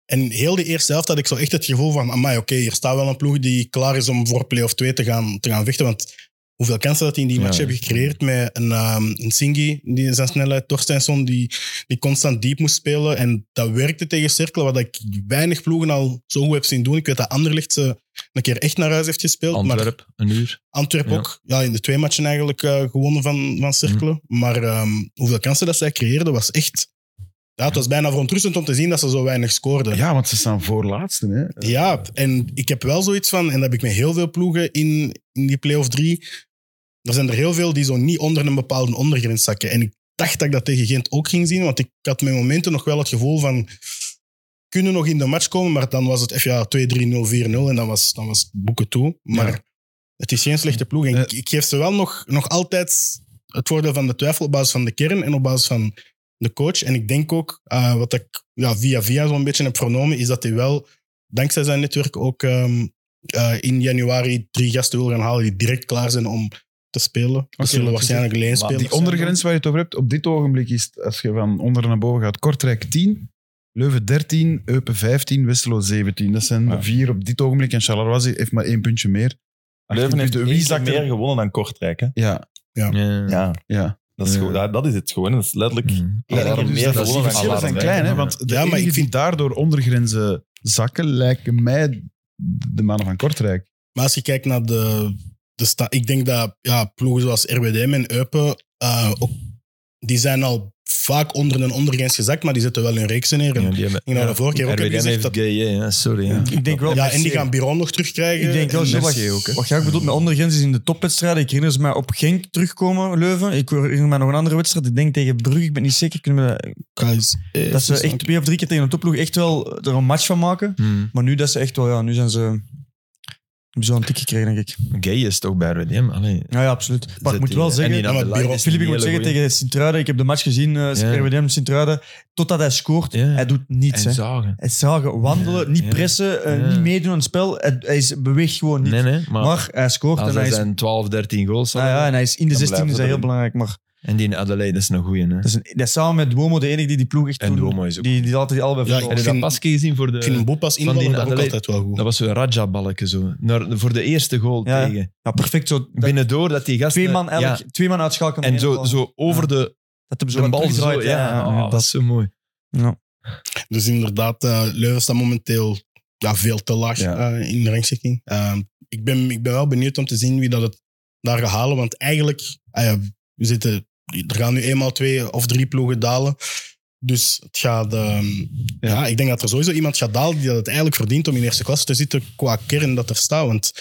S6: En heel de eerste helft had ik zo echt het gevoel van... Amai, oké, hier staat wel een ploeg die klaar is om voor play-off 2 te gaan, te gaan vechten. Want hoeveel kansen dat die in die
S4: Ja,
S6: match
S4: ja.
S6: hebben gecreëerd met een, ehm een Singi, die zijn snelheid, Torstensson, die, die constant diep moest spelen. En dat werkte tegen Cirkel, wat ik weinig ploegen al zo goed heb zien doen. Ik weet dat Anderlecht ze een keer echt naar huis heeft gespeeld. Maar
S4: Antwerp, een uur.
S6: Antwerpen
S4: Ja.
S6: ook. Ja, in de twee matchen eigenlijk eh, gewonnen van, van Cerkelen. Maar ehm, hoeveel kansen dat zij creëerden was echt... Ja, het was bijna verontrustend om te zien dat ze zo weinig scoorden.
S2: Ja, want ze staan voorlaatste, hè?
S6: Ja, en ik heb wel zoiets van... En dat heb ik met heel veel ploegen in, in die play-off drie. Er zijn er heel veel die zo niet onder een bepaalde ondergrens zakken. En ik dacht dat ik dat tegen Gent ook ging zien. Want ik had mijn momenten nog wel het gevoel van... Kunnen nog in de match komen, maar dan was het even ja, 2-3-0, 4-0. En dan was, dan was het boeken toe. Maar
S2: Ja.
S6: het is geen slechte ploeg. En
S2: Eh.
S6: ik, ik geef ze wel nog, nog altijd het voordeel van de twijfel op basis van de kern en op basis van de coach. En ik denk ook, eh, wat ik ja, via via zo'n beetje heb vernomen, is dat hij wel, dankzij zijn netwerk, ook ehm, eh, in januari drie gasten wil gaan halen die direct klaar zijn om te spelen.
S2: Oké,
S6: dat zullen
S2: dat is
S6: waarschijnlijk leenspelers
S2: Die
S6: zijn.
S2: ondergrens waar je het over hebt, op dit ogenblik is, het, als je van onder naar boven gaat, Kortrijk 10, Leuven 13, Eupen 15, Westerlo 17. Dat zijn
S6: Ah.
S5: Ja.
S2: de vier op dit ogenblik. En Charleroi heeft maar één puntje meer.
S5: Leuven heeft
S2: de
S5: één keer meer gewonnen dan Kortrijk. Hè?
S2: Ja,
S5: Ja,
S2: ja.
S5: dat is,
S2: Ja.
S5: gewoon- dat, dat is het gewoon. Dat is letterlijk
S4: Mhm. Mm.
S2: Ja,
S5: daarom
S2: dus
S5: meer
S2: dat-
S5: gewonnen
S2: die
S5: dan
S2: verschillen
S5: Alarm,
S2: zijn
S5: hè.
S2: klein, hè? Want de
S6: Ja, maar
S2: enigen
S6: ik vind-
S2: die daardoor ondergrenzen zakken, lijken mij de mannen van Kortrijk.
S6: Maar als je kijkt naar de, de sta, ik denk dat ja, ploegen zoals RWDM en Eupen, eh, ook, die zijn al vaak onder een ondergrens gezakt, maar die zetten wel hun reeksen neer. En
S4: Ja, die hebben,
S6: ging naar de vorige keer ook, heb je
S4: RWDM
S6: gezegd
S4: heeft
S6: dat-
S4: gay, hè. ja, sorry. hè.
S3: Ik denk wel
S6: ja, en die
S3: Mercier.
S6: gaan Biron nog terugkrijgen.
S3: Ik denk wel,
S6: En-
S3: zo, wat,
S4: Mercier ook, hè.
S3: wat jij ook bedoelt met ondergrens is in de topwedstrijden. Ik herinner me op Genk terugkomen, Leuven. Ik herinner me nog een andere wedstrijd. Ik denk tegen Brugge, ik ben niet zeker. Kunnen we,
S6: Guys, eh,
S3: dat ze echt twee of drie keer tegen een topploeg echt wel er een match van maken.
S4: Hmm.
S3: Maar nu, dat ze echt wel, ja, nu zijn ze... hebben ze wel een tik gekregen, denk ik.
S4: Gay is toch bij RWDM? Allee,
S3: Ja, ja absoluut. Maar ik moet
S4: zet
S3: wel
S4: die- en
S3: zeggen...
S4: die
S6: ja, maar
S4: Adelaide
S6: Biro-
S4: is
S3: Filip, ik
S4: een
S3: moet
S4: hele
S3: zeggen tegen Sint-Truiden, ik heb de match gezien, uh,
S4: Ja.
S3: RWDM Sint-Truiden, totdat hij scoort.
S4: goeie. Ja.
S3: Hij doet niets.
S4: En
S3: Hè.
S4: zagen.
S3: Hij zagen, wandelen,
S4: Ja,
S3: niet
S4: ja.
S3: pressen, eh,
S4: Ja.
S3: niet meedoen aan het spel. Hij, hij is, beweegt gewoon niet.
S4: Nee, nee, maar,
S3: maar hij scoort
S4: als
S3: en hij
S4: hij
S3: is,
S4: zijn 12, 13 goals
S3: nou
S4: hadden,
S3: ja, en hij is in de
S5: dan
S3: 16 is hij
S5: blijft het
S3: heel
S5: erin.
S3: belangrijk. Maar
S4: En die in Adelaide, dat is een goeie. Hè.
S3: dat is, een, dat is samen met Duomo de enige die die ploeg echt
S4: En
S3: toen-
S4: Duomo is ook-
S3: Die, die altijd allebei
S6: Ja,
S3: verkopen.
S4: Heb je dat
S6: vind-
S4: pasje gezien voor de...
S6: Ik vind een boepas invallen
S4: die
S6: dat ook
S4: Adelaide-
S6: altijd wel goed.
S4: Dat was zo'n Raja-balken zo. Naar, voor de eerste goal
S3: Ja, ja.
S4: tegen.
S3: Ja, perfect. Zo, dat-
S4: Binnendoor dat die gasten...
S3: twee, man elk,
S4: eh, ja,
S3: twee man uitschakelen.
S4: En zo, zo over
S3: Ja.
S4: de,
S3: dat hem zo
S4: de
S3: wat
S4: bal zo. Ja,
S3: terugdraait, ja, ja,
S4: oh, dat
S3: dat-
S4: is zo mooi.
S6: Dus inderdaad, eh, Leuven staat momenteel ja, veel te laag
S2: Ja.
S6: eh, in de rangschikking. Eh, ik, ben, ik ben wel benieuwd om te zien wie dat het daar gaat halen. Want eigenlijk, ah ja, we zitten, er gaan nu eenmaal twee of drie ploegen dalen. Dus het gaat, ehm, ja. ik denk dat er sowieso iemand gaat dalen die dat het eigenlijk verdient om in eerste klasse te zitten qua kern dat er staat. Want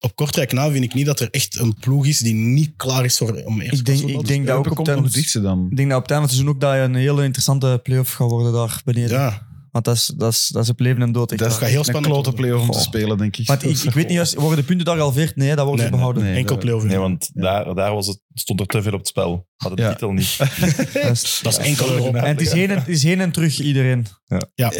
S6: op Kortrijk na vind ik niet dat er echt een ploeg is die niet klaar is voor, om eerste
S3: Ik denk,
S6: klasse te
S3: ik
S6: dalen.
S3: denk dat ook op
S2: komt
S3: het
S2: nog het
S3: eind-
S2: dichtste dan.
S3: ik denk dat op het einde van het seizoen ook dat je een hele interessante play-off gaat worden daar beneden.
S6: Ja,
S3: Want dat is, dat, is, dat is op leven en dood. echt
S6: dat
S3: waar.
S6: gaat heel
S2: Een
S6: spannend
S2: klote
S6: worden.
S2: play om te
S3: Goh.
S2: spelen, denk ik.
S3: Want ik, ik weet niet, juist, worden de punten daar gehalveerd? Nee, dat worden
S6: Nee,
S3: ze behouden.
S2: nee.
S6: Enkel
S2: dat-
S6: play
S5: Nee, want daar, daar was het, stond er te veel op het spel. Had het
S2: Ja.
S5: titel niet.
S3: Dat is-
S6: Dat is enkel Europa.
S3: En het is, heen en, het is heen en terug iedereen.
S2: Ja.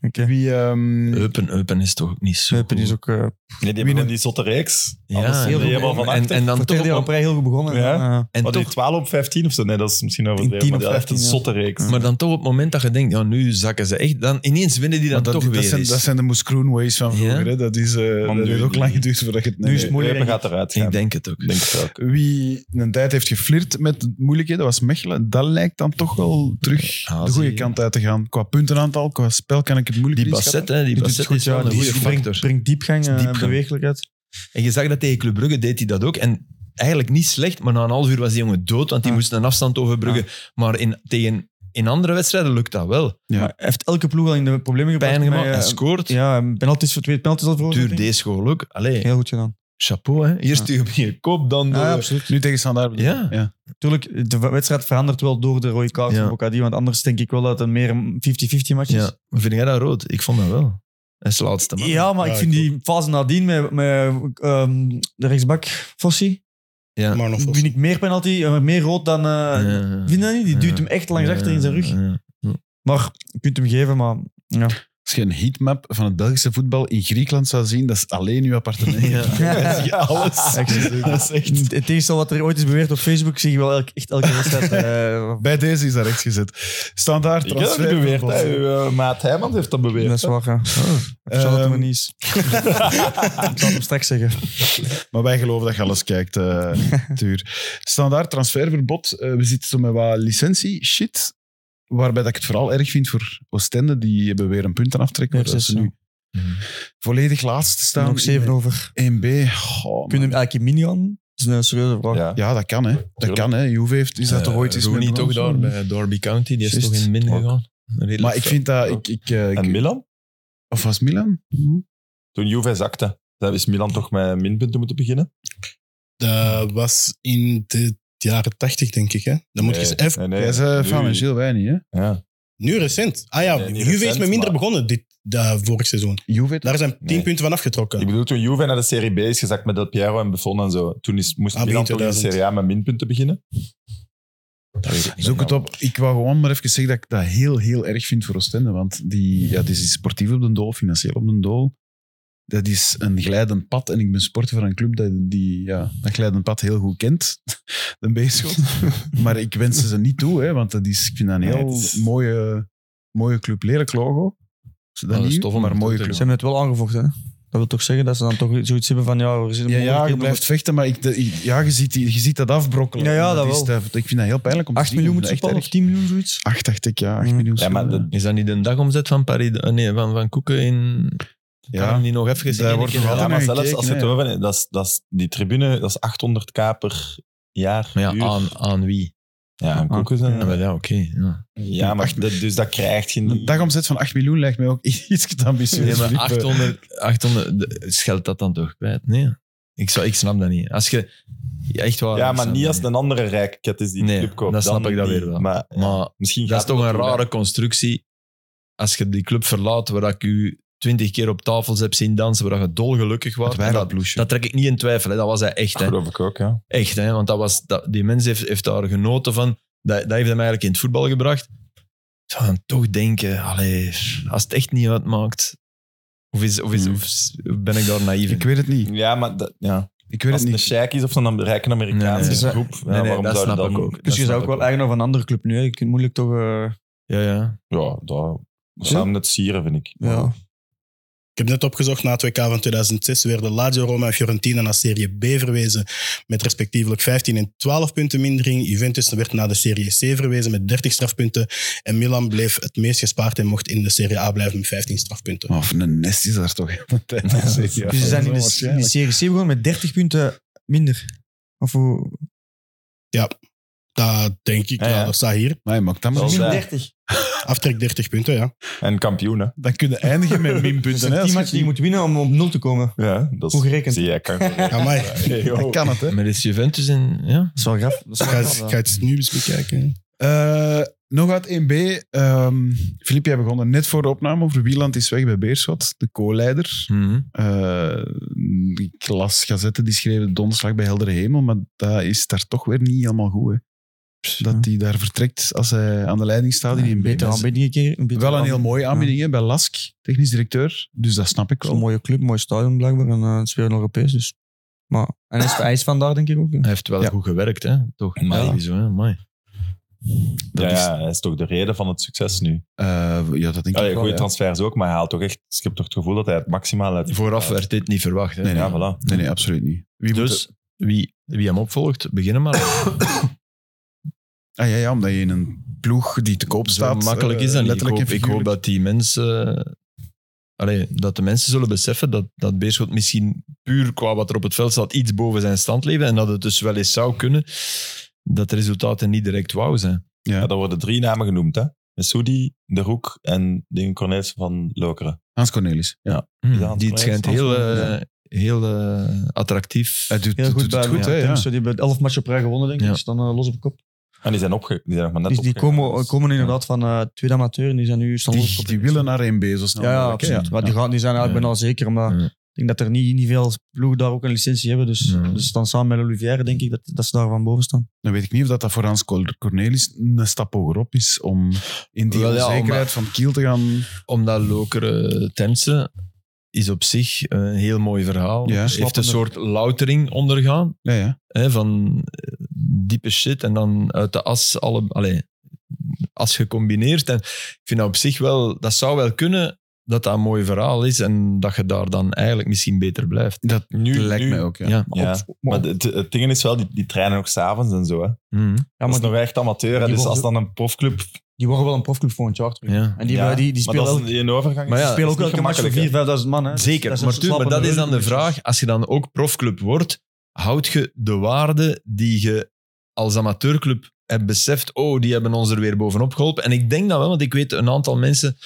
S3: Oké.
S2: Wie, ehm,
S4: Eupen, Eupen is toch ook niet zo
S3: Eupen is
S4: goed.
S3: ook eh,
S5: Nee, die
S2: Wie
S5: hebben
S2: dan?
S5: die zotte reeks.
S4: Ja,
S5: Alles
S4: heel goed.
S5: helemaal van
S4: en,
S5: achter.
S4: en dan
S3: voor
S4: toch...
S3: twee jaar op
S4: op-
S3: rij heel goed begonnen. Eh,
S5: Ja.
S3: Ja.
S4: En
S5: Wat, die
S4: toch
S5: 12 op 15 of zo? Nee, dat is misschien overdreven.
S3: 10
S5: Maar
S3: of
S5: die had echt een
S3: 15,
S5: zotte reeks.
S4: maar dan toch op het moment dat je denkt, ja, nu zakken ze echt, dan ineens winnen die dan
S2: want dat,
S4: toch
S2: dat,
S4: weer
S2: zijn,
S4: eens.
S2: dat zijn de Moes Croonways van
S4: Ja.
S2: vroeger. Hè? Dat, is, eh dat
S5: nu-
S2: heeft ook lang geduurd voordat je het...
S3: Nu is het moeilijk.
S5: Eupen
S3: denk ik.
S5: gaat eruit gaan.
S4: Ik denk het ook.
S5: Denk het ook.
S2: Wie een tijd heeft geflirt met moeilijkheden, was Mechelen. Dat lijkt dan toch wel terug
S4: Ah,
S2: de goede
S4: zie je.
S2: kant uit te gaan. Qua puntenaantal, qua spel kan ik het moeilijk
S4: Die
S2: inschatten.
S4: Basset, hè, die
S3: Die doet
S4: Basset
S3: het goed,
S4: is wel
S3: ja.
S4: een
S3: Die
S4: goede
S3: is- brengt,
S4: factor.
S3: brengt eh, diepgang en
S4: Diepgang.
S3: bewegelijkheid.
S4: En je zag dat tegen Club Brugge deed hij dat ook. En eigenlijk niet slecht, maar na een half uur was die jongen dood, want die
S3: Ja.
S4: moest een afstand overbruggen. Maar in, tegen, in andere wedstrijden lukt dat wel.
S2: Ja.
S3: Maar hij heeft elke ploeg al in de problemen gebracht.
S4: Pijn gemaakt,
S3: Maar, eh,
S4: hij scoort.
S3: Ja, penalties voor twee penalties al voor.
S4: Duur deze goal ook. Allee,
S3: Heel goed gedaan.
S4: chapeau. Hè. Eerst die op je kop, dan...
S3: Ja,
S4: de-
S3: ja, absoluut.
S2: Nu tegen Standaard.
S4: Ja.
S2: ja.
S3: Tuurlijk, de wedstrijd verandert wel door de rode kaart
S4: Ja.
S3: van Bocadi. Want anders denk ik wel dat het een meer 50-50 match is.
S4: Ja, maar vind jij dat rood? Ik vond dat wel. Hij is de laatste man.
S3: Ja, maar
S6: Ja,
S3: ik vind
S6: ik
S3: die fase nadien met, met ehm, de rechtsbak Fossi,
S4: Ja.
S6: Maar nog
S3: vind ik meer penalty, eh, meer rood dan... eh
S4: Ja.
S3: Vind je dat niet? Die duwt hem echt langs
S4: Ja,
S3: achter in zijn rug.
S4: ja.
S3: Maar je kunt hem geven, maar... Ja.
S2: Als je een heatmap van het Belgische voetbal in Griekenland zou zien, dat is alleen uw appartement.
S3: Ja.
S5: alles.
S3: Ik zie het.
S5: Dat is echt...
S3: In tegenstelling wat er ooit is beweerd op Facebook, zie je wel elk- echt elke wedstrijd. eh,
S2: Bij deze is dat rechts gezet. Standaard
S5: Ik heb dat niet beweerd. Hè. Uw eh, maat Heijmans heeft dat beweerd.
S3: dat is waar, ja. Ik zal het
S2: Ehm.
S3: maar niet eens. Ik zal het hem straks zeggen.
S2: Maar wij geloven dat je alles kijkt, eh Tuur. Standaard transferverbod. Eh, we zitten zo met wat licentie-shit. Waarbij dat ik het vooral erg vind voor Oostende. Die hebben weer een punt aan aftrekken.
S3: Ja,
S2: Dat ze
S3: zes,
S2: nu volledig laatste staan.
S3: Nog zeven over.
S2: 1B. Goh,
S3: Kun je
S2: man.
S3: hem eigenlijk in mini aan? Dat is een serieuze vraag.
S5: Ja.
S2: Ja, dat kan, hè. Dat
S5: Tuurlijk.
S2: kan, hè. Juve heeft, is dat toch ooit eens
S4: Eh, Rooney
S2: met
S4: toch daar
S2: begonnen?
S4: bij Derby County. Die is
S3: Juist.
S4: toch in min
S5: Ook.
S4: gegaan. Redelijk
S2: Maar ik vind dat... Ik, ik, eh, ik-
S5: En Milan?
S2: of was Milan?
S5: Toen Juve zakte, dan is Milan toch met minpunten moeten beginnen.
S6: Dat was in de jaren tachtig, denk ik. Hè? Dan moet
S5: Nee,
S6: je eens even...
S5: nee, nee.
S2: Jij zei
S5: Nu-
S2: van en Gilles wij niet, hè.
S5: Ja.
S6: Nu recent. Ah ja,
S5: Nee, niet
S6: Juve is
S5: recent,
S6: met minder
S5: maar-
S6: begonnen dit, dat vorig seizoen.
S2: Juve heeft-
S6: Daar zijn tien
S5: Nee.
S6: punten van afgetrokken.
S5: Ik bedoel, toen Juve naar de Serie B is gezakt met Del Piero en Buffon en zo, toen is, moest
S6: Ah, begin
S5: Milan toch in de
S6: 2000.
S5: Serie A met minpunten beginnen. Dat weet ik niet
S2: Zoek
S5: meer,
S2: het op. Ik wou gewoon maar even zeggen dat ik dat heel, heel erg vind voor Oostende. Want die, ja, die is sportief op de dool, financieel op de dool. dat is een glijdend pad. En ik ben sporter van een club dat, die ja, dat glijdend pad heel goed kent. De Beerschot. maar ik wens ze ze niet toe, hè, want dat is, ik vind dat een
S5: Nee,
S2: heel
S5: het is-
S2: mooie, mooie club. Lelijk logo. Is Dat
S4: dat is
S2: nieuw,
S4: tof om
S2: maar
S4: te
S2: mooie
S4: doen,
S2: club.
S3: Ze hebben het wel aangevochten, hè? Dat wil toch zeggen dat ze dan toch zoiets hebben van, ja, we
S2: Ja,
S3: zitten
S2: ja, je
S3: mogelijkheden om
S2: blijft vechten, maar ik, de- ik- ja, je, ziet, die- je ziet dat afbrokkelen.
S3: Ja, ja,
S2: En
S3: dat
S2: is, dat- ik vind dat heel pijnlijk om
S3: 8
S2: te zien.
S3: miljoen
S2: Ik
S3: moeten
S2: vind
S3: ze
S2: dat
S3: of
S2: echt erg.
S3: 10 miljoen, zoiets.
S2: Acht, dacht ik, ja. 8
S3: Mm.
S2: miljoen.
S5: Ja, maar
S2: schulden.
S5: dat-
S4: Is dat niet de dagomzet van, Paris, eh, nee, van, van Koeken in...
S2: Ja.
S4: Kan hem niet nog even
S2: Daar
S4: één
S2: wordt
S4: keer
S2: nog
S5: Ja,
S4: herhalen?
S5: maar
S2: naar
S5: zelfs
S2: gekeken,
S5: als we het
S2: hè.
S5: over hebben, dat is, dat is, die tribune, dat is 800k per jaar.
S4: Maar
S5: huur.
S4: ja, aan, aan wie?
S5: ja, aan koeken zijn.
S4: Ja, maar ja oké. ja.
S5: Ja, maar dat, dus dat krijg je
S2: Een
S5: niet.
S2: dagomzet van 8 miljoen lijkt mij ook iets te ambitieus.
S4: Nee, maar
S2: Philippe.
S4: 800, 800 de- scheldt dat dan toch kwijt? Nee. Ik, zou, ik snap dat niet. Als je echt waar,
S5: ja,
S4: ik
S5: maar
S4: snap
S5: niet
S4: dat
S5: als een andere rijke ket is die
S4: Nee,
S5: de club koopt.
S4: dan snap
S5: Dan
S4: ik dat
S5: die-
S4: weer wel.
S5: Maar,
S4: Maar
S5: misschien
S4: dat
S5: gaat
S4: is toch een
S5: het ook
S4: rare
S5: wel.
S4: constructie. Als je die club verlaat waar ik u twintig keer op tafels heb zien dansen, waar je dolgelukkig was.
S2: Het
S4: Dat,
S2: wijnbloesje.
S4: dat trek ik niet in twijfel. Hè. Dat was hij echt.
S5: Dat
S4: Hè.
S5: geloof ik ook, ja.
S4: Echt, hè? want dat was, dat, die mens heeft, heeft daar genoten van. Dat, dat heeft hem eigenlijk in het voetbal gebracht. Ik zou dan toch denken, allee, als het echt niet uitmaakt... Of, is, of, is,
S2: Hmm.
S4: of is- ben ik daar naïef in?
S2: Ik weet het niet.
S5: Ja, maar dat, ja.
S2: Ik weet
S5: als
S2: het
S5: het een
S2: niet.
S5: sheik is of een rijke Amerikaanse
S4: Nee, nee.
S5: groep, ja,
S4: Nee, nee,
S5: waarom
S4: dat
S5: zou je
S4: snap
S2: Mm,
S5: dan...
S4: ik ook.
S3: Dus
S4: Dat
S3: je
S4: snap
S3: zou ook
S4: ik
S3: wel
S4: wel.
S3: eigenaar van een andere club nu, hè. Je kunt moeilijk toch... eh,
S4: Ja, ja.
S5: Ja, dat... Samen het sieren, vind ik.
S3: ja.
S6: Ik heb net opgezocht, na het WK van 2006 werden Lazio, Roma en Fiorentina naar Serie B verwezen met respectievelijk 15 en 12 punten mindering. Juventus werd naar de Serie C verwezen met 30 strafpunten en Milan bleef het meest gespaard en mocht in de Serie A blijven met 15 strafpunten.
S2: Maar Of een nest is daar toch heel de tijd. Ja,
S3: Dus ze zijn in de, in de
S2: waarschijnlijk.
S3: Serie C begonnen met 30 punten minder. Of hoe...
S6: Dat denk ik,
S5: Ja,
S6: ja,
S5: ja.
S6: dat staat hier.
S2: Maar je mag dat maar
S5: Zoals
S2: doen.
S5: wij.
S3: 30.
S6: Aftrek 30 punten, ja.
S5: En kampioen, hè.
S2: Dan kunnen eindigen met minpunten. hè,
S3: Die
S2: als
S3: match Dus die je
S2: je-
S3: moet winnen om op 0 te komen.
S5: Ja, dat is...
S3: Hoe gerekend?
S5: Zie jij, kan
S6: Amai.
S5: Hey, yo.
S2: Dat kan het, hè.
S4: Met is Juventus in... Ja.
S3: Dat is wel graf.
S6: Ik ga, het- ik ga het nu eens bekijken.
S2: Eh, nog uit 1B. Ehm Filip, jij begon er net voor de opname over Wieland is weg bij Beerschot, de co-leider.
S4: Mhm.
S2: Eh, ik las gazetten die schreven donderslag bij heldere hemel, maar dat is daar toch weer niet helemaal goed. Hè? Dat hij daar vertrekt als hij aan de leiding staat in een
S3: beter aanbieding een keer.
S2: Wel
S3: betere
S2: een heel
S3: aanbieding.
S2: mooie aanbieding hè, bij Lask, technisch directeur. Dus dat snap ik
S3: Het is een
S2: wel.
S3: mooie club, mooi stadion blijkbaar. En eh, het is weer een Europees, dus... Maar, en hij is, hij is vandaar, denk ik ook. hè.
S4: Hij heeft wel
S2: Ja.
S4: goed gewerkt, hè? toch?
S5: Maar-
S4: Ja. Zo, hè? Mooi.
S5: Ja,
S2: Dat is-
S5: ja, dat is toch de reden van het succes nu.
S2: Eh, ja, dat denk
S5: Ja,
S2: ik wel.
S5: goede
S2: ja.
S5: transfers ook, maar hij haalt toch echt... Ik heb toch het gevoel dat hij het maximaal uit...
S4: Vooraf werd dit niet verwacht. Hè?
S2: Nee, nee.
S5: Ja, voilà.
S2: Nee, nee, absoluut niet. Wie moet-
S4: Dus wie, wie hem opvolgt, beginnen maar.
S2: Ah, ja, ja, omdat je in een ploeg die te koop
S4: Zo
S2: staat.
S4: makkelijk
S2: eh,
S4: is dat niet. Ik hoop,
S2: letterlijk en
S4: ik hoop
S2: figuurlijk.
S4: dat die mensen... eh, allee, dat de mensen zullen beseffen dat, dat Beerschot misschien puur qua wat er op het veld staat iets boven zijn stand leven en dat het dus wel eens zou kunnen dat de resultaten niet direct wauw zijn.
S5: Ja, daar worden drie namen genoemd, hè. Messoudi, De Roek en Dingen Cornelis van Lokeren.
S2: Hans Cornelis. Ja.
S5: Ja,
S4: die het schijnt heel, eh, heel eh, attractief.
S2: Hij doet,
S3: Heel
S2: doet
S3: goed bij
S2: het goed,
S3: goed,
S2: hè? Ja.
S3: Die hebben 11 matchen op rij gewonnen, denk ik.
S4: Ja.
S3: Dus dan eh, los op de kop.
S5: En die zijn, opge die zijn nog maar net
S3: Dus die
S5: opgegaan,
S3: komen,
S5: dus-
S3: komen inderdaad van eh tweede amateur en die zijn nu staan los op
S2: Die,
S3: kop.
S2: die willen naar Oh, 1B zo snel
S3: Ja, ja,
S2: mogelijk, hè,
S3: absoluut. Maar die, gaan, die zijn eigenlijk
S4: Ja.
S3: bijna zeker. Maar
S4: Ja.
S3: ik denk dat er niet, niet veel ploegen daar ook een licentie hebben. Dus
S4: Ja.
S3: ze staan samen met Olivier, denk ik, dat, dat ze daar van boven staan.
S2: Dan weet ik niet of dat, dat voor Hans Cor- Cornelis een stap hogerop is om in die
S4: Wel ja,
S2: onzekerheid
S4: omdat-
S2: van Kiel te gaan.
S4: Omdat Lokeren Temse is op zich een heel mooi verhaal.
S2: Ja,
S4: heeft
S2: snappende.
S4: een soort loutering ondergaan.
S2: Ja, ja.
S4: hè, van eh, diepe shit en dan uit de as alle, allee, as gecombineerd. En ik vind dat op zich wel, dat zou wel kunnen dat dat een mooi verhaal is en dat je daar dan eigenlijk misschien beter blijft.
S2: Dat
S5: Nu,
S2: lijkt
S5: nu-
S2: mij ook, ja.
S4: Ja.
S5: Ja,
S3: Maar
S5: maar,
S3: op- maar-
S5: het, het ding is wel, die, die trainen ook s'avonds en zo. Hè.
S4: Mhm.
S3: Ja,
S5: dat
S3: maar
S5: is
S3: die,
S5: nog echt amateur.
S3: die
S5: Hè. Dus
S3: worden-
S5: als dan een profclub...
S3: die worden wel een profclub volgend jaar terug.
S4: ja.
S3: En die,
S5: ja,
S3: die, die
S5: maar
S3: spelen,
S5: dat is
S3: elk-
S5: een- een overgang.
S4: Maar ja,
S5: is-
S3: spelen
S5: is
S3: ook
S5: niet
S3: elke match voor
S5: gemakkelijk,
S3: 4.000, 5.000 man. Hè.
S4: Zeker,
S3: is een
S4: maar, tuur, maar dat
S3: slapende
S4: is dan de
S3: reuzenkoek.
S4: vraag. Als je dan ook profclub wordt, houd je de waarde die je als amateurclub hebt beseft, oh, die hebben ons er weer bovenop geholpen. En ik denk dat wel, want ik weet een aantal mensen,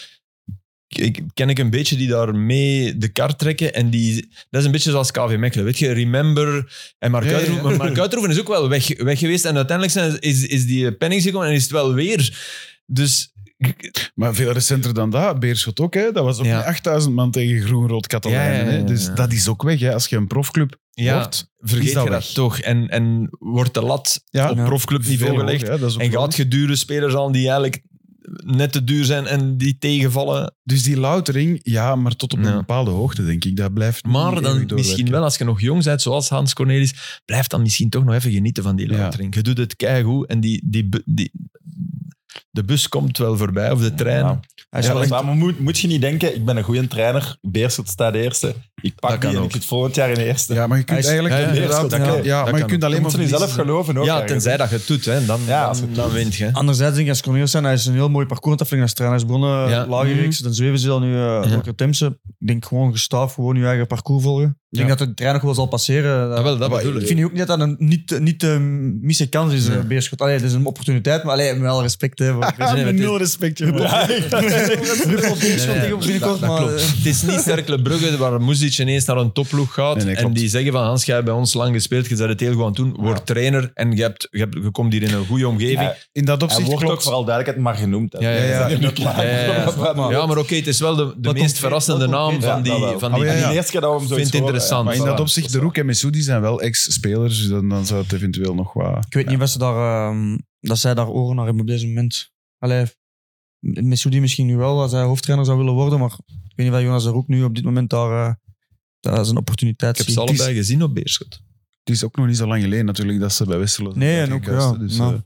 S4: ik, ken ik een beetje, die daar mee de kar trekken. En die, dat is een beetje zoals KV Mechelen, weet je, Remember en Mark
S2: Ja, ja, ja.
S4: Uitroeven. Maar Mark Uitroeven is ook wel weg, weg geweest. En uiteindelijk zijn, is, is die penning gekomen en is het wel weer. Dus
S2: Maar veel recenter dan dat, Beerschot ook, hè? Dat was ook
S4: Ja.
S2: met 8000 man tegen Groen-Rood Catalijnen.
S4: Ja, ja, ja,
S2: hè. Dus
S4: ja.
S2: dat is ook weg, hè? Als je een profclub
S4: ja,
S2: wordt,
S4: vergeet
S2: is dat
S4: je
S2: weg.
S4: dat toch. En, en wordt de lat
S2: Ja,
S4: op
S3: ja.
S4: profclubniveau
S2: veel
S4: gelegd.
S2: hoger, hè, dat is ook
S4: En
S2: wel-
S4: gaat je dure spelers aan die eigenlijk net te duur zijn en die tegenvallen.
S2: Dus die loutering, ja, maar tot op een
S4: Ja.
S2: bepaalde hoogte, denk ik. Dat blijft niet
S4: Maar
S2: eeuwig
S4: dan
S2: doorwerken.
S4: misschien wel, als je nog jong bent, zoals Hans Cornelis, blijf dan misschien toch nog even genieten van die
S2: Ja.
S4: loutering. Je doet het keigoed en die, die, bu- die, de bus komt wel voorbij, of de trein.
S5: Ja. Nou,
S3: Hij is
S5: Ja,
S3: wel
S5: maar
S3: echt-
S5: maar moet, moet je niet denken, ik ben een goede trainer, Beerschot staat eerste, ik pak
S4: Dat kan
S5: die en
S4: ook.
S5: ik zit volgend jaar in eerste.
S2: Ja, maar je kunt
S3: Hij is-
S2: eigenlijk
S4: Ja, ja,
S2: inderdaad...
S5: dat kan.
S2: ja,
S4: Dat
S2: maar je
S4: kan
S2: kunt alleen
S5: je
S2: maar...
S5: moet er niet
S2: verliezen,
S5: zelf geloven ook.
S4: Ja,
S5: ergens.
S4: tenzij dat je het doet, hè, dan,
S5: Ja, als je
S4: dan,
S5: het
S4: dan
S5: doet.
S4: wint je.
S3: Anderzijds denk ik, als Cornelissen, hij is een heel mooi parcours dat als trainer. Hij is begonnen
S4: Ja. Mhm.
S3: lager reeks, dan zweven ze dan nu eh
S4: Ja.
S3: Roker Temse. Ik denk gewoon gestaaf, gewoon je eigen parcours volgen. Ik denk dat de trein nog wel zal passeren.
S4: Ja, Ah, wel, dat
S2: Maar
S4: bedoel
S3: ik
S4: ik.
S3: vind nu ook niet dat dat een niet, niet te missen kans is,
S4: Ja.
S3: eh, Beerschot. Allee, het is een opportuniteit, maar allee, met alle respect. Hè, voor
S2: Ja, met
S3: Beerschot.
S2: nul respect, jongen.
S5: Ja,
S3: Ruppel Beerschot
S4: Nee, nee,
S3: tegen binnenkort,
S4: dat- dat
S3: maar...
S4: klopt.
S3: eh,
S4: Het is niet Cercle Brugge waar Muzic ineens naar een topploeg gaat
S2: Nee, nee,
S4: en
S2: klopt.
S4: die zeggen van Hans, jij hebt bij ons lang gespeeld, je bent het heel goed aan het doen, word trainer en je, hebt, je, hebt, je komt hier in een goede omgeving.
S5: Ja,
S2: In dat
S5: Hij
S2: opzicht
S5: wordt ook
S2: klopt.
S5: vooral duidelijkheid maar genoemd. hè.
S4: Ja, ja, ja.
S5: Dat is niet klaar.
S4: Ja, ja, ja.
S5: Maar-
S4: Ja, maar oké, het is wel de, de
S3: Dat
S4: meest
S3: concreet-
S4: verrassende
S3: dat
S4: naam
S3: concreet-
S4: van
S5: Ja, dat
S4: die...
S5: wel.
S4: Van
S2: Ah,
S4: die
S2: ja,
S5: En
S2: ja.
S5: die eerste keer dat we hem
S4: Vind
S5: zoiets
S4: het
S5: horen,
S4: interessant.
S5: ja.
S2: Maar in dat
S5: Voilà.
S2: opzicht, de Roek en Messoudi zijn wel ex-spelers, dus dan, dan zou het eventueel nog wat...
S3: Ik weet niet of ze daar, ehm, dat zij daar oren naar hebben op deze moment. Allee, Messoudi misschien nu wel, als hij hoofdtrainer zou willen worden, maar ik weet niet of Jonas de Roek nu op dit moment daar, eh, daar is een opportuniteit
S4: Ik heb
S3: ziet.
S4: ze allebei gezien op Beerschot.
S2: Het is ook nog niet zo lang geleden natuurlijk dat ze bij Westerlo zijn
S3: Nee, en ook,
S2: uitgekast,
S3: ja,
S2: hè, Dus,
S3: maar-
S2: eh,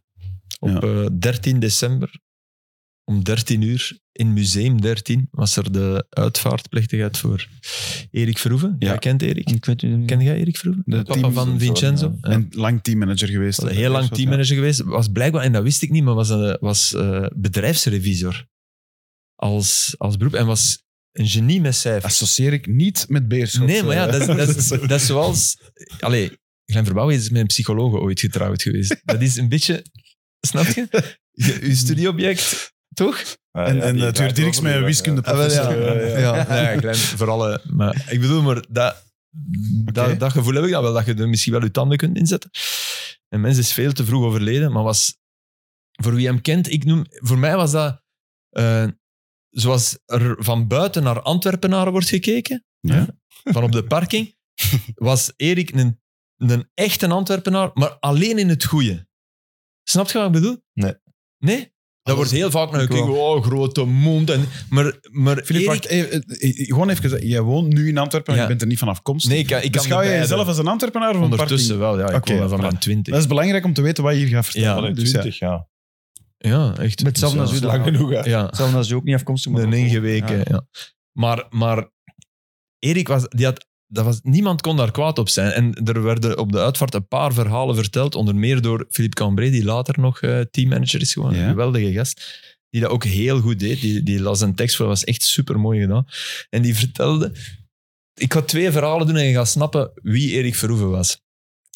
S4: Op eh, 13 december om 13 uur in Museum 13 was er de uitvaartplechtigheid voor Erik Verhoeven.
S2: Ja.
S4: Jij kent Erik.
S3: Ik weet het niet.
S4: Ken jij Erik Verhoeven?
S2: De
S4: De, papa
S2: team-
S4: van Vincenzo. Ja.
S2: En lang teammanager geweest.
S4: Was een heel lang
S2: Ja.
S4: teammanager geweest. Was blijkbaar, en dat wist ik niet, maar was, een, was eh, bedrijfsrevisor als, als beroep. En was een genie met cijfers.
S2: Associeer ik niet met Beerschot.
S4: nee, maar ja,
S2: eh.
S4: dat is, dat is, dat is zoals... Allee, Glenn Verbouw is met een psycholoog ooit getrouwd geweest. Dat is een beetje... Snap je? Je, je studieobject, toch?
S5: Ja,
S2: En,
S5: ja,
S2: en
S5: die
S2: het werd
S5: draait
S2: niks
S5: over
S2: met een
S5: die-
S2: wiskundeprofessor.
S4: Ah, wel,
S2: eh, ja.
S4: Ja, nee, Glenn, voor alle... Maar ik bedoel, maar dat, dat, dat gevoel heb ik dan wel, dat je er misschien wel je tanden kunt inzetten. En mensen is veel te vroeg overleden, maar was... Voor wie hem kent, ik noem... Voor mij was dat... eh, zoals er van buiten naar Antwerpenaren wordt gekeken,
S2: Ja.
S4: van op de parking, was Erik een, een echte Antwerpenaar, maar alleen in het goede. Snap je wat ik bedoel?
S5: Nee.
S4: Nee? Dat wordt heel vaak naar gekeken, oh, grote mond. En, maar maar
S2: Filip,
S4: Erik-
S2: wacht. even, eh, eh, gewoon even, zeggen, jij woont nu in Antwerpen en
S4: Ja.
S2: je bent er niet van afkomstig.
S4: Nee, ik, ik kan
S2: Beschouw
S4: de
S2: jij
S4: beide.
S2: jezelf als een Antwerpenaar of een
S4: Ondertussen
S2: parking?
S4: wel, ja. Ik
S2: Oké,
S4: kom wel van
S2: voilà.
S4: mijn
S2: Dat
S4: twintig.
S2: is belangrijk om te weten wat je hier gaat vertellen.
S5: Ja,
S2: Dus ja.
S5: 20, ja.
S4: Ja, echt.
S3: Met hetzelfde als u
S5: Lang
S3: dan.
S5: genoeg, hè.
S4: Ja,
S3: Hetzelfde als u ook niet afkomstig. maar
S4: een
S3: ook-
S4: ingeweken.
S3: Ja.
S4: Ja. Maar, maar Erik was... Die had, dat was, niemand kon daar kwaad op zijn. En er werden op de uitvaart een paar verhalen verteld, onder meer door Philippe Cambré, die later nog eh, teammanager is geworden.
S2: Ja.
S4: Een geweldige gast. Die dat ook heel goed deed. Die, die las een tekst voor, dat was echt super mooi gedaan. En die vertelde... Ik ga twee verhalen doen en je gaat snappen wie Erik Verhoeven was.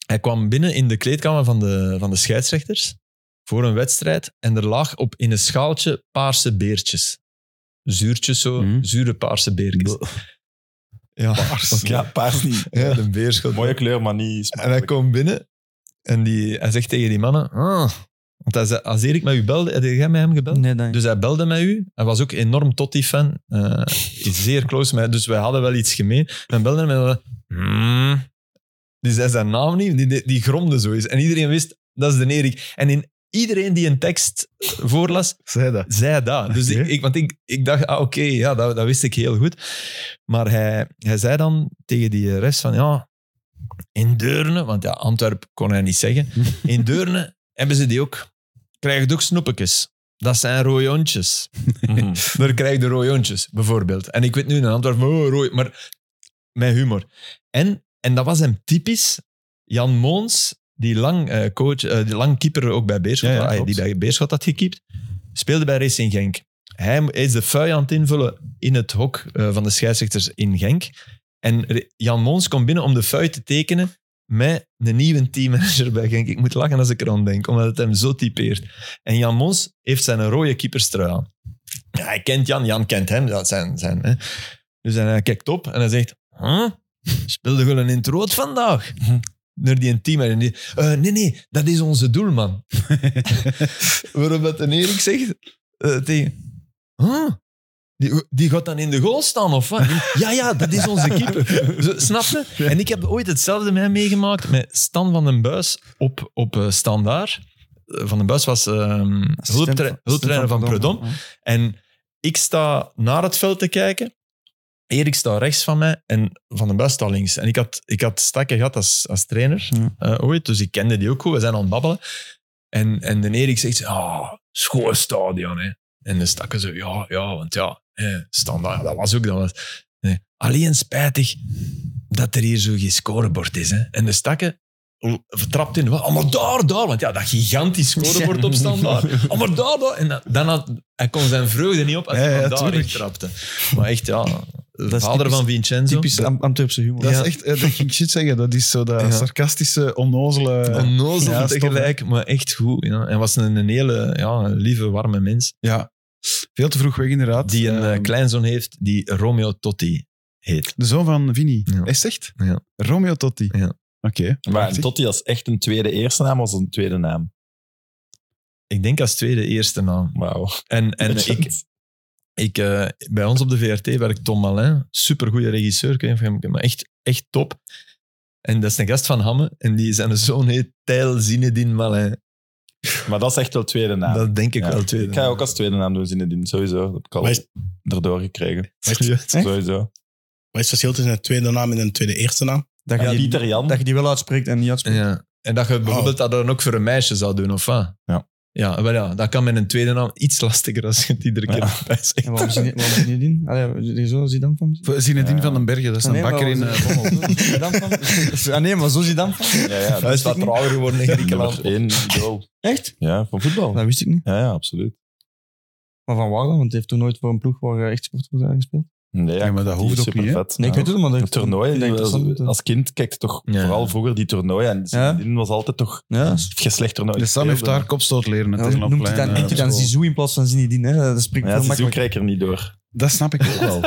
S4: Hij kwam binnen in de kleedkamer van de, van de scheidsrechters voor een wedstrijd en er lag op in een schaaltje paarse beertjes. Zuurtjes zo,
S2: Mhm.
S4: zure paarse beertjes. Ja, paars.
S5: Ja, paars niet.
S4: Ja, een beerschot.
S5: Mooie kleur, maar niet
S4: En hij
S5: smakelijk.
S4: komt binnen en die, hij zegt tegen die mannen... Ah. Want hij zei, als Erik met u belde, heb jij met hem gebeld?
S3: Nee, dank.
S4: Dus hij belde met u. Hij was ook enorm Totti-fan. eh, is zeer close met Dus wij hadden wel iets gemeen. En belde hem en hij "Hmm." Die zei zijn naam niet, die, die, die gromde zo eens. En iedereen wist, dat is de Erik. En in, iedereen die een tekst voorlas,
S2: Zei dat.
S4: zei dat. Dus
S2: Oké.
S4: ik, ik, want ik, ik dacht, ah, oké, ja, dat, dat wist ik heel goed. Maar hij, hij zei dan tegen die rest van, ja, in Deurne, want ja, Antwerp kon hij niet zeggen, in Deurne hebben ze die ook, krijgen die ook snoepetjes. Dat zijn rooiontjes.
S5: Mhm.
S4: Daar krijg je de rooiontjes, bijvoorbeeld. En ik weet nu in Antwerpen, oh, rooi, maar mijn humor. En, en dat was hem typisch, Jan Moons, die lang, eh, coach, eh, die lang keeper ook bij Beerschot,
S2: Ja, ja,
S4: ah,
S2: klopt.
S4: die bij Beerschot had gekiept, speelde bij Racing Genk. Hij is de fui aan het invullen in het hok eh, van de scheidsrechters in Genk. En Re- Jan Moons komt binnen om de fui te tekenen met een nieuwe teammanager bij Genk. Ik moet lachen als ik eraan denk, omdat het hem zo typeert. En Jan Mons heeft zijn rode keeperstrui aan. Ja, hij kent Jan, Jan kent hem. Dat zijn, zijn, hè. Dus en hij kijkt op en hij zegt... Huh? Speelde gewoon in het rood vandaag? Naar die team en die... "Eh, nee, nee, dat is onze doelman. Waarop dat een Erik zegt eh, tegen... Huh? Die, die gaat dan in de goal staan, of wat? Ja, ja, dat is onze keeper. Zo, snap je? En ik heb ooit hetzelfde met hem meegemaakt met Stan van den Buis op, op eh, Standaard Van den Buis was ehm, hulptra- hulptrainer van Predom. En ik sta naar het veld te kijken. Erik staat rechts van mij en Van den Buis staat links. En ik had, ik had Stakke gehad als, als trainer
S3: Ja.
S4: eh, ooit, dus ik kende die ook goed. We zijn aan het babbelen. En, en de Erik zegt, ah, schoon stadion. Hè. En de Stakke zo, ja, ja, want ja, hè, standaard. Dat was ook, dat was... nee. Alleen spijtig dat er hier zo geen scorebord is. Hè. En de Stakke vertrapt in, oh, maar daar, daar. Want ja, dat gigantisch scorebord op standaard. Oh, maar daar, daar. En dan- dan had, hij kon zijn vreugde niet op als
S2: Ja,
S4: hij
S2: ja,
S4: hem daar
S2: tuurlijk.
S4: in trapte. Maar echt, ja. De
S3: is
S4: vader
S3: typisch-
S4: van Vincenzo.
S3: Typisch Am- Antwerpse humor.
S2: Dat is echt, eh, dat ging ik shit zeggen. Dat is zo dat
S4: Ja.
S2: sarcastische, onnozele.
S4: Onnozel
S2: Ja, stom,
S4: tegelijk, maar echt goed. Ja. En was een, een hele ja, lieve, warme mens.
S2: Ja, veel te vroeg weg inderdaad.
S4: Die een eh,
S2: Ehm,
S4: kleinzoon heeft die Romeo Totti heet.
S2: De zoon van Vinny.
S4: Ja.
S2: Is echt?
S4: Ja.
S2: Romeo Totti.
S4: Ja.
S2: Oké.
S5: Maar Totti als echt een tweede eerste naam was een tweede naam.
S4: Ik denk als tweede eerste naam.
S5: Wauw.
S4: En, en
S5: Legend.
S4: ik, ik, eh, bij ons op de VRT werkt Tom Malin, supergoeie regisseur, ik weet niet of je hem kent, maar echt, echt top. En dat is een gast van Hamme, en die zijn zoon heet Tijl Zinedine Malin.
S5: Maar dat is echt wel tweede naam.
S4: Dat denk ik
S5: Ja.
S4: wel tweede.
S5: Ik ga je ook als tweede naam doen, Zinedine. Sowieso. Dat heb ik al
S6: Maar is-
S5: erdoor gekregen.
S6: Echt?
S5: Sowieso.
S6: Wat is het verschil tussen een tweede naam en een tweede eerste naam?
S3: Dat, je
S5: Ja,
S3: die,
S5: Pieter Jan.
S3: dat je die wel uitspreekt en niet uitspreekt.
S4: Ja. En dat je bijvoorbeeld dat dan ook voor een meisje zou doen, of wat?
S5: Ja.
S4: Ja, wel ja, dat kan met een tweede naam iets lastiger als je het iedere keer
S5: Ja.
S4: bij zegt.
S3: En waarom zie je waarom zie je die? Allee, die zo zie je dan van? Ah,
S2: Zinedine
S5: Ja.
S2: van den Bergen, dat is een
S3: Nee, maar
S2: bakker in...
S3: waarom
S2: eh, Bommel.
S3: zie je dan van? Ah nee, maar zo zie je dan van?
S5: Ja, ja.
S4: Hij is wat trouwer geworden in Griekenland.
S5: Nummer één idool.
S3: Echt?
S5: Ja, van voetbal.
S3: Dat wist ik niet.
S5: Ja, ja, absoluut.
S3: Maar van waar dan? Want hij heeft toen nooit voor een ploeg waar eh, echt sport wordt aangespeeld.
S5: Nee, ja,
S2: Ja, maar dat hoeft ook niet, hè?
S5: Vet.
S3: Nee, ik weet het niet, maar dat
S5: toernooien,
S3: dat
S5: die we
S3: interessant
S5: eh, als,
S3: moeten.
S5: als kind kijk je toch
S4: Ja.
S5: vooral vroeger die toernooien. En Zinedine was altijd toch
S3: Ja.
S5: het geslecht toernooi.
S2: De Sam heeft
S5: speelde.
S2: daar kopstoot leren. Het
S3: Ja,
S2: hele
S3: noemt hij
S2: plein,
S3: dan,
S2: eh,
S3: noemt hij dan
S2: op school.
S3: Zizou in plaats van Zinedine? Hè? Dat spreekt
S5: Maar Ja,
S3: veel
S5: Zizou
S3: makkelijker.
S5: krijg ik er niet door.
S2: Dat snap ik ook wel.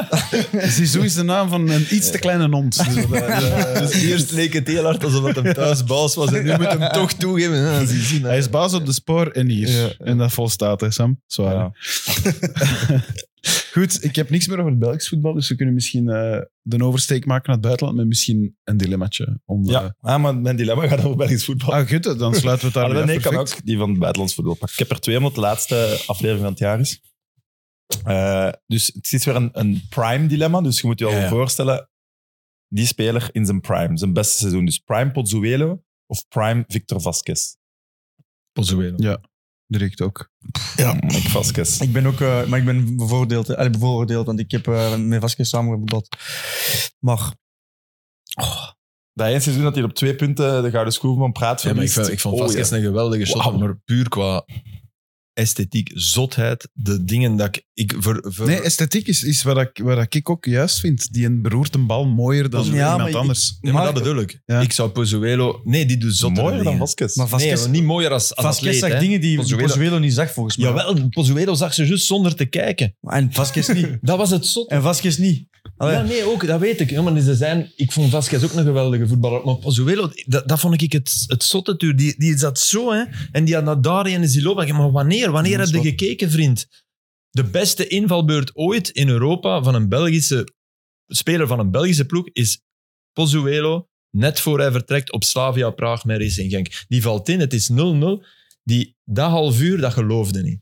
S2: Zizou is de naam van een iets te kleine hond. Dus dat, eh,
S4: Dus eerst leek het heel hard alsof dat hem thuis baas was en nu moet hem toch toegeven. Ja, zie, zie,
S2: hij is baas op de spoor en hier.
S3: Ja.
S2: En dat volstaat, hè, Sam? Zwaar.
S5: Ja.
S2: Goed, ik heb niks meer over het Belgisch voetbal, dus we kunnen misschien eh, de oversteek maken naar het buitenland met misschien een dilemmaatje. Om, eh,
S5: Ja, ah, maar mijn dilemma gaat over Belgisch voetbal.
S2: ah, goed, dan sluiten we het daar weer
S5: Ah, nee,
S2: af.
S5: nee, ik kan
S2: Perfect.
S5: ook die van het buitenlands voetbal pakken. Ik heb er twee, omdat de laatste aflevering van het jaar is. Eh, dus het is weer een, een prime dilemma. Dus je moet je al
S4: Ja, ja.
S5: voorstellen, die speler in zijn prime, zijn beste seizoen. Dus prime Pozzuelo of prime Victor Vasquez.
S4: Pozuelo.
S2: Direct ook.
S6: Ja.
S5: Mike Vasquez.
S3: Ik ben ook, eh, maar ik ben bevoordeeld, eh, allee, bevooroordeeld, want ik heb eh, met Vasquez samengevoetbald. Maar
S5: Dat ene seizoen dat hij op twee punten de gouden schoen van Praat
S4: Ja, maar ik,
S5: verliest.
S4: vond- ik vond
S5: Oh, ja.
S4: Vasquez een geweldige shot,
S5: Wauw.
S4: maar puur qua esthetiek, zotheid, de dingen dat ik... ik voor, voor-
S2: Nee, esthetiek is, is wat, ik, wat ik ook juist vind. Die een beroert een bal mooier dan
S3: Ja, maar
S2: iemand
S3: ik-
S2: anders.
S4: Nee, maar dat
S3: Maar-
S4: bedoel ik.
S2: Ja.
S4: Ik zou Pozuelo... Nee, die doet zottere
S5: Mooier dan
S4: dingen.
S5: Vasquez.
S3: Maar Vasquez-
S4: Nee, niet mooier als, als
S3: Vasquez
S4: atleet,
S3: zag
S4: hè.
S3: dingen die
S4: Pozuelo-
S3: Pozuelo niet zag, volgens mij.
S4: Jawel, Pozuelo zag ze juist zonder te kijken.
S3: En Vasquez niet.
S4: Dat was het zot.
S3: En Vasquez niet. Allee.
S4: Ja, nee, ook, dat weet ik. Ja, maar ze zijn, ik vond Vasquez ook een geweldige voetballer. Maar Pozuelo, dat, dat vond ik het, het zotte tuur. Die, die zat zo, hè. En die had naar Dari en Zilo. Maar wanneer? Wanneer
S3: Ja, dat
S4: heb
S3: is
S4: je
S3: waar.
S4: gekeken, vriend? De beste invalbeurt ooit in Europa van een Belgische speler van een Belgische ploeg is Pozuelo. Net voor hij vertrekt op Slavia Praag met Racing Genk. Die valt in, het is 0-0. Die, dat half uur, dat geloofde niet.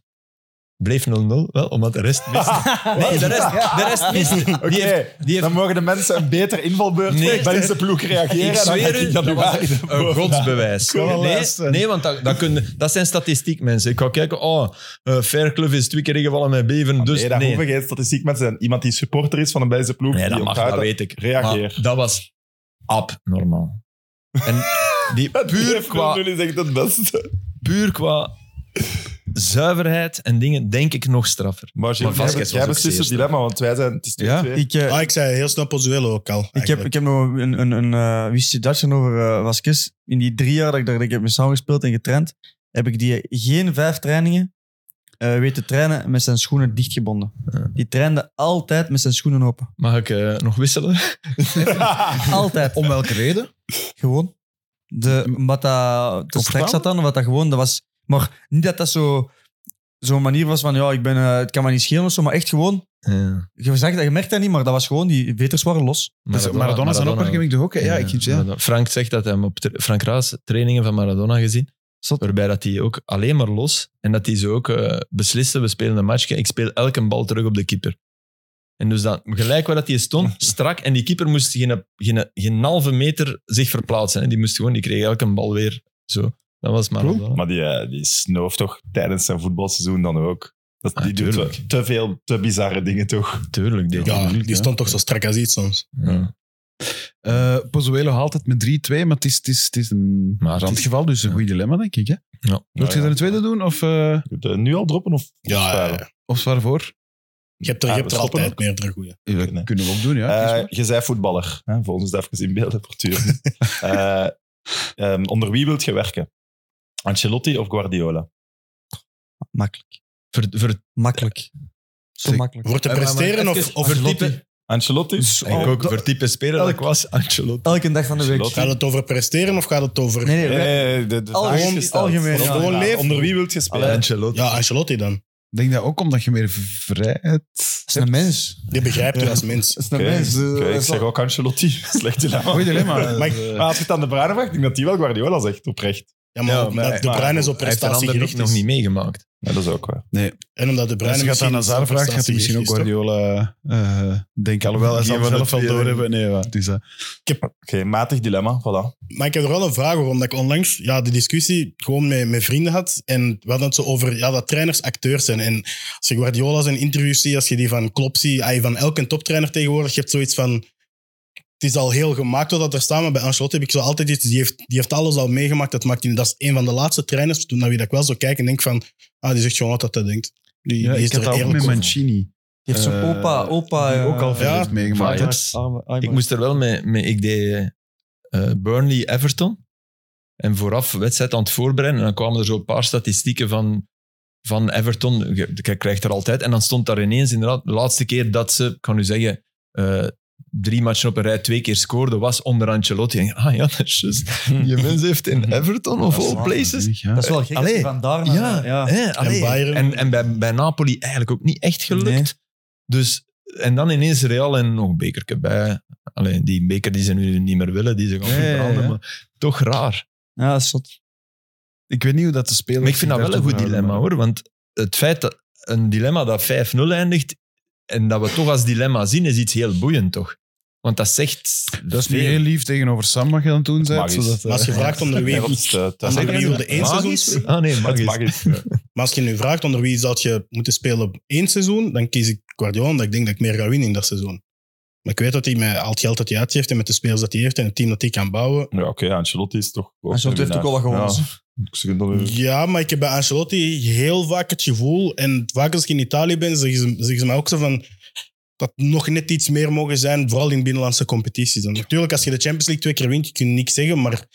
S4: Bleef 0-0, wel, omdat de rest miste. Nee, de rest, de rest miste.
S5: Oké,
S4: Die heeft- die heeft
S5: dan mogen de mensen een beter invalbeurt
S4: Nee.
S5: voor de Belgische ploeg reageren.
S4: Ik
S5: Dan ga
S4: zweer u,
S5: ik dat
S4: dat
S5: doen.
S4: was een godsbewijs.
S2: Cool.
S4: Nee, nee want dat, dat, kun, je- dat zijn statistiek, mensen. Ik ga kijken, oh, eh Fairclough is twee keer ingevallen met Beven, dus
S5: Ah, nee, daar
S4: nee.
S5: hoeven geen statistiek mensen te zijn. Iemand die supporter is van een Belgische ploeg.
S4: Nee,
S5: die
S4: dat mag,
S5: onthoudt
S4: dat weet ik.
S5: Reageer.
S4: Maar dat was abnormaal. En die puur qua,
S5: 0 is echt het beste.
S4: puur qua zuiverheid en dingen, denk ik nog straffer.
S5: Maar Gilles,
S4: Vasquez
S5: jij,
S4: was
S5: jij
S4: ook
S5: beslist
S4: zeer
S5: het
S4: sterk.
S5: dilemma, want wij zijn... Het is
S2: Ja,
S5: 2-2.
S3: Ik, eh,
S6: Ah, ik zei heel snel Pozuelo ook al.
S3: ik, heb, ik heb nog een, een, een eh, wisseltje over eh, Vasquez. In die drie jaar dat ik daar dat ik heb mee samengespeeld en getraind, heb ik die geen vijf trainingen eh, weten trainen met zijn schoenen dichtgebonden.
S4: Ja.
S3: Die trainde altijd met zijn schoenen open.
S4: Mag ik eh, nog wisselen?
S3: Altijd.
S2: Om welke reden?
S3: Gewoon. De, wat dat te straks zat dan, wat dat gewoon, dat was... Maar niet dat dat zo- zo'n manier was van, ja, ik ben, eh, het kan me niet schelen of zo, maar echt gewoon...
S4: Ja.
S3: Je, zag, dat- je merkt dat niet, maar dat was gewoon, die veters waren los.
S2: Dus Maradona,
S4: Eh,
S2: zijn opmerking heb ik toch ook. hè? Ja, ik, ja.
S4: Maradona. Frank zegt dat hij hem op tra- Frank Raas trainingen van Maradona gezien.
S3: Zot.
S4: Waarbij dat hij ook alleen maar los en dat hij ze ook eh, besliste. We spelen een matchje, ik speel elke bal terug op de keeper. En dus dan, gelijk waar dat hij stond, strak. En die keeper moest geen, geen, geen halve meter zich verplaatsen. Hè. Die, moest gewoon, die kreeg elke bal weer zo. Dat was maar.
S5: Maar die, eh, die snooft toch tijdens zijn voetbalseizoen dan ook. Dat,
S4: Ah,
S5: die doet
S4: tuurlijk.
S5: te, te veel, te bizarre dingen toch.
S4: Tuurlijk, deed hij
S6: Ja,
S4: dat.
S6: die stond toch zo strak als iets soms.
S4: Ja.
S2: Eh Pozuelo haalt het met 3-2, maar het is, het is, het is een
S4: Maar het is-
S2: randgeval, dus een
S4: ja.
S2: goed dilemma, denk ik. Hè?
S4: Ja.
S2: Wilt je
S5: ja.
S2: er een tweede doen, of, eh
S5: Moet, eh, Nu al droppen of
S6: Ja,
S5: sparen?
S6: ja, ja.
S2: of zwaar voor?
S6: je hebt er,
S5: Ah,
S6: je
S5: we
S6: hebt er
S5: stoppen
S6: altijd
S5: ook.
S6: meerdere goeie.
S2: Ja, dat
S5: Nee.
S2: kunnen we ook doen, ja. het is
S5: Eh
S2: waar.
S5: je zei voetballer. Hè? Voor ons dat even in beeld, hè, Portuur. Eh, ehm, onder wie wilt je werken? Ancelotti of Guardiola?
S3: Makkelijk.
S4: Ver, ver,
S3: Makkelijk. Zo
S2: Zeg,
S3: makkelijk.
S6: Voor te
S4: Eh, maar-
S6: presteren
S4: maar
S6: of,
S4: even-
S6: of
S4: voor
S6: het
S4: type-
S5: Ancelotti? Oh,
S4: Ik ook voor type speler dat ik was, Ancelotti.
S3: Elke dag van de week.
S5: Ancelotti.
S6: Gaat het over presteren of gaat het over...
S3: Nee, nee.
S5: Nee,
S3: wij-
S5: nee, de, de
S3: Algemeen-
S5: vraag is gesteld.
S3: algemeen, ja.
S5: Onder-
S6: Gewoon leven.
S5: Onder wie wilt je spelen?
S4: Allee, Ancelotti.
S6: Ja, Ancelotti dan.
S2: Ik denk dat ook omdat je meer vrijheid...
S3: Dat is een mens.
S6: Die begrijpt u als mens.
S3: Dat is een
S5: Oké,
S3: mens. Eh,
S5: oké, ik
S3: dat is
S5: zeg
S3: wel-
S5: ook Ancelotti. Slecht dilemma.
S2: Goed dilemma.
S6: Maar ik-
S2: eh,
S5: Maar als je het aan de Bruyne vraagt, denk ik dat die wel Guardiola zegt, oprecht.
S6: Ja, maar
S5: Ja,
S6: omdat
S5: maar-
S6: De Bruyne is op
S4: Hij heeft een
S6: prestatie
S4: ander nog,
S6: gericht
S4: nog
S6: is.
S4: niet meegemaakt.
S5: Ja, dat is ook waar.
S6: En omdat De Bruyne
S2: Als je gaat aan Hazard
S6: op
S2: vraagt, gaat hij
S6: prestatie
S2: misschien ook
S6: gericht is,
S2: Guardiola eh denken. Alhoewel, hij
S5: Geen
S2: zal
S5: van de
S2: zelf wel
S5: twee,
S2: doorhebben. Nee, maar het is dat.
S5: Oké, matig dilemma, voilà.
S6: toch? Maar ik heb er wel een vraag over, omdat ik onlangs ja, de discussie gewoon met, met vrienden had. En we hadden het zo over ja, dat trainers acteurs zijn. En als je Guardiola zijn interviews ziet, als je die van Klopp ziet, ah, van elke toptrainer tegenwoordig, je hebt zoiets van... Het is al heel gemaakt wat dat er staat, maar bij Ancelotti heb ik zo altijd iets... Die heeft, die heeft alles al meegemaakt, dat maakt hij... Dat is een van de laatste trainers, toen naar wie dat ik wel zo kijk en denk van... Ah, die zegt gewoon wat dat hij denkt. Die,
S2: Ja,
S6: die
S2: ik
S6: is
S2: had
S6: er
S2: dat ook
S6: eerlijk
S2: met
S6: over.
S2: Mancini.
S3: Je hebt zo'n
S2: Eh,
S3: opa, opa.
S2: die
S3: eh,
S2: ook al veel
S6: ja.
S2: heeft meegemaakt. hè.
S4: Ajax.
S3: arme-
S5: Ah,
S3: arme-
S4: Ik moest er wel mee... mee ik deed eh, Burnley Everton. En vooraf wedstrijd aan het voorbereiden. En dan kwamen er zo een paar statistieken van, van Everton. Je, je krijgt er altijd. En dan stond daar ineens inderdaad de laatste keer dat ze, ik kan u zeggen... eh, drie matchen op een rij twee keer scoorde, was onder Ancelotti. En, ik dacht, ah ja, dat is juist. Je mens heeft in Everton of
S5: Dat is
S4: all
S5: waar,
S4: places
S2: Ja.
S3: Dat is wel gek.
S4: Allee.
S3: dat die Van daar naar-
S4: Ja,
S3: ja.
S4: Hè, allee.
S6: Bayern.
S4: En, en bij, bij Napoli eigenlijk ook niet echt gelukt.
S3: Nee.
S4: Dus, en dan ineens Real en nog een bekerke bij. Alleen die beker die ze nu niet meer willen, die ze gaan
S2: Ja, ja,
S4: verbranden.
S2: ja.
S4: Maar toch raar.
S3: Ja, dat is zot.
S2: Ik weet niet hoe dat te spelen
S4: Maar ik vind dat wel een goed dilemma hoor. Want het feit dat een dilemma dat 5-0 eindigt en dat we toch als dilemma zien, is iets heel boeiend toch? Want dat zegt.
S2: Dat is nu
S4: veel.
S2: heel lief tegenover Sam wat je aan het doen bent.
S5: Magisch.
S3: eh,
S2: Zodat,
S6: Maar als je vraagt onder wie...
S5: Ja, dat is, eh, dat is
S6: Zeg
S5: echt-
S6: wie wilde één
S4: Magisch?
S6: seizoen-
S4: Ah nee,
S5: het
S4: magisch.
S5: mag eens. Ja.
S6: Maar als je nu vraagt onder wie zou je moeten spelen op één seizoen, dan kies ik Guardiola, omdat ik denk dat ik meer ga winnen in dat seizoen. Maar ik weet dat hij met al het geld dat hij uitgeeft en met de spelers dat hij heeft en het team dat hij kan bouwen.
S5: Ja, oké, Ancelotti is toch... ook
S3: Ancelotti
S5: een
S3: heeft ook al wat
S5: winnaar.
S3: gewonnen.
S5: Ja, ik zeg dat nu-
S6: Ja, maar ik heb bij Ancelotti heel vaak het gevoel, en vaak als ik in Italië ben, zeggen ze, zeggen ze mij ook zo van dat nog net iets meer mogen zijn, vooral in binnenlandse competities. En natuurlijk, als je de Champions League twee keer wint, je kunt niks zeggen, maar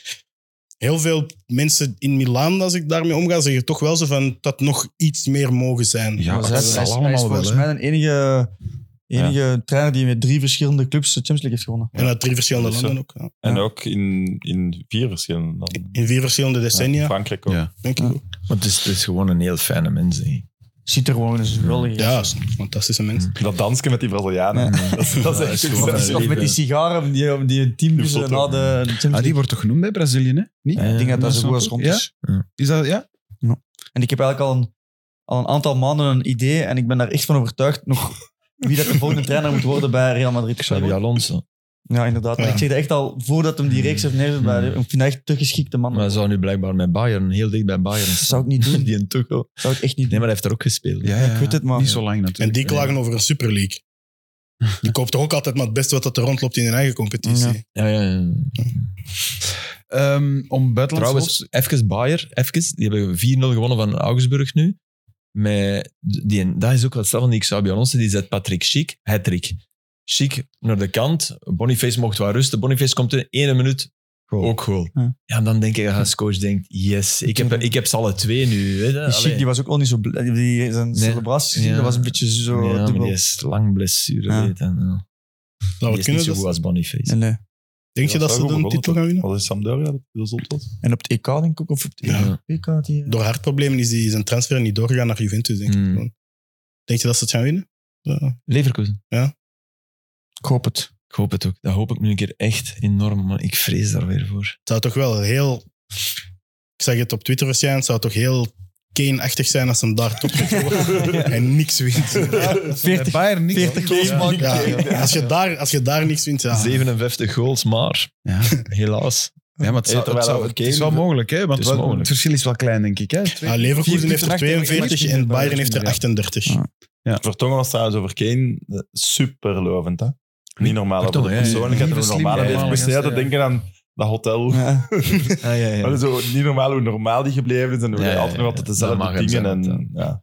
S6: heel veel mensen in Milaan, als ik daarmee omga, zeggen toch wel zo van dat nog iets meer mogen zijn.
S2: Ja,
S3: Maar
S2: dat zal
S3: zij- hij is, hij is
S2: allemaal wel.
S3: volgens
S2: hè.
S3: mij de enige, enige trainer die met drie verschillende clubs de Champions League heeft gewonnen.
S6: En uit drie verschillende
S4: Dus,
S5: Dat is zo.
S6: landen ook.
S4: eh,
S6: ja.
S5: En
S3: Ja.
S5: ook in, in vier verschillende landen.
S6: In vier verschillende
S5: Ja,
S6: decennia.
S5: in Frankrijk ook.
S2: Ja.
S6: Denk ik ook.
S4: Want het is, het is gewoon een heel fijne mens. hè.
S3: Ziet er gewoon eens wel
S6: Ja, is een fantastische mensen.
S5: Dat dansje met die Brazilianen. Dat, is- dat is echt
S4: Ja, dat is
S5: exceptioneel.
S3: Of met die sigaren die om die team
S5: Die
S3: die ze
S5: foto.
S3: na de Champions
S2: Ah, die
S3: League-
S2: wordt toch genoemd bij Brazilië, hè? Niet?
S4: Ja.
S3: Ik denk dat dat zo
S2: snap
S3: goed als
S2: ik.
S3: rond
S2: Ja?
S3: is.
S2: Is dat, ja?
S3: En ik heb eigenlijk al een, al een aantal maanden een idee en ik ben daar echt van overtuigd nog wie dat de volgende trainer moet worden bij Real Madrid.
S4: Xabi Alonso.
S3: Ja, inderdaad. Maar
S6: Ja.
S3: ik zeg dat echt al voordat hem die reeks heeft neergezet. bij- Ik vind dat echt te geschikte man.
S4: Hmm. Maar hij zou nu blijkbaar met Bayern, heel dicht bij Bayern
S3: Dat zou ik niet doen.
S4: Die een Tuchel.
S3: Dat zou ik echt niet
S4: Nee, maar
S3: doen.
S4: hij heeft er ook gespeeld.
S2: Ja,
S3: ik weet het, maar-
S2: Niet zo lang natuurlijk.
S6: En die klagen over een Super League. Die koopt toch ook altijd maar het beste wat dat er rondloopt in hun eigen competitie.
S3: Ja.
S4: Ja, ja, ja.
S2: Ehm, om buitenlandse hoofd-
S4: Trouwens, even Bayer, even. Die hebben 4-0 gewonnen van Augsburg nu. Met die, dat is ook wat stel van die Xabi Alonso. Die zet Patrick Schiek, hattrick. Schiek naar de kant. Boniface mocht wel rusten. Boniface komt in ene minuut.
S2: Goal.
S4: Ook goal.
S3: Ja.
S4: Ja. dan denk ik, als coach denkt, yes, ik heb, ik heb ze alle twee nu. Weet je.
S3: Die Schick,
S4: Allee.
S3: die was ook al niet zo blij. Die, zijn celebratie
S4: Ja.
S3: dat was een beetje zo
S4: ja, maar
S3: dubbel.
S4: die is lang blessure.
S3: Ja.
S4: weet je. Ja.
S6: Nou,
S4: Die
S6: wat
S4: is niet
S6: kunnen
S4: zo
S6: dat?
S4: goed als Boniface.
S3: Nee, nee.
S6: Denk je dat ze de titel gaan
S4: eh,
S6: winnen?
S5: Was is Sampdoria dat dat zot was?
S3: En op het EK denk ik ook, of op het
S6: Ja.
S3: EK had hij...
S6: Door hartproblemen is die zijn transfer niet doorgegaan naar Juventus, denk ik.
S4: Mm.
S6: gewoon. Denk je dat ze het gaan winnen? Ja.
S4: Leverkusen.
S3: Ik hoop het.
S4: Ik hoop het ook. Dat hoop ik nu een keer echt enorm, maar ik vrees daar weer voor.
S6: Het zou toch wel heel Ik zag het op Twitter verschijnen. Het zou toch heel Kane-achtig zijn als hem daar top en niks wint.
S2: Bij Bayern niks.
S3: 40 goals maken.
S6: Ja, Als, je daar, als je daar niks wint, ja.
S4: 57 goals, maar
S2: Ja.
S4: helaas.
S2: Ja, maar het, zou,
S4: Terwijl
S2: het, zou-
S4: over
S2: het
S4: Kane-
S2: is wel mogelijk, hè? Want
S4: Het is
S2: wel-
S4: mogelijk.
S2: het verschil is wel klein, denk ik. Hè? Twee-
S6: Ja, Ah, Leverkusen
S2: vier
S6: heeft er
S2: punten achter-
S6: 42 en Bayern heeft er 38.
S4: Ah.
S3: Ja.
S5: Vertongen was trouwens over Kane eh, superlovend. Hè? Niet normaal.
S4: Vertongen,
S5: over de
S4: ja, ja.
S5: persoonlijkheid.
S2: Lieve,
S5: over normale
S2: slimme,
S5: mensen. Ik moest
S2: ja.
S5: de hele tijd denken aan dat hotel.
S3: Ja.
S5: Maar dat is zo niet normaal hoe normaal die gebleven is. En hoe
S4: Ja,
S5: hij
S4: ja,
S5: altijd nog
S4: ja.
S5: altijd
S4: Dat
S5: dezelfde
S4: mag hem
S5: dingen.
S4: zijn,
S5: en, ja.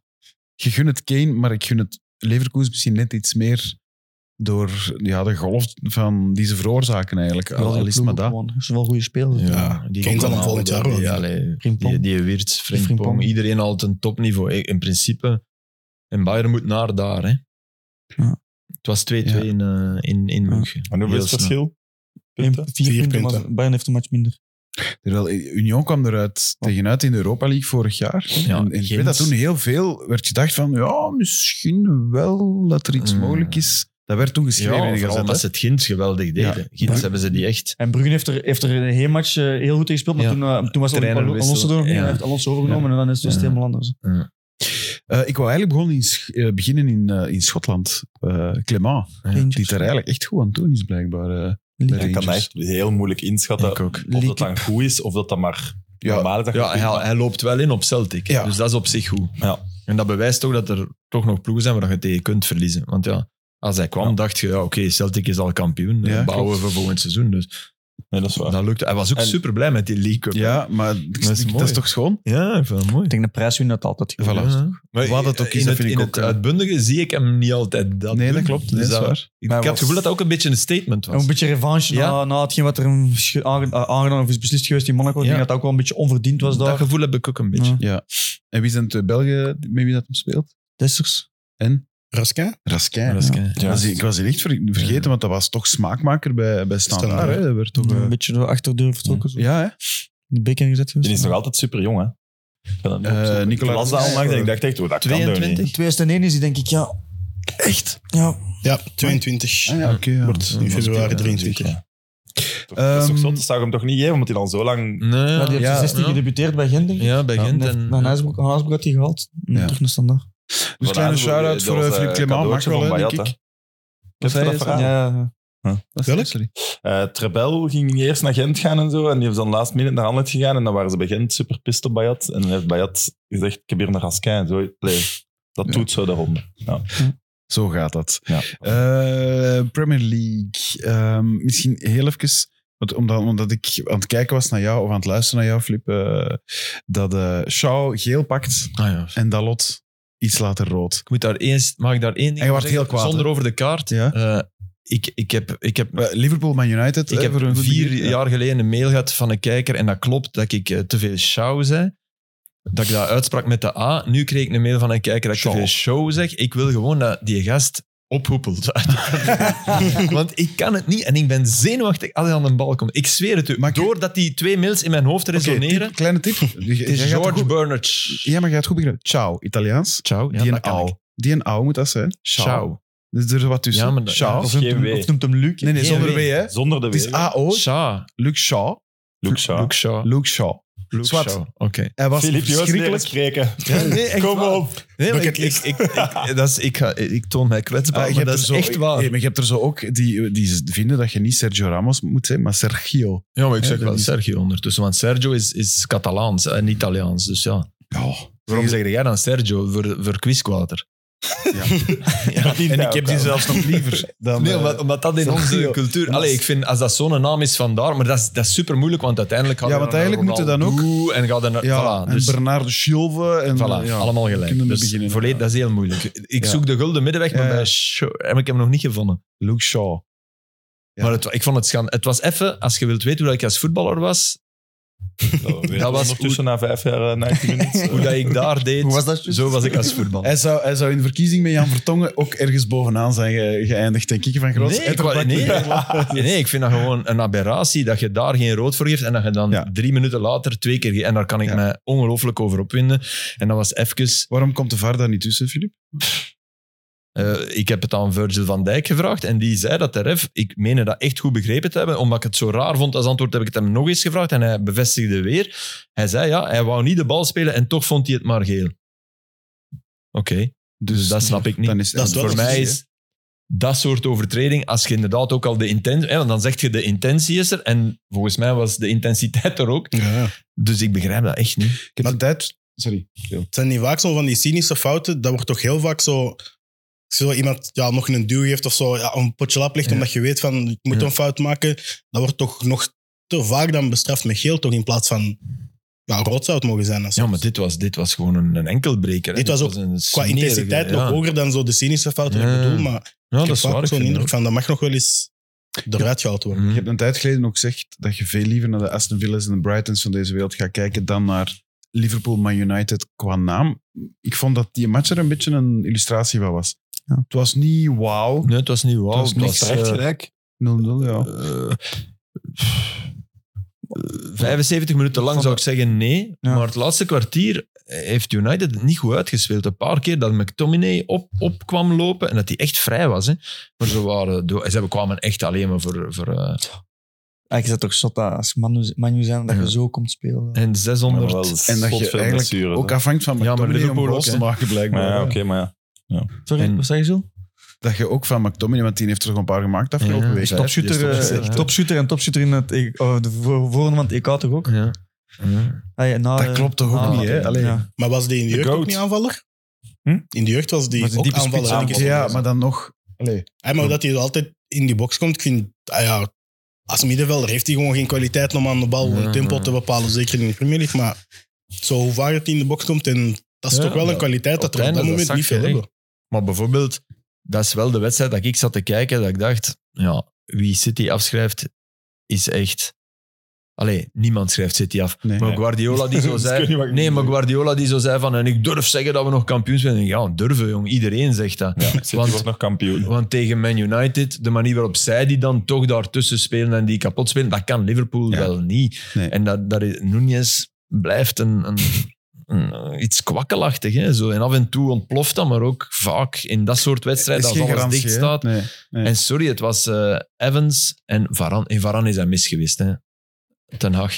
S2: Je gun het Kane, maar ik gun het Leverkusen misschien net iets meer door ja, de golf van die ze veroorzaken eigenlijk. Al, al is het maar dat.
S3: Dat is wel een goede speler.
S4: die
S6: Kane zal hem volgend jaar wel
S4: die,
S6: winnen.
S4: allee,
S3: Frimpong.
S4: die, die Wirtz, Frimpong,
S3: Frimpong.
S4: iedereen al ten topniveau. Ik- In principe, en Bayern moet naar daar. Hè.
S3: Ja.
S4: Het was 2-2 in, eh, in, in München.
S5: En hoeveel is het
S4: Heel snel.
S5: verschil?
S3: Eén-
S5: Punten?
S6: Vier
S3: Vier punten,
S6: punten.
S3: maar Bayern heeft een match minder.
S2: Terwijl Union kwam eruit tegenuit in de Europa League vorig jaar.
S4: Ja,
S2: en, en ik
S4: Gent.
S2: weet dat toen heel veel werd gedacht van ja, misschien wel dat er iets
S4: Mm.
S2: mogelijk is. Dat werd toen geschreven in
S4: Ja,
S2: de
S4: vooral
S2: Gazette, hè.
S4: omdat ze het Gins geweldig deden. Gins hebben ze die echt.
S3: En Bruggen heeft er, heeft er een heel match eh, heel goed in gespeeld, maar
S4: Ja.
S3: toen, eh, toen was
S4: Trainer
S3: Al- Alonso
S4: wisselen.
S3: door.
S4: Ja.
S3: Hij heeft Alonso overgenomen en dan is het, is het
S4: Ja.
S3: helemaal anders.
S2: Eh, ik wou eigenlijk begonnen in, Sch- eh, beginnen in, eh, in Schotland. Eh Clement,
S3: Rangers.
S2: die het er eigenlijk echt goed aan toe is, blijkbaar. eh, bij
S5: Ik kan dat
S2: Rangers.
S5: echt heel moeilijk inschatten
S2: Ik ook.
S5: of dat
S3: League
S5: dan goed is of dat dat maar
S2: Ja,
S5: normaal is. Dat je
S4: Ja,
S5: dat
S4: hij, hij loopt wel in op Celtic.
S2: Ja.
S4: Dus dat is op zich goed.
S5: Ja.
S4: En dat bewijst toch dat er toch nog ploegen zijn waar je tegen kunt verliezen. Want ja, als hij kwam,
S5: Ja.
S4: dacht je, ja, oké, Celtic is al kampioen.
S2: Ja,
S4: Ja, bouwen
S2: klopt.
S4: voor volgend seizoen. Dus
S5: Nee, dat is waar.
S4: dat lukte. Hij was ook
S5: En-
S4: super blij met die League Cup.
S2: Ja, maar ik- ik- dat
S4: is
S2: is,
S4: mooi.
S2: toch schoon?
S4: ja ik vind dat mooi.
S3: Ik denk de prijs wint dat altijd. goed.
S2: Voilà.
S4: Ja. Maar
S2: Wat het ook is,
S4: in
S2: dat
S4: het,
S2: vind ik
S4: in
S2: ook,
S4: het
S2: eh,
S4: uitbundige zie ik hem niet altijd dat
S2: nee, dat
S4: doen.
S2: klopt.
S4: Dus
S2: Nee, dat is
S4: dat-
S2: waar.
S4: Ik,
S3: Maar
S4: ik had
S3: was-
S4: het gevoel dat dat ook een beetje een statement
S3: En
S4: was.
S3: een beetje revanche
S4: Ja.
S3: na, na hetgeen wat er hem sche- aange- eh, aangedaan of is beslist geweest in Monaco. Ik
S4: Ja.
S3: denk dat dat ook wel een beetje onverdiend was daar.
S4: Dat gevoel heb ik ook een beetje.
S3: Ja.
S2: Ja. En wie zijn de Belgen met wie dat hem speelt?
S3: Dessers.
S6: Raskin?
S2: Raskin.
S4: Maar dat is kei-
S2: Ik was- Ik was die echt ver- vergeten, want dat was toch smaakmaker bij, bij Standaard.
S6: Standaard,
S2: hè. Dat werd toch, eh,
S3: Een beetje door de achterdeur vertrokken. zo.
S2: ja, hè?
S3: De bek ingezet geweest.
S5: Die is nog altijd super jong, hè? Ik kan dat niet
S2: Eh,
S5: opzoeken. Ik
S2: Nicolas-
S5: las dat onlangs en ik dacht echt, oh, dat kan toch
S4: 22?
S5: niet.
S3: In 2001 is die denk ik, ja. Echt? Ja.
S6: Ja, 22.
S2: Ah, ja, oké. ja.
S6: Wordt in februari 23.
S5: Ja. Toch- Dat is toch
S2: Ehm,
S5: zot, dat zou ik hem toch niet geven, omdat hij dan zo lang...
S4: Nee,
S3: ja, die heeft
S2: ja,
S3: 16
S4: ja.
S3: gedebuteerd bij Gent, denk ik.
S4: Ja, bij
S3: Ja,
S4: Gent.
S3: en
S4: en-
S3: heeft- nou, Van Huisbroek Van Huisbroek had hij gehaald. Nu
S2: Ja.
S3: Terug naar standaard.
S2: Dus
S5: Voilà,
S2: kleine
S5: dat
S2: shout-out
S5: was,
S2: voor
S5: eh,
S2: eh, Philippe Clement. Mag
S5: cadeautje
S2: wel,
S5: van
S2: hè, denk
S5: Bayat,
S2: ik.
S5: Heb je
S2: Wat
S5: dat
S2: zei je?
S5: verhaal?
S3: Ja, ja.
S2: Wat zei je?
S6: Welk?
S2: Sorry.
S5: Eh, Trebel ging eerst naar Gent gaan en zo. En die heeft dan laatst minute naar Anderlecht gegaan. En dan waren ze bij Gent super pist op Bayat. En dan heeft Bayat gezegd, ik heb hier een Raskin. en Zo, allee, dat doet zo de ronde.
S2: Zo gaat dat.
S5: Ja.
S2: Eh, Premier League. Ehm, misschien heel even, want omdat, omdat ik aan het kijken was naar jou, of aan het luisteren naar jou, Flip, eh, dat eh Shaw geel pakt
S4: Ah ja,
S2: en Dalot iets later rood.
S4: Ik moet daar eens, mag ik daar één ding
S2: En je
S4: over
S2: wordt
S4: zeggen?
S2: heel kwaad,
S4: Zonder
S2: hè?
S4: over de kaart.
S2: Ja.
S4: Eh, ik, ik heb, ik heb,
S2: Eh, Liverpool, Man United.
S4: ik
S2: hè,
S4: heb
S2: voor een goed
S4: vier
S2: begin.
S4: jaar geleden een mail gehad van een kijker. En dat klopt dat ik eh, te veel show zei. Dat ik dat uitsprak met de A. Nu kreeg ik een mail van een kijker dat ik
S5: Show.
S4: te veel show zeg. Ik wil gewoon dat die gast ophoepelt. Want ik kan het niet. En ik ben zenuwachtig als hij aan de bal komt. Ik zweer het u.
S2: Maar ik-
S4: Doordat die twee mails in mijn hoofd
S2: Oké, tip-
S4: resoneren.
S2: kleine tip.
S4: het is
S2: Jij gaat
S4: George
S2: goed-
S4: Bernard.
S2: Ja, maar je gaat goed begrijpen. Ciao, Italiaans.
S4: Ciao. Ja,
S2: die
S4: dat
S2: en
S4: kan ik.
S2: au. Die en au moet dat zijn.
S4: Ciao.
S2: Dus er is wat tussen.
S4: Ja, maar dat-
S2: Shaw.
S5: Dat is
S3: Of noemt
S5: geen
S3: hem-
S5: W.
S3: Of noemt hem Luc.
S2: nee, nee, zonder W,
S4: geen
S2: hè.
S5: Zonder de W.
S2: Het is AO.
S4: Ciao.
S2: Luke Shaw.
S5: Luke Shaw.
S4: Luke Shaw.
S2: Ah. Luke Shaw.
S4: Luke
S2: Zwart.
S4: Shaw. Oké.
S2: Hij was
S5: Filip Joos leren
S2: verschrikkelijk.
S5: spreken.
S4: nee, echt
S5: Kom
S4: waar.
S5: op.
S4: Nee, maar ik, ik,
S6: Bucketlist.
S4: ik, ik- dat is, ik, ga, ik toon mij kwetsbaar,
S2: Ah, je
S4: maar
S2: hebt
S4: dat
S2: er
S4: is
S2: zo-
S4: echt waar.
S2: Nee, maar je hebt er zo ook die, die vinden dat je niet Sergio Ramos moet zijn, maar Sergio.
S4: ja, maar ik
S2: Ja,
S4: zeg
S2: dat
S4: wel
S2: is-
S4: Sergio ondertussen, want Sergio is, is Catalaans en Italiaans, dus ja. Waarom zeg jij dan Sergio voor, voor quizkwater?
S2: En ik heb die zelfs nog liever dan...
S4: Nee,
S2: eh,
S4: omdat, omdat dat in onze
S2: Sergio.
S4: cultuur... Allee, ik vind, als dat zo'n naam is vandaar, maar dat is, dat is super moeilijk, want uiteindelijk gaat
S2: Ja,
S4: er
S2: want
S4: naar
S2: eigenlijk moeten dan ook-
S4: Ronaldo En gaat er naar...
S2: ja,
S4: voilà, dus,
S2: en Bernardo Silva en... eh,
S4: voilà,
S2: ja.
S4: allemaal gelijk.
S2: kunnen we
S4: Dus
S2: beginnen.
S4: volledig, dat is heel moeilijk. Ik
S2: Ja.
S4: zoek de gulden middenweg, maar
S2: Ja, ja.
S4: bij Shaw- heb ik hem nog niet gevonden.
S2: Luke Shaw. Ja.
S4: Maar het, ik vond het schande. Het was even, als je wilt weten hoe dat ik als voetballer was,
S5: Dat was
S4: was
S5: Nou, ondertussen na vijf jaar eh, 90 minuten.
S4: hoe dat ik daar deed,
S3: Hoe was dat? juist?
S4: zo was ik als voetballer.
S2: Hij zou, hij zou in de verkiezing met Jan Vertongen ook ergens bovenaan zijn ge- geëindigd, denk ik, van Gros.
S4: Nee, ik, wou-
S2: Etterbak-
S4: nee, nee, ik vind dat gewoon een aberratie dat je daar geen rood voor geeft en dat je dan
S2: Ja.
S4: drie minuten later twee keer... ge- En daar kan ik
S2: Ja.
S4: mij ongelooflijk over opwinden. En dat was even...
S2: Waarom komt de VAR daar niet tussen, Filip?
S4: Eh, ik heb het aan Virgil van Dijk gevraagd en die zei dat de ref, ik meen dat echt goed begrepen te hebben, omdat ik het zo raar vond als antwoord heb ik het hem nog eens gevraagd en hij bevestigde weer. Hij zei ja, hij wou niet de bal spelen en toch vond hij het maar geel. Oké, dus dat snap ik niet.
S2: Dan is,
S6: Dat is
S2: want
S6: wel
S2: voor
S4: voor
S6: een
S4: mij
S6: precies,
S4: is dat soort overtreding, als je inderdaad ook al de intentie... hè, Want dan zeg je de intentie is er en volgens mij was de intensiteit er ook.
S6: Ja.
S4: Dus ik begrijp dat echt niet.
S2: Ik heb
S6: Maar-
S2: de tijd... Sorry.
S6: Het zijn niet vaak zo van die cynische fouten. Dat wordt toch heel vaak zo... Als je zo iemand ja, nog een duw geeft of zo, ja, een potje lap ligt
S4: Ja.
S6: omdat je weet van ik moet
S4: Ja.
S6: een fout maken, dat wordt toch nog te vaak dan bestraft met geel, toch in plaats van ja, rood zou het mogen zijn. als-
S4: Ja, maar dit was, dit was gewoon een, een enkelbreker. hè.
S6: Dit was ook
S4: een
S6: Qua
S4: smerige,
S6: intensiteit nog
S4: ja.
S6: hoger dan zo de cynische fouten die
S4: Ja.
S6: ik bedoel, maar
S4: Ja,
S6: ik
S4: dat
S6: heb
S4: is waar.
S6: vaak
S4: ik
S6: zo'n
S4: vind
S6: indruk
S4: dat
S6: van dat mag nog wel eens eruit
S4: ook.
S6: gehaald worden.
S2: Je
S4: Mhm.
S2: hebt een tijd geleden ook gezegd dat je veel liever naar de Aston Villa's en de Brightons van deze wereld gaat kijken dan naar Liverpool, Man United qua naam. Ik vond dat die match er een beetje een illustratie van was.
S3: Ja.
S2: Het was niet wauw. 0-0,
S4: Nee, het was niet wauw.
S2: was
S4: Het was
S2: niks,
S4: echt
S2: eh,
S4: gelijk.
S2: ja.
S4: Eh, eh, 75 minuten lang zou ik zeggen nee.
S3: Ja.
S4: Maar het laatste kwartier heeft United het niet goed uitgespeeld. Een paar keer dat McTominay op, op kwam lopen en dat hij echt vrij was. Hè. Maar ze, waren, do- ze hebben- kwamen echt alleen maar voor... voor eh,
S3: Eigenlijk is dat Ah, toch zot dat als Manu, Manu zijn, dat
S4: Ja.
S3: je zo komt spelen.
S4: en 600...
S2: En dat je eigenlijk ook afhangt van
S4: Ja, maar
S2: McTominay om
S4: Liverpool
S2: goals
S4: ook,
S2: te
S4: hè.
S2: maken, blijkbaar.
S5: Maar ja,
S2: Ja.
S5: oké, maar ja.
S3: Sorry,
S4: en-
S3: wat zei je zo?
S2: Dat je ook van McTominay, want die heeft er toch een paar gemaakt afgelopen
S4: Ja.
S2: week.
S4: Vijf,
S3: Topshooter,
S4: die is toch
S3: eh,
S4: echt, hè?
S3: topshooter en topshooter in het EK, oh, de voor, voorronde van het EK toch ook?
S4: Ja. Ja.
S3: Ah, ja, na,
S2: Dat
S3: eh,
S2: klopt toch ook
S3: na-
S2: niet, hè? Allee.
S3: Ja.
S6: Maar was die in de
S5: De
S6: jeugd
S5: goat.
S6: ook niet aanvaller?
S5: Hm?
S6: In de jeugd was die
S4: Was die
S6: ook
S4: diepe spits
S6: aanvaller. denk ik.
S2: Ja, maar dan nog... Allee.
S6: Hey, maar dat hij altijd in die box komt, ik vind... ah ja, als middenvelder heeft hij gewoon geen kwaliteit om aan de bal
S4: Ja.
S6: een tempo te bepalen. Zeker in de Premier League. Maar zo hoe vaak dat hij in de box komt, en dat is
S4: Ja,
S6: toch wel een
S4: maar
S6: kwaliteit dat
S4: op
S6: we
S4: het
S6: op dat
S4: einde,
S6: moment
S4: dat
S6: niet
S4: zag
S6: veel
S4: je
S6: hebben.
S4: Maar bijvoorbeeld, dat is wel de wedstrijd dat ik zat te kijken, dat ik dacht, ja, wie City afschrijft, is echt... Allee, niemand schrijft City af.
S2: Nee.
S4: maar Guardiola die zo
S5: Dus ik weet
S4: zei...
S5: niet wat ik
S4: Nee,
S5: moet
S4: maar
S5: zeggen.
S4: Guardiola die zo zei van, en ik durf zeggen dat we nog kampioen zijn. En Ja, durven jong, iedereen zegt dat.
S5: Ja, City
S4: Want-
S5: wordt nog kampioen.
S4: Want tegen Man United, de manier waarop zij die dan toch daartussen spelen en die kapot spelen, dat kan Liverpool
S2: Ja.
S4: wel niet.
S2: Nee.
S4: En dat, dat is, Nunez blijft een, een, een- iets kwakkelachtig. Hè? Zo, en af en toe ontploft dat, maar ook vaak in dat soort wedstrijden
S2: Is
S4: als
S2: geen
S4: alles
S2: garantie,
S4: dicht
S2: hè?
S4: staat.
S2: Nee. nee.
S4: En sorry, het was eh, Evans en Varane. In Varane is hij mis geweest, hè. Ten Hag.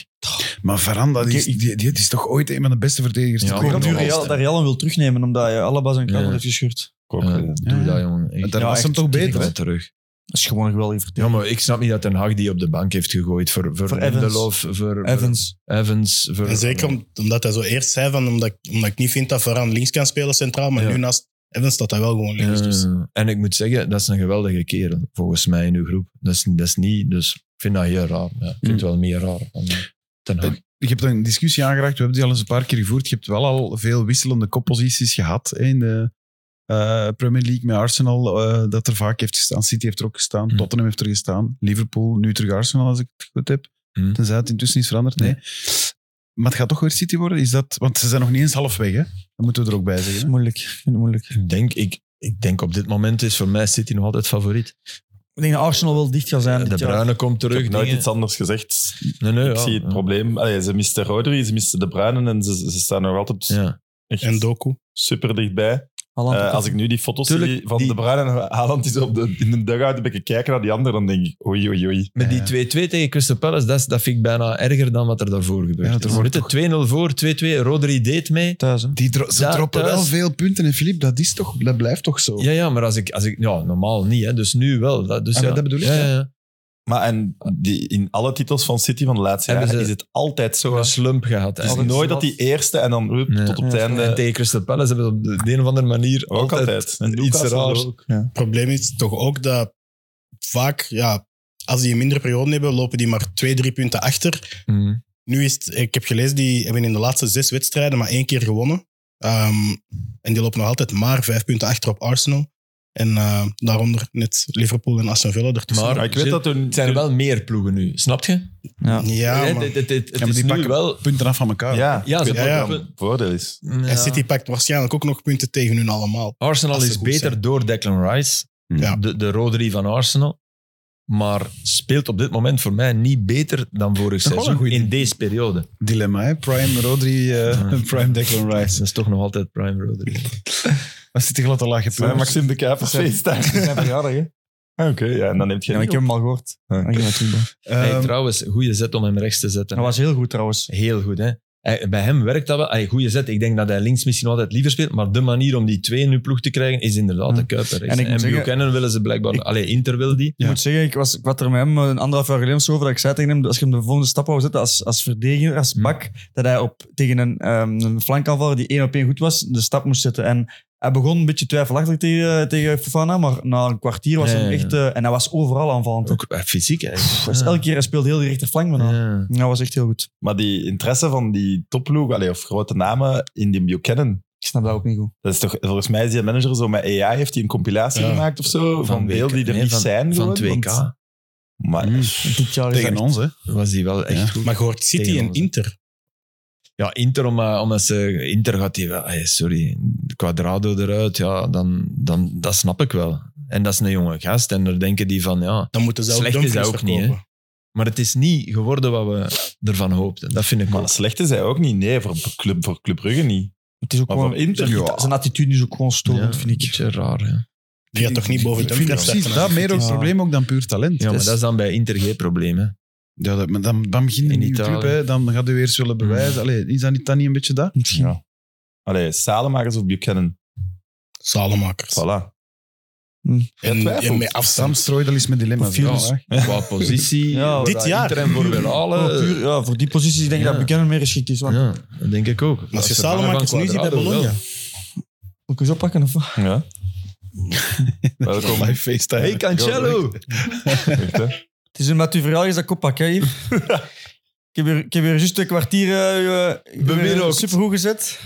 S2: Maar Varane, dat is,
S3: Ik-
S2: die, die is toch ooit een van de beste verdedigers
S4: Ja,
S2: die
S3: Ik
S2: ik
S3: hoop dat
S4: nog
S2: heb
S4: wel
S3: Real,
S4: eens,
S3: dat Real hem wil terugnemen, omdat je Alaba zijn kabel
S4: Ja.
S3: heeft gescheurd.
S5: Ik ook,
S4: Eh,
S5: eh,
S4: doe
S2: Ja.
S4: dat, jongen. Echt.
S2: Maar daar
S3: Ja,
S2: was hem
S3: echt,
S2: toch
S3: die
S2: beter?
S4: Wel terug.
S3: Dat is gewoon een geweldige verdediging.
S4: Ja, maar ik snap niet dat Ten Hag die op de bank heeft gegooid voor, voor,
S3: Voor Evans.
S4: Lindelof, voor, voor
S3: Evans.
S4: Evans. Voor,
S6: En zeker om- omdat hij zo eerst zei, van, omdat, ik, omdat ik niet vind dat Varaan links kan spelen centraal. Maar
S4: Ja.
S6: nu naast Evans staat hij wel gewoon links. Dus.
S4: Ja, Eh, en ik moet zeggen, dat is een geweldige kerel, volgens mij, in uw groep. Dat is, dat is niet, dus ik vind dat heel raar. Ja, ik vind het wel meer raar dan eh, Ten Hag.
S2: Je hebt een discussie aangeraakt, we hebben die al eens een paar keer gevoerd. Je hebt wel al veel wisselende kopposities gehad hè, in de eh, Premier League met Arsenal, eh, dat er vaak heeft gestaan. City heeft er ook gestaan,
S4: Mm.
S2: Tottenham heeft er gestaan, Liverpool, nu terug Arsenal als ik het goed heb.
S4: Mm.
S2: Tenzij het intussen is veranderd, nee. Maar het gaat toch weer City worden? Is dat, want ze zijn nog niet eens halfweg, hè? Dat moeten we er ook bij
S3: Dat is
S2: zeggen. hè?
S3: moeilijk. Ik vind het moeilijk.
S4: Ik denk, ik, ik denk op dit moment is voor mij City nog altijd favoriet. Eh,
S3: Ik denk dat Arsenal wel dicht gaat zijn.
S4: de
S3: dit jaar.
S4: Bruine komt
S5: Ik
S4: terug.
S5: heb nooit
S4: dingen.
S5: iets anders gezegd.
S4: Nee, nee,
S5: Ik
S4: ja.
S5: zie het
S4: Ja.
S5: probleem. Allee, ze misten Rodri, ze misten De Bruyne en ze, ze staan nog altijd
S4: Ja.
S5: echt
S6: En Doku.
S5: super dichtbij.
S3: Haaland
S5: Eh,
S3: ook
S5: als ik nu die foto's
S4: Tuurlijk,
S5: zie van
S4: die-
S5: De Bruyne en Haaland is op de, in de dugout, een beetje kijken naar die ander, dan denk ik oei, oei, oei.
S4: Met die
S2: Ja.
S4: 2-2 tegen Crystal Palace, dat, is- dat vind ik bijna erger dan wat er daarvoor gebeurd
S2: Ja, er
S4: is.
S2: wordt
S4: Weet je, 2-0 voor, 2-2, Rodri deed mee.
S3: thuis. Hè.
S2: Die dro- ze
S4: Ja,
S2: droppen
S4: thuis.
S2: wel veel punten. En Filip, dat, is toch, dat blijft toch zo?
S4: Ja, ja, maar als ik, als ik... Ja, normaal niet, hè. dus nu wel. Dat, dus
S2: Ah,
S4: ja.
S2: maar dat bedoel ik,
S4: Ja,
S2: ja.
S4: ja, ja.
S5: Maar en die, in alle titels van City van de laatste
S4: Hebben
S5: jaren
S4: ze-
S5: is het altijd zo. hè.
S4: Een slump gehad. hè.
S5: Het is
S3: altijd
S5: nooit
S3: zo
S5: dat die eerste en dan hup,
S4: Nee.
S5: tot op het
S3: Ja.
S5: einde.
S4: En tegen Crystal Palace hebben ze op de een of andere manier
S5: Eh, ook altijd. En
S4: iets
S5: Newcastle
S4: raars.
S5: ook.
S3: Ja.
S6: Het probleem is toch ook dat vaak, ja, als die een mindere periode hebben, lopen die maar twee, drie punten achter.
S4: Mm.
S6: Nu is het, ik heb gelezen, die hebben in de laatste zes wedstrijden maar één keer gewonnen. Ehm, en die lopen nog altijd maar vijf punten achter op Arsenal. En eh, daaronder net Liverpool en Aston Villa ertussen.
S4: Maar-
S5: Maar ik weet dat toen...
S4: Het zijn er wel meer ploegen nu, snap je?
S3: Ja.
S6: ja,
S4: Het-
S6: maar-
S4: het, het, het, het
S2: maar
S4: is
S2: die
S4: nu
S2: pakken-
S4: wel...
S2: Punten af van elkaar.
S5: Ja,
S4: Ja, ze
S5: ik weet
S6: ja,
S5: dat
S4: pakken-
S5: dat een voordeel is.
S4: Ja.
S6: En City pakt waarschijnlijk ook nog punten tegen hun allemaal.
S4: Arsenal
S6: Als ze
S4: is
S6: goed
S4: beter
S6: zijn.
S4: door Declan Rice,
S6: Ja.
S4: de, de Rodri van Arsenal. maar speelt op dit moment voor mij niet beter dan vorig
S2: wel een
S4: seizoen
S2: goed
S4: in deze periode.
S2: Dilemma, hè? Prime Rodri, eh,
S4: Ja.
S2: Prime Declan
S4: Dat
S2: Rice.
S4: is toch nog altijd Prime Rodri.
S2: Wat zit die glatte laag
S5: Zijn
S2: gepunt?
S5: Maxime de Kuipers feestdagen.
S3: Zijn verjaardag, hè?
S5: Ah, Oké, ja, en dan neemt je
S3: Ja, maar ik heb hem al gehoord.
S5: Ah,
S3: Dan gaan we het doen, hè.
S2: Ehm,
S4: hey, trouwens, goede zet om hem rechts te zetten.
S3: Ehm, Dat was heel goed trouwens.
S4: Heel goed, hè. Hij- Bij hem werkt dat wel. Hey, goede zet. Ik denk dat hij links misschien altijd liever speelt, maar de manier om die twee in uw ploeg te krijgen is inderdaad
S3: Ja.
S4: de Kuiper rechts.
S3: Hm. En ik
S4: En,
S3: moet zeggen-
S4: Buchanan willen ze blijkbaar...
S3: Ik-
S4: Allee, Inter wil die.
S3: Ik moet zeggen, ik, was, ik had er met hem een anderhalf jaar geleden of zo over dat ik zei tegen hem, dat als je hem de volgende stap wou zetten als, als verdediger, als bak, dat hij op, tegen een, ehm een flankaanvaller die één op één goed was, de stap moest zetten. En hij begon een beetje twijfelachtig tegen, tegen Fofana, maar na een kwartier was
S4: Ja,
S3: hij
S4: ja,
S3: echt... eh, en hij was overal aanvallend.
S4: Ook eh, fysiek, hè.
S3: Dus elke keer, hij speelde heel de rechterflank met hem.
S4: Ja.
S3: Dat was echt heel goed.
S5: Maar die interesse van die topploeg, allee, of grote namen in die Buchanan,
S3: Ik snap dat ook niet goed.
S5: dat is toch, volgens mij is die manager zo met AI, heeft hij een compilatie
S6: Ja.
S5: gemaakt of zo, van,
S4: WK
S5: deel die er
S4: nee,
S5: niet
S4: van-
S5: zijn.
S4: Van
S5: gewoon,
S4: 2K
S5: want- maar
S2: Mm.
S3: Dit jaar is
S2: Tegen
S3: dat-
S2: ons, hè?
S4: was die wel echt
S2: Ja.
S4: goed.
S6: Maar je hoort City
S4: Tegen
S6: en
S4: ons.
S6: Inter.
S4: Ja, Inter, om, eh, omdat ze, Inter gaat die wel... Ay, sorry, Quadrado eruit, ja, dan, dan, dat snap ik wel. En dat is een jonge gast. En daar denken die van, ja...
S6: Dan moeten ze zelf
S4: Slecht is dat
S6: Dumfries
S4: ook niet,
S6: verkopen.
S4: Maar het is niet geworden wat we ervan hoopten. Dat vind ik wel.
S5: Maar slecht is hij ook niet. Nee, voor Club, voor club Brugge niet.
S3: Het is ook
S5: Maar
S3: gewoon...
S5: van Inter,
S3: zijn-
S5: ja.
S3: Zijn attitude is ook gewoon storend, vind
S4: Een
S3: ik.
S4: beetje raar, hè.
S6: Die gaat toch niet boven
S2: Ik vind
S6: Dumfries
S2: precies
S6: starten?
S2: dat meer ook
S3: Ja.
S2: probleem ook dan puur talent. Dus-
S4: Ja, maar
S3: is-
S4: dat is dan bij Inter geen probleem, hè.
S2: Ja, dat, maar dan, dan begin je
S4: In
S2: een nieuwe
S4: Italië. Mm.
S2: club, hè. dan gaat u eerst willen bewijzen. Allee, is dat niet, dat niet een beetje dat?
S3: Misschien.
S5: Ja. Allee, Salemakers of Buchanan.
S6: Salemakers.
S5: Voilà. Ja,
S6: En,
S5: twijfel.
S6: en met
S2: Sam
S6: afstand.
S2: strooide al eens met dilemma's.
S3: Profiel is-
S2: Ja, hè.
S4: Qua positie.
S3: Ja,
S4: waar
S6: dit
S4: dat
S6: jaar.
S4: Inter hem voor wil halen.
S3: Gewoon Oh, puur, ja, voor die positie denk ik
S4: Ja.
S3: dat Buchanan meer geschikt is. Want
S4: Ja, dat denk ik ook.
S6: Maar als je
S4: Als vervanger
S6: Salemakers
S4: van
S6: nu ziet bij
S4: Quadrado
S6: Bologna.
S4: wel.
S3: Moet ik eens oppakken of wat?
S5: Ja. Welkom.
S2: Live FaceTime.
S4: Hey Cancelo!
S5: Echt, hè?
S3: Het is omdat u verhaal is dat ik oppak, hè, Yves? Ik heb, hier, ik heb hier juist een kwartier eh, eh, ik ben weer
S4: Bewierookt.
S3: supergoed gezet.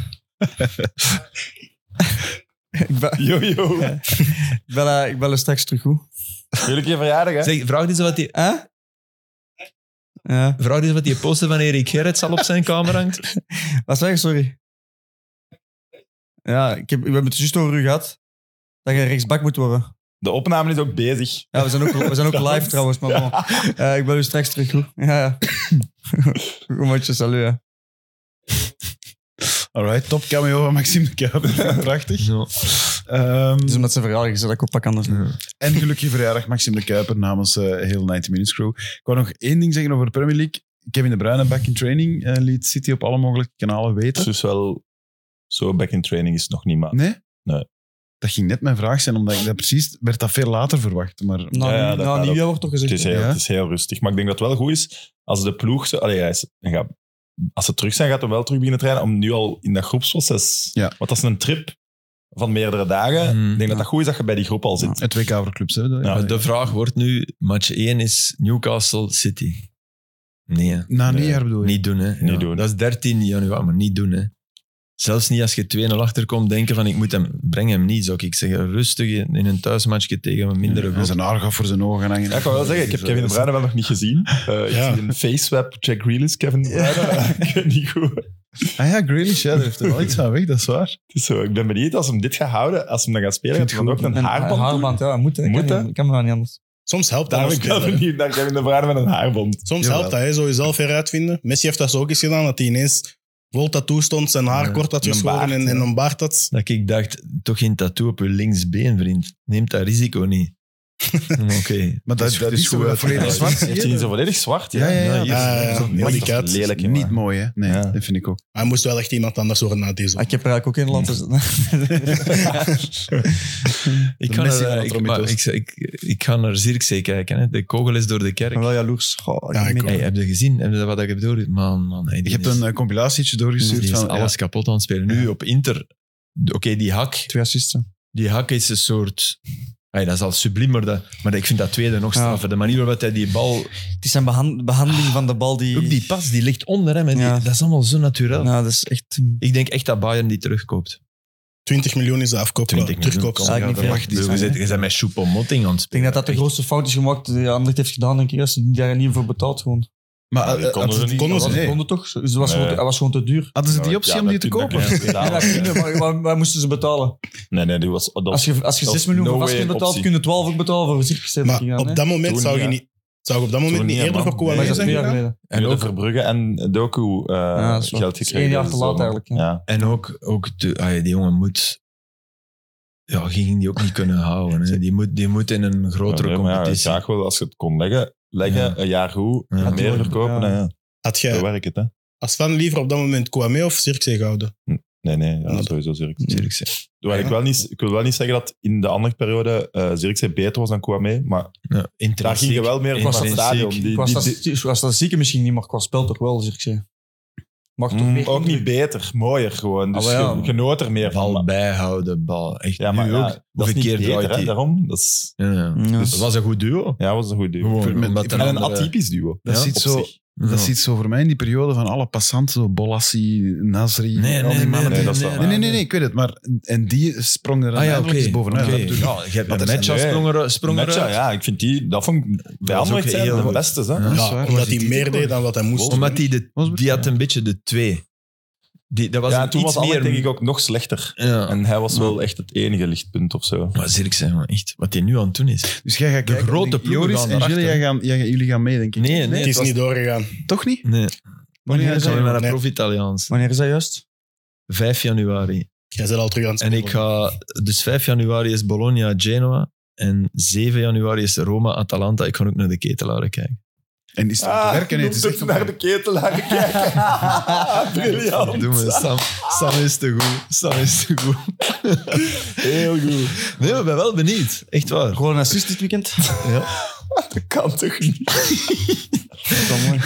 S3: ik, bel,
S5: Yo, yo.
S3: ik, bel, eh, ik bel er straks terug goed.
S5: Jullie keer verjaardag, hè?
S4: Zeg, vraag eens wat die,
S3: Hè? Ja.
S4: vraag eens wat die poster van Erik Gerrits al op zijn kamer hangt.
S3: Wat zeg je? Sorry. Ja, ik heb, we hebben het juist over u gehad. Dat je rechtsbak moet worden.
S5: De opname is ook bezig.
S3: Ja, we zijn ook, we zijn ook live trouwens, maar bon. Eh, ik bel u straks terug goed. Ja, ja. Goed matje, salut. hè.
S2: Alright, top cameo van Maxime de Kuiper. Prachtig.
S4: Ja.
S2: Ehm,
S3: Het is omdat ze verhaal is dat ik oppak anders. doe.
S2: en gelukkig verjaardag Maxime de Kuiper namens eh, heel 90 Minutes Crew. Ik wou nog één ding zeggen over de Premier League. Kevin De Bruyne back in training eh, liet City op alle mogelijke kanalen
S5: Het is
S2: weten.
S5: dus wel... Zo back in training is het nog niet, maar...
S2: Nee?
S5: Nee.
S2: Dat ging net mijn vraag zijn, omdat ik dat precies werd dat veel later verwacht. Maar
S3: Nou,
S5: Ja, ja,
S3: nu-
S5: dat
S3: nou
S5: gaat
S3: nieuwjaar wordt toch gezegd.
S5: Het is, heel,
S2: Ja.
S5: het is heel rustig. Maar ik denk dat het wel goed is als de ploeg... Zo, allee, hij is- hij gaat- als ze terug zijn, gaat hij wel terug beginnen trainen. Om nu al in dat groepsproces...
S2: Ja.
S5: Want dat is een trip van meerdere dagen.
S4: Hmm.
S5: ik denk
S3: Ja.
S5: dat dat goed is dat je bij die groep al zit.
S2: het WK voor clubs, hè? Dat-
S5: Ja,
S4: Nou, De vraag wordt nu, match 1 is Newcastle City. Nee, hè.
S2: Na
S5: Nee,
S2: nieuwjaar bedoel je?
S4: Niet doen, hè. Ja.
S5: doen.
S4: Dat is 13 januari, maar niet doen, hè. Zelfs niet als je 2-0 achterkomt, denken van ik moet hem, breng hem niet, zou ik zeggen. Rustig in in een thuismatchje tegen een mindere
S2: En
S4: groep.
S2: zijn haar gaat voor zijn ogen hangen.
S5: Ja, ik kan wel zeggen, ik heb Kevin De Bruyne wel nog niet gezien. Eh ik
S6: Ja.
S5: zie een facewap, Jack Grealish, Kevin De Bruyne. ik weet niet goed. Het
S2: Ah ja, Grealish, ja, daar heeft er wel iets aan weg, dat is waar.
S5: is Dus zo, ik ben benieuwd als hem dit gaat houden, als hem dan gaat spelen,
S2: Vind
S5: gaat
S2: het
S5: hij dan ook een haarband doen?
S3: haarband, ja, moet. hè.
S5: Moet,
S3: kan,
S5: hè?
S3: niet, kan maar niet anders.
S6: Soms helpt dat
S5: Daar
S6: als
S5: ben ik wel
S6: speler, hè.
S5: benieuwd naar Kevin De Bruyne met een haarband.
S6: Soms
S2: Jawel.
S6: helpt dat, hè, zo jezelf heruitvinden. Messi heeft dat zo ook eens gedaan, dat hij ineens vol tattoo stond, zijn haar
S4: Ja,
S6: kort had
S5: een
S6: geschoren
S5: baard,
S6: en,
S5: ja.
S6: en een baard had.
S4: Dat ik dacht, toch geen tattoo op je linksbeen, vriend. Neem dat risico niet. Oké.
S2: Maar dat,
S4: Het
S2: dat
S4: het
S2: is goed
S4: uit.
S2: volledig zwart. zie
S5: Heeft
S2: je?
S5: hij zo volledig zwart?
S2: Ja, ja, ja.
S5: hier is-
S6: Ja, ja, ja.
S5: dat is
S6: Mooi
S5: lelijk,
S6: kat.
S5: dat is lelijk, hè,
S2: Niet
S5: maar.
S2: mooi, hè? Nee,
S5: Ja.
S2: dat vind ik ook.
S6: Hij moest wel echt iemand anders worden na deze.
S3: Ah, ik heb er eigenlijk ook in laten zitten.
S4: Ik
S2: De
S4: ga,
S2: Messi van
S4: naar,
S2: de
S4: ik, maar
S2: trompetos.
S4: ik, ik, ik ga naar Zirkzee kijken. Hè. De kogel is door de kerk.
S3: ben wel jaloers. Goh,
S6: Ja, ik
S3: meen-
S6: ook.
S4: Hey, heb je gezien? Heb je dat wat ik heb door? Man, man. Hey,
S2: Je
S4: die
S2: hebt
S4: is-
S2: een eh, compilatietje
S4: die
S2: doorgestuurd
S4: is
S2: van
S4: alles
S2: alles.
S4: kapot aan het spelen. Nu op Inter. Oké, die hak.
S3: Twee assisten.
S4: Die hak is een soort... Hey, dat is al subliem, maar, dat, maar ik vind dat tweede nog
S3: Ja.
S4: straffer. De manier waarop hij die bal...
S3: Het is zijn behan- behandeling van de bal die...
S4: Ook die pas, die ligt onder hem. En die-
S3: Ja.
S4: dat is allemaal zo natuurlijk.
S3: Nou, dat is echt...
S4: Ik denk echt dat Bayern die terugkoopt.
S6: 20 miljoen is de afkoop.
S4: 20
S6: wel, terugkoop.
S4: miljoen.
S3: Ja, ik niet
S4: Ja,
S3: veel.
S4: wacht, die zijn, je bent met Choupo-Moting aan het
S3: Ik denk
S4: spelen.
S3: dat dat de grootste fout is gemaakt die Anderlecht heeft gedaan, denk ik. Als die daar niet voor betaald gewoon.
S2: Maar
S5: Ja, die
S2: eh,
S5: konden
S2: hadden
S5: ze
S2: die-
S5: niet.
S6: konden
S3: Dat
S2: nee.
S3: konden toch? Dus dat was,
S5: Nee.
S3: gewoon, dat was gewoon te duur.
S2: Hadden ze die
S5: Ja,
S2: optie om
S5: dat-
S2: die te
S5: dat-
S2: kopen?
S5: dat-
S3: Ja, dat kunnen, maar waar, waar moesten ze betalen?
S5: Nee, nee, die was... Dat
S3: Als je, als je
S5: dat
S3: 6
S5: is
S3: miljoen
S5: no
S3: voor
S5: way
S3: vastgoed
S5: een
S3: betaalt,
S5: optie.
S3: kun je 12 ook betalen voor
S6: Maar
S3: verzekeringsverzekering.
S6: op dat moment
S5: Toen
S6: zou je
S5: niet,
S6: niet, zou je op dat moment
S5: Toen
S6: niet
S5: niet,
S6: eerder
S5: man.
S6: voor
S5: Nee,
S3: Maar
S6: Kouané
S3: dat is
S5: dat
S6: zijn
S3: twee jaar
S6: gegaan?
S3: geleden.
S5: En
S4: ook-
S5: ook Verbrugge en Doku eh
S3: Ja, dat is waar.
S5: geld
S3: Dat is
S5: gekregen.
S3: één jaar
S5: dus
S3: te laat
S5: dan-
S3: eigenlijk, hè.
S5: Ja.
S4: En ook, ook de, ah ja, die jongen moet... Ja, ging die ook niet kunnen houden. Hè. Die, moet, die moet in een grotere
S5: Ja, nee, maar ja,
S4: competitie.
S5: graag wel, als je het kon leggen, leggen
S4: Ja.
S5: een jaar goed,
S4: Ja.
S5: en meer
S3: Ja.
S5: verkopen, dan, ja.
S6: Had
S5: zo
S6: jij
S5: werkt het. Hè.
S6: als fan liever op dat moment Kouané of Cirkzee gehouden?
S5: Nee, nee, ja,
S6: Ja.
S5: sowieso Zirkzee.
S4: Natuurlijk, zeg.
S5: Terwijl Ik, wel niet, ik wil wel niet zeggen dat in de andere periode eh Zirkzee beter was dan Kouame, maar
S4: Ja,
S5: daar ging je wel meer
S4: in
S5: van het
S4: principe.
S5: stadion. Die,
S3: Qua
S5: die- die-
S3: statistiek- qua statistieken misschien niet, maar qua spel toch wel, zeg ik ze. Mag toch
S5: Mm,
S3: meer
S5: ook niet
S3: indruk-
S5: beter, mooier gewoon. Dus
S3: Ah, wel ja.
S5: je, je genoot er meer van.
S4: Bal
S5: maar-
S4: bijhouden, bal. Echt,
S5: Ja, maar
S4: nu
S5: ja,
S4: ook.
S5: dat is
S4: Hoeveel
S5: niet
S4: keer
S5: beter,
S4: draait
S5: hè,
S4: hij?
S5: daarom. Dat is,
S4: Ja, ja.
S3: Ja.
S4: Dus dat was een goed duo.
S5: ja, was een goed duo.
S4: Gewoon,
S2: vind-
S4: omdat
S2: ik
S4: een
S5: en een
S4: andere-
S5: atypisch duo.
S2: Dat
S5: ja,
S2: is iets
S5: op
S2: zo-
S5: zich.
S4: Ja.
S2: Dat is iets zo voor mij in die periode van alle passanten, zo Bolassi, Nasri, al
S4: Nee, nee,
S2: die
S4: nee,
S2: mannen.
S5: nee,
S2: Nee,
S5: dat is wel
S2: nee, nee, nee, ik weet het, maar en die sprong er
S4: Ah ja,
S2: eigenlijk
S4: oké.
S2: eens bovenuit.
S4: oké.
S2: Dat bedoel ik.
S4: Ja, je hebt
S2: Want er
S4: met Matcha
S5: zijn-
S4: sprong er- sprong
S5: Matja,
S4: eruit.
S5: ja, ik vind die, dat vond ik bij
S4: Dat was ook
S5: Anderlecht zijn
S4: heel
S5: de
S4: goed.
S5: beste. Hè?
S4: Ja.
S2: Dat is
S6: Ja,
S2: waar, was
S6: omdat hij
S2: die
S6: meer
S2: titelkoor?
S6: deed dan wat hij moest.
S4: Omdat die, de,
S2: Wolfsburg,
S4: die had
S2: ja.
S4: een beetje de twee. Die, dat was
S5: ja,
S4: een
S5: toen
S4: iets
S5: was Anderlecht
S4: meer...
S5: denk ik ook nog slechter.
S4: Ja.
S5: En hij was wel echt het enige lichtpunt of zo.
S4: Maar Zirk zijn man, echt, wat hij nu aan het doen is.
S2: Dus jij gaat kijken,
S4: grote
S2: ik denk,
S4: ploegen
S2: Joris
S4: gaan
S2: en
S4: erachter.
S2: Gilles, jij gaan, jij, jullie gaan mee, denk ik.
S4: Nee, nee,
S6: Het is niet doorgegaan.
S2: Toch niet?
S4: Nee,
S2: Wanneer
S4: ik
S2: is
S4: ga weer
S2: dat?
S4: naar dat
S6: Nee.
S4: prof-Italiaans.
S3: Wanneer is dat juist?
S4: 5 januari.
S6: Jij zit al terug aan het
S4: En ik
S6: spelen.
S4: ga... Dus 5 januari is Bologna-Genoa. En 7 januari is Roma-Atalanta. Ik ga ook naar de ketelaren kijken.
S2: En is het
S4: Ah,
S2: aan het werken? Nee, het is echt
S5: naar
S2: op-
S5: de ketelaar kijken. Briljant.
S4: Doe me, Sam, Sam is te goed. Sam is te goed.
S5: Heel goed.
S4: Nee, maar ik ben wel benieuwd. Echt waar.
S3: Gewoon een assist dit weekend.
S5: Dat kan toch niet?
S3: Dat is wel mooi.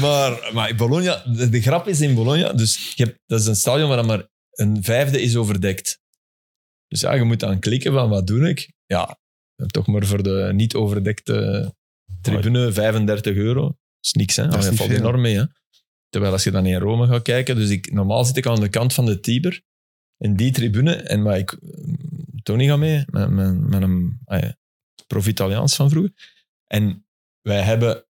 S4: Maar, maar Bologna, de, de grap is in Bologna, dus je hebt, dat is een stadion waar dan maar een vijfde is overdekt. Dus ja, je moet dan klikken van wat doe ik? Ja, toch maar voor de niet overdekte tribune 35 euro. Dat is niks, hè?
S2: is
S4: Dat
S2: niet
S4: valt
S2: veel.
S4: enorm mee, hè? Terwijl als je dan in Rome gaat kijken, dus ik, normaal zit ik aan de kant van de Tiber, in die tribune, en maar ik, mm, Tony gaat mee, met, met, met een ah ja, prof-Italiaans van vroeger. En wij hebben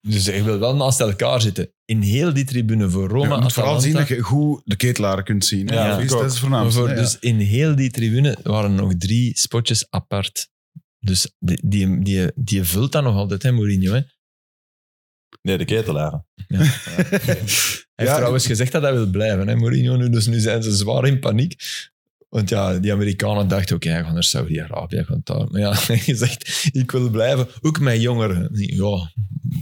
S4: dus je wil wel naast elkaar zitten. In heel die tribune voor
S2: Ja,
S4: Roma,
S2: je moet vooral zien dat
S4: Atalanta.
S2: je goed de ketelaren kunt zien. hè.
S5: Ja,
S2: dat,
S5: ik
S2: is,
S5: ook.
S2: dat is het voornaamste.
S4: Voor-
S2: hè, ja.
S4: Dus in heel die tribune waren nog drie spotjes apart. Dus die, die, die, die vult dat nog altijd, hè, Mourinho. Hè? Hij
S5: Nee, de ketelaren.
S4: heeft
S2: Ja,
S4: trouwens gezegd dat hij wil blijven, hè, Mourinho. Nu, dus nu zijn ze zwaar in paniek. Want ja, die Amerikanen dachten, oké, hij gaat naar Saudi-Arabië, hij gaat daar. Maar ja, hij heeft gezegd, ik wil blijven, ook met jongeren. Ja,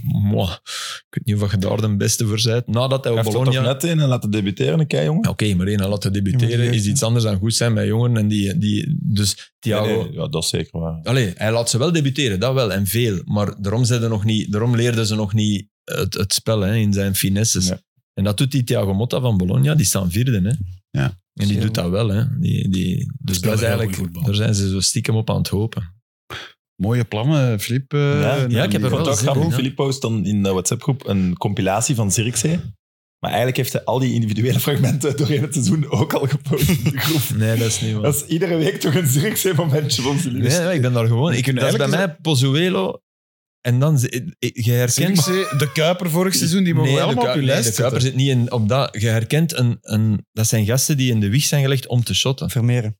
S4: moi. ik weet niet of je daar de beste voor bent. Nadat hij
S5: Hij
S4: op
S5: heeft er toch
S4: Bologna...
S5: net in en laten debuteren, een kei, jongen.
S4: Ja, Oké, maar één aan laten
S3: Je moet
S4: debuteren
S3: je
S4: is iets anders dan goed zijn bij jongen. En die, die, dus Thiago...
S5: Nee, nee, ja, dat is zeker waar.
S4: Allee, hij laat ze wel debuteren, dat wel, en veel. Maar daarom, zeiden nog niet, daarom leerden ze nog niet het, het spel hè, in zijn finesses.
S5: Ja.
S4: En dat doet die Thiago Motta van Bologna, die staan vierde. Hè.
S2: Ja.
S4: En die doet dat wel. Hè. Die, die, dus dat
S6: Speelde
S4: is
S6: heel goed
S4: eigenlijk,
S6: voetbal.
S4: daar zijn ze zo stiekem op aan het hopen.
S2: Mooie plannen, Filip. eh,
S5: Ja,
S2: en-
S4: ja, ik heb er
S5: Ik vond
S4: wel
S5: het ook
S4: zin in,
S5: grappig.
S4: ja.
S5: Filip post dan in de WhatsApp-groep een compilatie van Zirkzee. Maar eigenlijk heeft hij al die individuele fragmenten doorheen het seizoen ook al gepost in de groep.
S4: Nee, dat is niet waar.
S5: Dat is iedere week toch een Zirkzee-momentje van zijn
S4: Nee, nee, ik ben daar gewoon. Ik,
S2: dus- kunnen
S4: dat is bij
S2: eigenlijk
S4: mij Pozuelo. En dan, ze- ik- ik- je herkent
S2: Zirkzee, de Kuiper vorig seizoen, die mogen
S4: Nee,
S2: we allemaal
S4: de
S2: op
S4: Kuip-
S2: je
S4: nee,
S2: lijst
S4: de Kuiper
S2: zetten.
S4: zit niet in, op dat. Je herkent een, een... Dat zijn gasten die in de wieg zijn gelegd om te shotten.
S3: Vermeeren.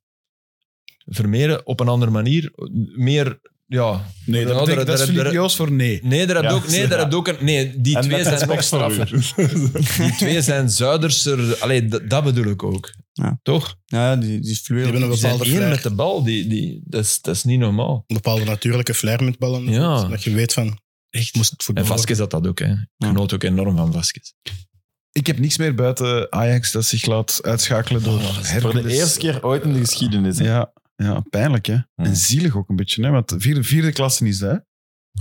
S4: Vermeeren op een andere manier. Meer... Ja.
S2: Nee, dat,
S4: Ja,
S2: betekent,
S4: daar-
S2: dat is
S4: daar-
S2: Filip
S4: daar-
S2: Joos voor nee.
S4: Nee, daar heb je
S5: Ja,
S4: ook... Nee, daar
S5: ja.
S4: heb je ook een, nee die twee zijn nog straffer. Die twee zijn zuiderser. Allee, dat, dat bedoel ik ook.
S3: Ja.
S4: Toch?
S3: Ja, ja, die, die is fluweel.
S6: Die hebben
S4: Die
S6: een
S4: zijn
S6: bepaalde
S4: één met
S6: flair.
S4: de bal. Die, die, dat, is, dat is niet normaal.
S6: Een bepaalde natuurlijke flair met ballen.
S4: Ja.
S6: Dat je weet van,
S4: Echt.
S6: moest het
S4: En
S6: voetbal
S4: Vasquez had dat ook. Hè. Ik genoot ook enorm van Vasquez.
S2: Ik heb niks meer buiten Ajax dat zich laat uitschakelen door
S4: Oh, dat is
S5: Voor de
S2: Hercules.
S5: eerste keer ooit in de geschiedenis.
S2: Ja, ja pijnlijk hè. En zielig ook een beetje. Hè? Want vierde, vierde klasse is dat,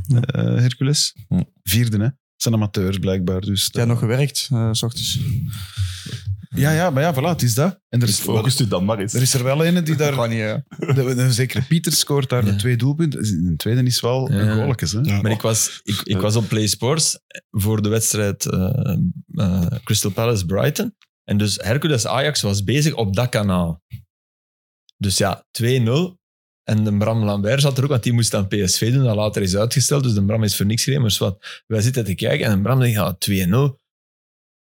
S2: hè? Eh, Hercules.
S5: Ja.
S2: Vierde, hè. Het zijn amateurs blijkbaar. Dus
S3: Jij
S2: dat-
S3: nog gewerkt, eh, s ochtends.
S2: ja, ja, maar ja, voilà, het is dat. En er
S5: Dus
S2: is,
S5: focus u dan maar eens.
S2: er is er wel ene die daar...
S3: Kan niet, hè.
S2: de- de- Zeker Pieter scoort daar de
S4: Ja.
S2: twee doelpunten. De tweede is wel
S4: Ja.
S2: een goalekes, hè.
S6: Ja.
S4: Maar ik was, ik, ik was op Play Sports eh, voor de wedstrijd eh, eh, Crystal Palace Brighton. En dus Hercules Ajax was bezig op dat kanaal. Dus ja, 2-0. En de Bram Lambert zat er ook, want die moest aan PSV doen. Dat later is uitgesteld, dus de Bram is voor niks gereden. Maar wat, wij zitten te kijken en de Bram denkt, ja, 2-0.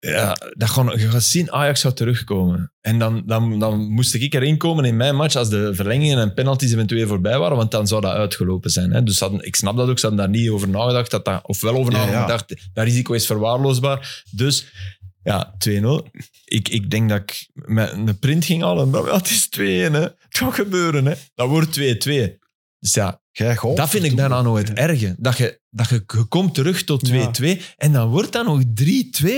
S4: Ja, dat gaan, je gaat zien, Ajax gaat terugkomen. En dan, dan, dan moest ik erin komen in mijn match als de verlengingen en penalties eventueel voorbij waren, want dan zou dat uitgelopen zijn. Hè. Dus ze hadden- ik snap dat ook, ze hadden daar niet over nagedacht, dat dat, of wel over
S2: Ja, ja.
S4: nagedacht, dat risico is verwaarloosbaar. Dus ja, 2-0. Ik, ik denk dat ik met een print ging halen. en dacht, ja, het is 2-1, hè. Het gaat gebeuren, hè. Dat wordt 2-2. Dus ja,
S2: Gij, goh,
S4: dat vind ik daarna nog het erge. Dat je, dat je, je komt terug tot 2-2 en dan wordt dat nog 3-2.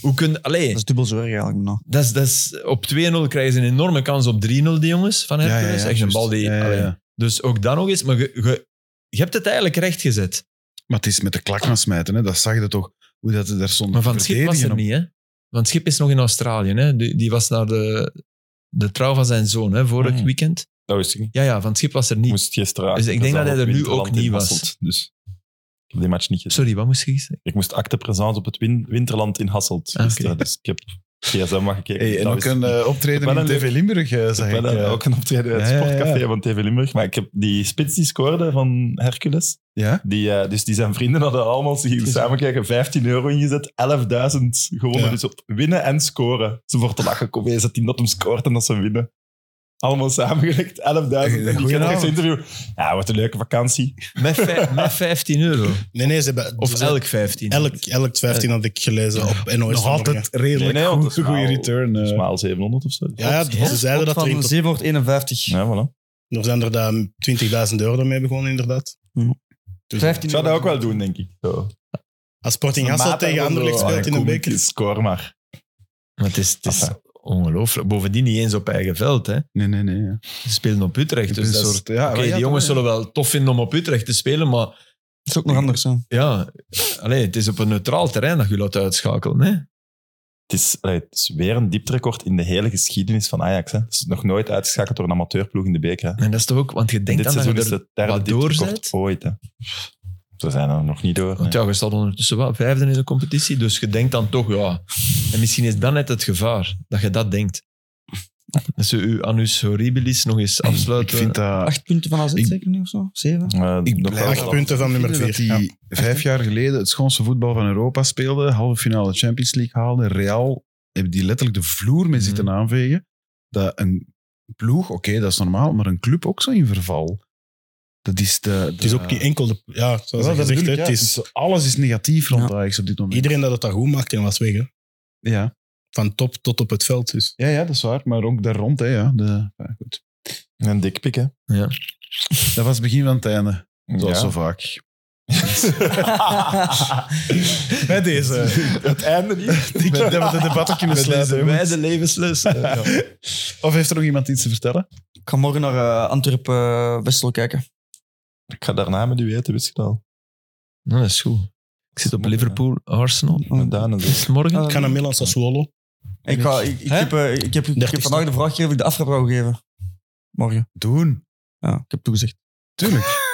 S4: Hoe kun, allee,
S3: Dat is dubbel zo erg eigenlijk. maar nou.
S4: dat is, dat is, op 2-0 krijgen ze een enorme kans op 3-0, die jongens van Hercules. Echt een
S2: juist.
S4: bal die...
S2: Ja, ja,
S4: allee.
S2: ja.
S4: Dus ook dat nog eens. Maar je, je, je hebt het eigenlijk recht gezet.
S2: Maar het is met de klak gaan smijten, hè. dat zag je toch, hoe dat ze daar stond.
S4: Maar van het schip was er niet, hè? Want Schip is nog in Australië, hè? Die, die was naar de, de trouw van zijn zoon, hè? Vorig
S2: Hmm.
S5: Mm.
S4: weekend.
S5: Dat wist ik niet.
S4: Ja, ja, van Schip was er
S5: Ik
S4: niet.
S5: moest gisteren
S4: Dus ik
S5: achter
S4: denk dat
S5: zijn
S4: hij
S5: op
S4: er nu
S5: Winterland
S4: ook niet
S5: in
S4: was.
S5: Hasselt. Dus ik heb die match niet gezien.
S4: Sorry, wat moest je zeggen?
S5: Ik moest acte présence op het win- Winterland in Hasselt
S4: Ah, oké.
S5: gisteren. Dus ik heb gsm maar gekeken.
S2: Hey, en
S5: Dat
S2: ook
S5: wist
S2: een
S5: ik niet.
S2: eh,
S5: Ik
S2: optreden in
S5: ben een
S2: TV
S5: leuk-
S2: Limburg, eh, zag ik.
S5: Wel, eh,
S2: ja.
S5: ook een optreden uit het
S2: Ja, ja,
S5: sportcafé
S2: ja.
S5: van TV Limburg. Maar ik heb die spits die scoorde van Hercules.
S2: Ja?
S5: Die, eh, dus die zijn vrienden hadden allemaal zich samen kijken, 15 euro ingezet, 11.000 gewonnen.
S6: Ja.
S5: Dus op winnen en scoren. Ze wordt te lachen, kom eens, dat hij dat hem scoort en dat ze winnen. Allemaal samengelegd, 11.000. En die
S2: Goedenavond.
S5: kent echt zo'n interview. Ja, wat een leuke vakantie.
S4: Met, vij- met 15 euro.
S6: Nee, nee, ze hebben...
S4: Of
S6: ze-
S4: elk 15.
S6: Elk, elk 15 had ik gelezen op NOS
S2: Nog altijd
S6: vanmorgen.
S2: redelijk
S5: Nee, nee, want dat is
S2: goe- goede
S5: wel-
S2: return. eh.
S5: Dus maal 700 of zo.
S6: Ja, ja,
S4: Ja?
S6: ze zeiden dat er in
S3: Van 751.
S5: Ja, voilà.
S6: Er zijn er daar 20.000 euro mee begonnen, inderdaad.
S3: Hm.
S6: Dus
S3: 15
S5: Ik zou dat ook wel doen, denk ik. Zo.
S6: als Sporting Hasselt tegen Anderlecht speelt in een beker.
S5: oh, Score maar.
S4: Maar het is, het is
S5: Enfin.
S4: ongelooflijk. Bovendien niet eens op eigen veld. Hè.
S2: Nee, nee, nee. ja.
S4: Ze spelen op Utrecht.
S2: Het
S4: Dus
S2: is
S4: dat
S2: een
S4: is-
S2: soort- ja,
S4: Oké,
S2: ja,
S4: die
S2: toch,
S4: jongens
S2: ja.
S4: zullen wel tof vinden om op Utrecht te spelen, maar
S3: Dat is ook nog anders. Hè.
S4: ja, allee, het is op een neutraal terrein dat je laat uitschakelen. Hè?
S5: Het is, allee, het is weer een diepterecord in de hele geschiedenis van Ajax. Hè. Het is nog nooit uitgeschakeld door een amateurploeg in de beker. Hè.
S4: En dat is toch ook, want je denkt
S5: Dit
S4: dan dat
S5: seizoen
S4: je
S5: is
S4: er
S5: het derde
S4: wat door
S5: diepterecord
S4: bent.
S5: ooit. Hè. Ze zijn er nog niet door. nee.
S4: Want ja, je staat ondertussen wat, vijfde in de competitie, dus je denkt dan toch, ja. En misschien is dat net het gevaar, dat je dat denkt. Dat ze uw anus horribilis nog eens
S2: Ik
S4: afsluiten.
S2: vind eh, dat...
S3: Acht punten van AZ
S2: Ik-
S3: zeker nu of zo? Zeven?
S5: Eh,
S2: Ik
S5: nog
S2: blijf
S5: wel
S6: Acht
S5: wat.
S6: punten van nummer
S2: dat
S6: 4.
S2: die vijf jaar geleden het schoonste voetbal van Europa speelde, halve finale Champions League haalde, Real hebben die letterlijk de vloer mee zitten aanvegen. Dat een ploeg, oké, dat is normaal, maar een club ook zo in verval. Dat is de,
S6: Het is ook niet enkel de... Ja,
S2: Ja,
S6: zoals
S2: dat
S6: ik gezegd,
S2: bedoel
S6: hè,
S2: ik,
S6: het
S2: ja.
S6: is...
S2: Dus alles is negatief rond
S3: Ja.
S2: Ajax op dit moment.
S6: Iedereen dat het dat goed maakt, en was weg. Hè.
S2: Ja.
S6: Van top tot op het veld. Dus.
S2: Ja, ja, dat is waar, maar ook daar rond. Hè, ja. De, ja, goed.
S5: Een dikpik, hè.
S2: Dat was het begin van het einde, zoals
S5: Ja.
S2: zo vaak.
S6: Bij deze.
S5: Het einde niet.
S2: Ik denk dat we de debat ook kunnen
S5: Met deze
S2: sluiten. jongens.
S4: wijze levensles. Eh, ja.
S2: Of heeft er nog iemand iets te vertellen?
S3: Ik ga morgen naar eh, Antwerpen eh, Westerlo kijken.
S5: Ik ga daarna met u eten, wist je dat al.
S4: Nou, dat is goed. Ik zit op Liverpool, Arsenal.
S5: Met Daan en zo.
S4: Is het
S3: Oh.
S4: morgen?
S6: Ik ga naar Milan Sassuolo.
S3: Eh, Ik, ga, ik, ik
S4: Hè?
S3: heb, eh, ik, heb, ik heb
S6: Dertigste.
S3: vandaag de vraag gegeven of ik de aftrap wou geven. Morgen.
S2: Doen.
S3: Ja, ik heb toegezegd.
S2: Tuurlijk.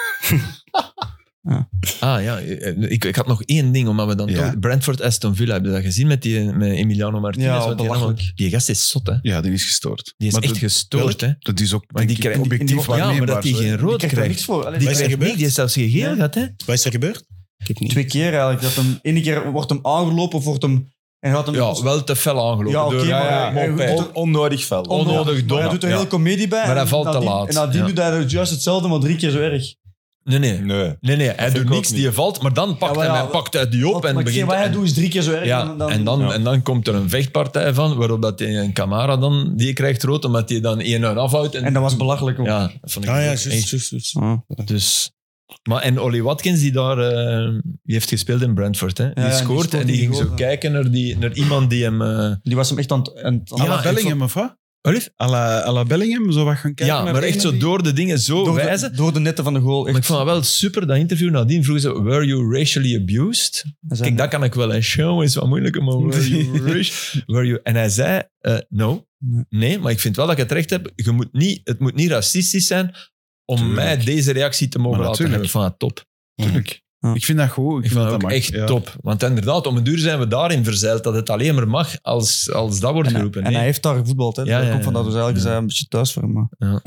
S4: Ah ja, ik, ik had nog één ding, omdat we dan
S2: Ja.
S4: toch... Brentford Aston Villa, heb je dat gezien met, die, met Emiliano Martinez?
S3: Ja,
S4: Want die,
S3: belachelijk.
S4: allemaal- die gast is zot, hè.
S2: Ja, die is gestoord.
S4: Die is
S2: Maar
S4: echt
S2: dat-
S4: gestoord, hè.
S2: Dat is ook denk
S4: Maar die
S2: ik,
S4: krijgt-
S2: objectief
S4: ja, maar dat
S2: waarneembaar,
S4: die
S2: zo, hè.
S4: geen rood
S3: Ik krijg er niks
S4: krijgt.
S3: voor. Allee,
S4: Die
S6: Wat is er
S4: krijgt
S6: gebeurd?
S4: niet, die heeft zelfs geen geel
S3: Ja.
S4: gehad, hè.
S6: Wat is er gebeurd? Ik heb niet.
S3: Twee keer eigenlijk. Dat hem, ene keer wordt hem aangelopen of wordt hem... En gaat hem
S4: Ja, wel te fel aangelopen.
S3: Ja, oké,
S4: door-
S3: maar-
S4: ja, ja.
S3: ja, goed.
S4: Mopé.
S5: On- onnodig fel.
S4: Onnodig dom.
S3: Maar hij doet er
S4: Ja.
S3: heel comedie bij.
S4: Maar
S3: en
S4: hij valt te
S3: nadien-
S4: laat.
S3: En nadien
S4: Ja.
S3: doet hij het juist hetzelfde, maar drie keer zo erg.
S4: Nee, nee.
S5: Nee.
S4: Nee, nee, hij
S5: vind
S4: doet
S5: ik ook
S4: niks, die valt, maar dan pakt
S3: Ja,
S4: hij
S3: maar
S4: hem,
S3: ja,
S4: hij pakt uit die op
S3: maar
S4: en
S3: ik zeg,
S4: begint...
S3: wat hij
S4: en-
S3: doet is drie keer zo erg.
S4: ja, en dan,
S5: Ja.
S4: en dan komt er een vechtpartij van, waarop dat die een Camara dan, die krijgt rood, omdat hij dan één en afhoudt. En,
S3: en dat was belachelijk. ook.
S4: Ja, dat vond ik
S6: Ah ja,
S4: ook
S6: juist,
S4: echt-
S6: juist, juist.
S3: Ah.
S4: Dus, maar en Ollie Watkins, die daar eh, die heeft gespeeld in Brentford, hè? die
S3: ja, die
S4: scoort
S3: scoort
S4: en die
S3: die
S4: ging zo
S3: goal, ja.
S4: kijken naar, die, naar iemand die hem. eh,
S3: Die was hem echt aan het... aan het-
S2: À
S4: Ja,
S2: la
S4: ik
S2: Bellingham, of wat?
S4: Allee?
S2: À la, à la Bellingham, zo wat gaan kijken
S4: ja,
S2: naar
S4: maar echt
S2: degene
S4: zo
S2: die-
S4: door de dingen zo
S3: door,
S4: wijzen.
S3: de, door de netten van de goal. Echt.
S4: Maar ik vond dat wel super, dat interview nadien vroegen ze, were you racially abused?
S3: Hij zei-
S4: Kijk, dat kan ik wel. Een show is wat moeilijker, maar were you raci- were you... En hij zei, eh, no.
S3: Nee.
S4: Nee, maar ik vind wel dat ik het recht heb. Je moet niet, het moet niet racistisch zijn om
S2: Tuurlijk.
S4: mij deze reactie te mogen
S2: Maar
S4: laten hebben.
S2: natuurlijk.
S4: Ik vond dat top.
S2: Tuurlijk.
S3: Ja.
S2: Ik vind dat goed. Ik,
S4: Ik
S2: vind
S4: vond
S2: dat
S4: dat ook
S2: mag.
S4: echt
S2: Ja.
S4: top. Want inderdaad, om een duur zijn we daarin verzeild dat het alleen maar mag als, als dat wordt
S3: en, hij-
S4: geroepen.
S3: en hij
S4: nee.
S3: heeft daar gevoetbald. Hè.
S4: Ja,
S3: dat
S4: ja,
S3: komt van
S4: ja.
S3: dat. Dus eigenlijk is hij een beetje thuis voor hem. maar-
S4: Ja.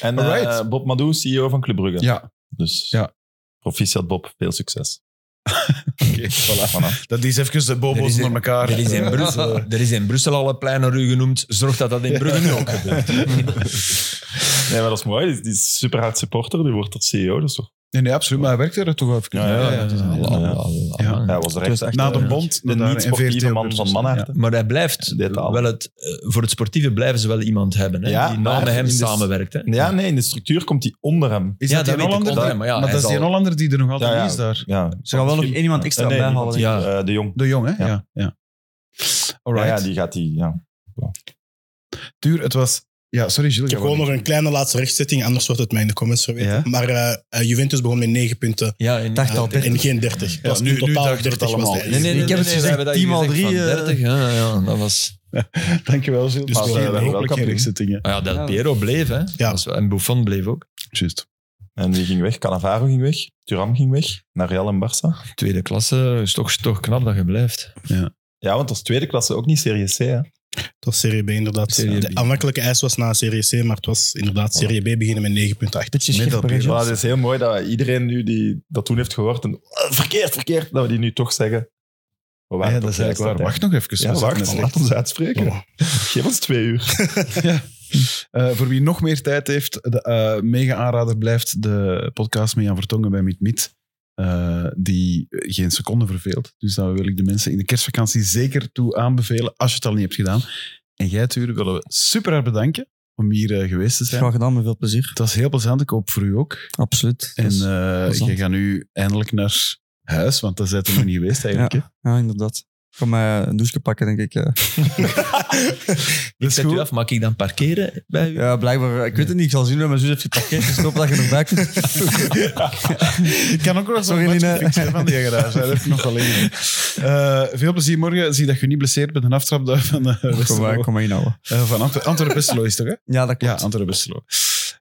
S5: En eh,
S2: Alright.
S5: Bob Madou, CEO van Club Brugge.
S2: Ja,
S5: Dus
S2: Ja.
S5: proficiat Bob, veel succes.
S2: oké.
S5: Voilà. Voilà.
S2: Dat is even de bobo's
S4: Er is-
S2: onder elkaar.
S4: Er is, in Brussel, er is in Brussel al een plein naar u genoemd. Zorg dat dat in Brugge nu ook gebeurt.
S5: Nee, maar dat is mooi. Die is, die is super hard supporter. Die wordt tot CEO. Dat is toch...
S2: Nee, nee, absoluut. Maar hij werkte er toch wel even.
S5: Ja, ja, ja.
S2: het is een-
S5: Ja.
S2: Ja.
S5: Hij was er
S4: Het was
S5: echt
S4: echt
S2: Na
S5: eh,
S2: de bond,
S5: de
S2: daarna
S5: niet-sportieve
S2: NVRT
S5: man
S2: ook.
S5: van Manhart.
S4: Maar hij blijft
S5: Dit al.
S4: wel het, eh, voor het sportieve blijven ze wel iemand hebben hè,
S5: Ja,
S4: die
S5: maar
S4: na met hem
S5: in de-
S4: samenwerkt. Hè.
S5: Ja, nee, in de structuur komt hij onder hem.
S2: Is
S4: Ja,
S2: dat,
S4: dat
S2: die
S4: weet ik
S2: Hollander?
S4: onder hem, maar ja, hij
S2: dat is
S4: zal-
S2: die Hollander die er nog altijd
S5: Ja, ja.
S2: niet is daar.
S5: Ja.
S3: Ze gaan wel nog één iemand extra
S5: Eh, nee,
S3: bijhalen.
S5: die-
S3: denk ik.
S5: eh, de Jong.
S2: De jong, hè?
S5: Ja.
S2: Ja. ja.
S5: Ja,
S2: Alright.
S5: ja, die gaat die... Ja.
S2: Duur, het was... Ja, sorry, Gilles.
S6: Ik heb gewoon nog een kleine laatste rechtzetting, anders wordt het mij in de comments verweten.
S2: Ja?
S6: Maar eh, eh, Juventus begon met 9 punten
S4: Ja, en,
S3: Dacht al
S6: eh,
S3: 30.
S6: en geen 30. Het
S2: Ja,
S6: was
S2: nu-
S6: in
S2: nu
S6: totaal
S2: daagt het
S6: 30 was
S2: allemaal.
S6: hij.
S4: Nee, nee, nee,
S3: Ik heb het
S4: nee,
S3: gezegd,
S4: we hebben dat
S3: 10 x
S4: gezegd
S3: 3,
S4: van
S3: eh,
S4: 30, ja, ja, dat was...
S2: Dankjewel, Gilles.
S6: Dus
S2: Maar,
S6: we
S2: eh,
S6: zijn
S5: wel
S2: hopelijk
S5: kampioen.
S2: geen rechtzittingen.
S4: Ah ja, Del
S3: Ja.
S4: Piero bleef, hè.
S6: Ja.
S4: Dat is- En Buffon bleef ook.
S2: Juist.
S5: En die ging weg. Cannavaro ging weg. Thuram ging weg. Naar Real en Barça.
S4: Tweede klasse is toch, toch knap dat je blijft.
S5: Ja, want als tweede klasse ook niet Serie C. Hè.
S6: Het was Serie B inderdaad.
S4: Serie
S6: De
S4: B.
S6: aanvankelijke eis was na Serie C, maar het was inderdaad Serie B beginnen met 9 punten achter.
S3: Beetje scherper, hè,
S5: Maar
S3: Jens?
S5: het is heel mooi dat iedereen nu die dat toen heeft gehoord en "Ah, verkeerd, verkeerd, dat we die nu toch zeggen.
S2: Ja,
S5: We waren
S2: dat
S5: toch
S2: is eigenlijk waar.
S5: juist
S2: Wacht nog even.
S5: Ja,
S2: we zaten
S5: wacht,
S2: net-
S5: laat ons uitspreken.
S3: Oh.
S5: Geef ons twee uur.
S2: Eh, voor wie nog meer tijd heeft, de eh, mega aanrader blijft de podcast met Jan Vertongen bij Mit Mit. eh, die geen seconde verveelt. Dus daar wil ik de mensen in de kerstvakantie zeker toe aanbevelen, als je het al niet hebt gedaan. En jij, Tuur, willen we super hard bedanken om hier eh, geweest te zijn.
S3: Graag gedaan, met veel plezier.
S2: Het was heel plezant, ik hoop voor u ook.
S3: Absoluut.
S2: En
S3: Dus-
S2: eh
S3: plezant.
S2: je gaat nu eindelijk naar huis, want daar zijn we nog niet geweest eigenlijk. hè.
S3: ja, inderdaad. Ik ga mij een douche pakken, denk ik. eh.
S4: Ik
S2: is
S4: zet
S2: goed.
S4: u af, mag ik dan parkeren bij u?
S3: Ja, blijkbaar. eh, Ik weet het niet. Ik zal zien hoe mijn zus heeft geparkeerd. Dus ik hoop dat je nog bij kunt.
S2: Ik kan ook nog
S3: Sorry,
S2: zo'n match
S3: Lina.
S2: gefixt hebben van die garage. hè. Dat heb ik nog wel in. Eh, veel plezier morgen. Zie dat je niet blesseert met een aftrap daar van, eh
S3: Kom maar,
S2: Westerlo.
S3: kom maar inhouden.
S2: Eh, van Antwer- Antwerpen-Westerlo is het toch, hè?
S3: Ja, dat
S2: Ja,
S3: klopt.
S2: Antwerpen-Westerlo.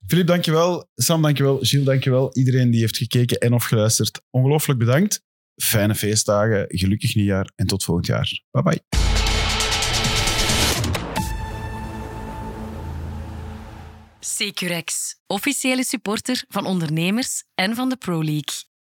S2: Filip, dankjewel. Sam, dankjewel. Gilles, dankjewel. Iedereen die heeft gekeken en of geluisterd, ongelooflijk bedankt. Fijne feestdagen, gelukkig nieuwjaar en tot volgend jaar. Bye bye.
S1: Securex, officiële supporter van ondernemers en van de Pro League.